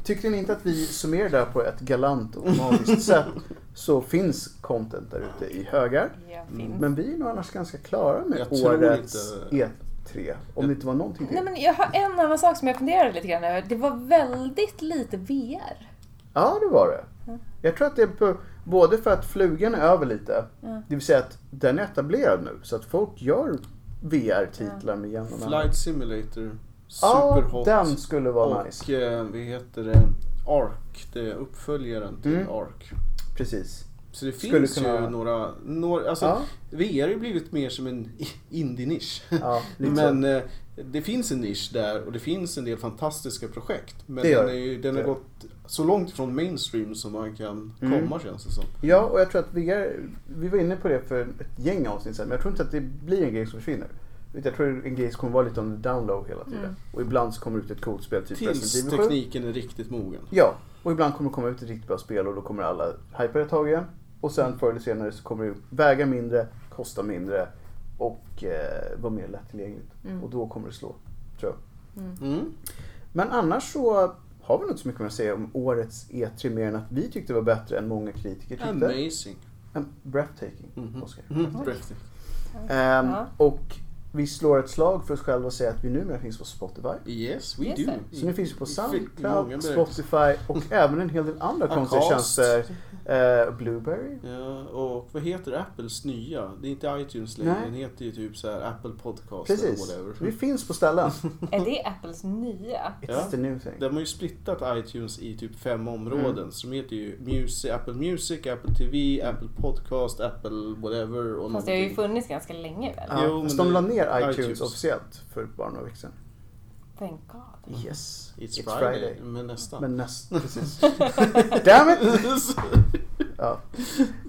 [SPEAKER 2] tyckte ni inte att vi summerar det här på ett galant och magiskt sätt så finns content där ute i högar.
[SPEAKER 3] Ja,
[SPEAKER 1] Mm.
[SPEAKER 3] fint.
[SPEAKER 2] Men vi är nog annars ganska klara med
[SPEAKER 1] Jag tror
[SPEAKER 2] årets
[SPEAKER 1] inte-
[SPEAKER 2] E3. Om det inte var någonting
[SPEAKER 3] Nej,
[SPEAKER 2] till.
[SPEAKER 3] men jag har en annan sak som jag funderade lite grann över. Det var väldigt lite VR.
[SPEAKER 2] Ja, det var det.
[SPEAKER 3] Mm.
[SPEAKER 2] Jag tror att det är på, både för att flugan är över lite,
[SPEAKER 3] Mm.
[SPEAKER 2] det vill säga att den är etablerad nu så att folk gör VR-titlar med jämna mellanrum.
[SPEAKER 1] Flight Simulator,
[SPEAKER 2] Ja,
[SPEAKER 1] Superhot
[SPEAKER 2] den skulle vara
[SPEAKER 1] och
[SPEAKER 2] nice.
[SPEAKER 1] eh, vad heter det? Ark, det är uppföljaren till
[SPEAKER 2] Mm.
[SPEAKER 1] Ark.
[SPEAKER 2] Precis.
[SPEAKER 1] Så det
[SPEAKER 2] Skulle
[SPEAKER 1] finns ju
[SPEAKER 2] kunna-
[SPEAKER 1] några, några alltså
[SPEAKER 2] Ja,
[SPEAKER 1] VR har ju blivit mer som en i- indie-nisch.
[SPEAKER 2] ja, lite så.
[SPEAKER 1] Men eh, det finns en nisch där och det finns en del fantastiska projekt. Men
[SPEAKER 2] Det gör
[SPEAKER 1] den, är
[SPEAKER 2] det.
[SPEAKER 1] ju, den har
[SPEAKER 2] Det gör
[SPEAKER 1] gått så långt från mainstream som man kan
[SPEAKER 2] Mm.
[SPEAKER 1] komma känns det som.
[SPEAKER 2] Ja, och jag tror att VR, vi var inne på det för ett gäng avsnitt sedan, men jag tror inte att det blir en grej som försvinner. Utan Jag tror en grej som kommer vara lite on the down low hela tiden.
[SPEAKER 3] Mm.
[SPEAKER 2] Och ibland så kommer det ut ett coolt spel, typ
[SPEAKER 1] Tills
[SPEAKER 2] Resident Evil 7.
[SPEAKER 1] tekniken är riktigt mogen.
[SPEAKER 2] Ja, och ibland kommer det komma ut ett riktigt bra spel och då kommer alla hypa det ett tag igen. Och sen förr eller senare så kommer det väga mindre, kosta mindre och eh, vara mer lättillgängligt.
[SPEAKER 3] Mm.
[SPEAKER 2] Och då kommer det slå, tror jag.
[SPEAKER 1] Mm.
[SPEAKER 2] Men annars så har vi nog inte så mycket mer att säga om årets E3 mer än att vi tyckte det var bättre än många kritiker tyckte.
[SPEAKER 1] Amazing.
[SPEAKER 2] En breathtaking,
[SPEAKER 1] Mhm.
[SPEAKER 2] Oscar.
[SPEAKER 1] Mm. Breathtaking.
[SPEAKER 2] Ehm,
[SPEAKER 3] Ja.
[SPEAKER 2] Och vi slår ett slag för oss själva och säger att vi numera finns på Spotify.
[SPEAKER 1] Yes, we
[SPEAKER 3] Yes,
[SPEAKER 1] do.
[SPEAKER 3] sir.
[SPEAKER 2] Så nu finns vi på
[SPEAKER 1] Vi fick många
[SPEAKER 2] Soundcloud,
[SPEAKER 1] berättelser.
[SPEAKER 2] Spotify och även en hel del andra konstiga
[SPEAKER 1] Acast.
[SPEAKER 2] tjänster. Eh, Blueberry?
[SPEAKER 1] Ja, och vad heter Apples nya? Det är inte iTunes längre,
[SPEAKER 2] Nej.
[SPEAKER 1] den heter ju typ så här Apple Podcast
[SPEAKER 2] Precis.
[SPEAKER 1] eller
[SPEAKER 2] Vi
[SPEAKER 1] whatever.
[SPEAKER 2] finns på ställen.
[SPEAKER 3] Är det Apples nya?
[SPEAKER 2] It's
[SPEAKER 1] Ja.
[SPEAKER 2] the new thing.
[SPEAKER 1] De har ju splittat iTunes i typ fem områden,
[SPEAKER 2] Mm.
[SPEAKER 1] så de heter ju Music, Apple Music, Apple TV, Apple Podcast, Apple whatever och
[SPEAKER 3] Fast det har ju
[SPEAKER 1] någonting.
[SPEAKER 3] funnits ganska länge väl?
[SPEAKER 2] Ja,
[SPEAKER 1] Jo,
[SPEAKER 2] fast
[SPEAKER 1] men
[SPEAKER 2] de la
[SPEAKER 1] det-
[SPEAKER 2] ner iTunes
[SPEAKER 1] iTunes.
[SPEAKER 2] officiellt för bara några veckor sedan.
[SPEAKER 3] Thank God.
[SPEAKER 2] Yes,
[SPEAKER 1] It's, Friday. men nästan.
[SPEAKER 2] Men näst, precis. Damn it! Ja.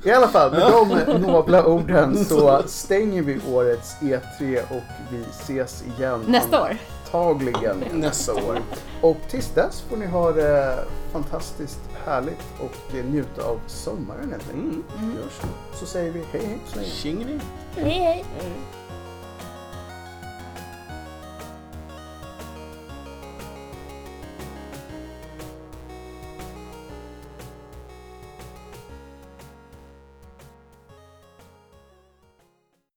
[SPEAKER 2] I alla fall, med de nobla orden så stänger vi årets E3 och vi ses igen.
[SPEAKER 3] Nästa år.
[SPEAKER 2] Antagligen nästa
[SPEAKER 1] Nästa
[SPEAKER 2] år.
[SPEAKER 1] år.
[SPEAKER 2] Och tills dess får ni ha det fantastiskt härligt och eh, njuta av sommaren helt enkelt.
[SPEAKER 1] Mm, gör så.
[SPEAKER 2] Så säger vi hej hej så länge.
[SPEAKER 1] Tjingeling.
[SPEAKER 3] Hej hej!
[SPEAKER 1] Hej.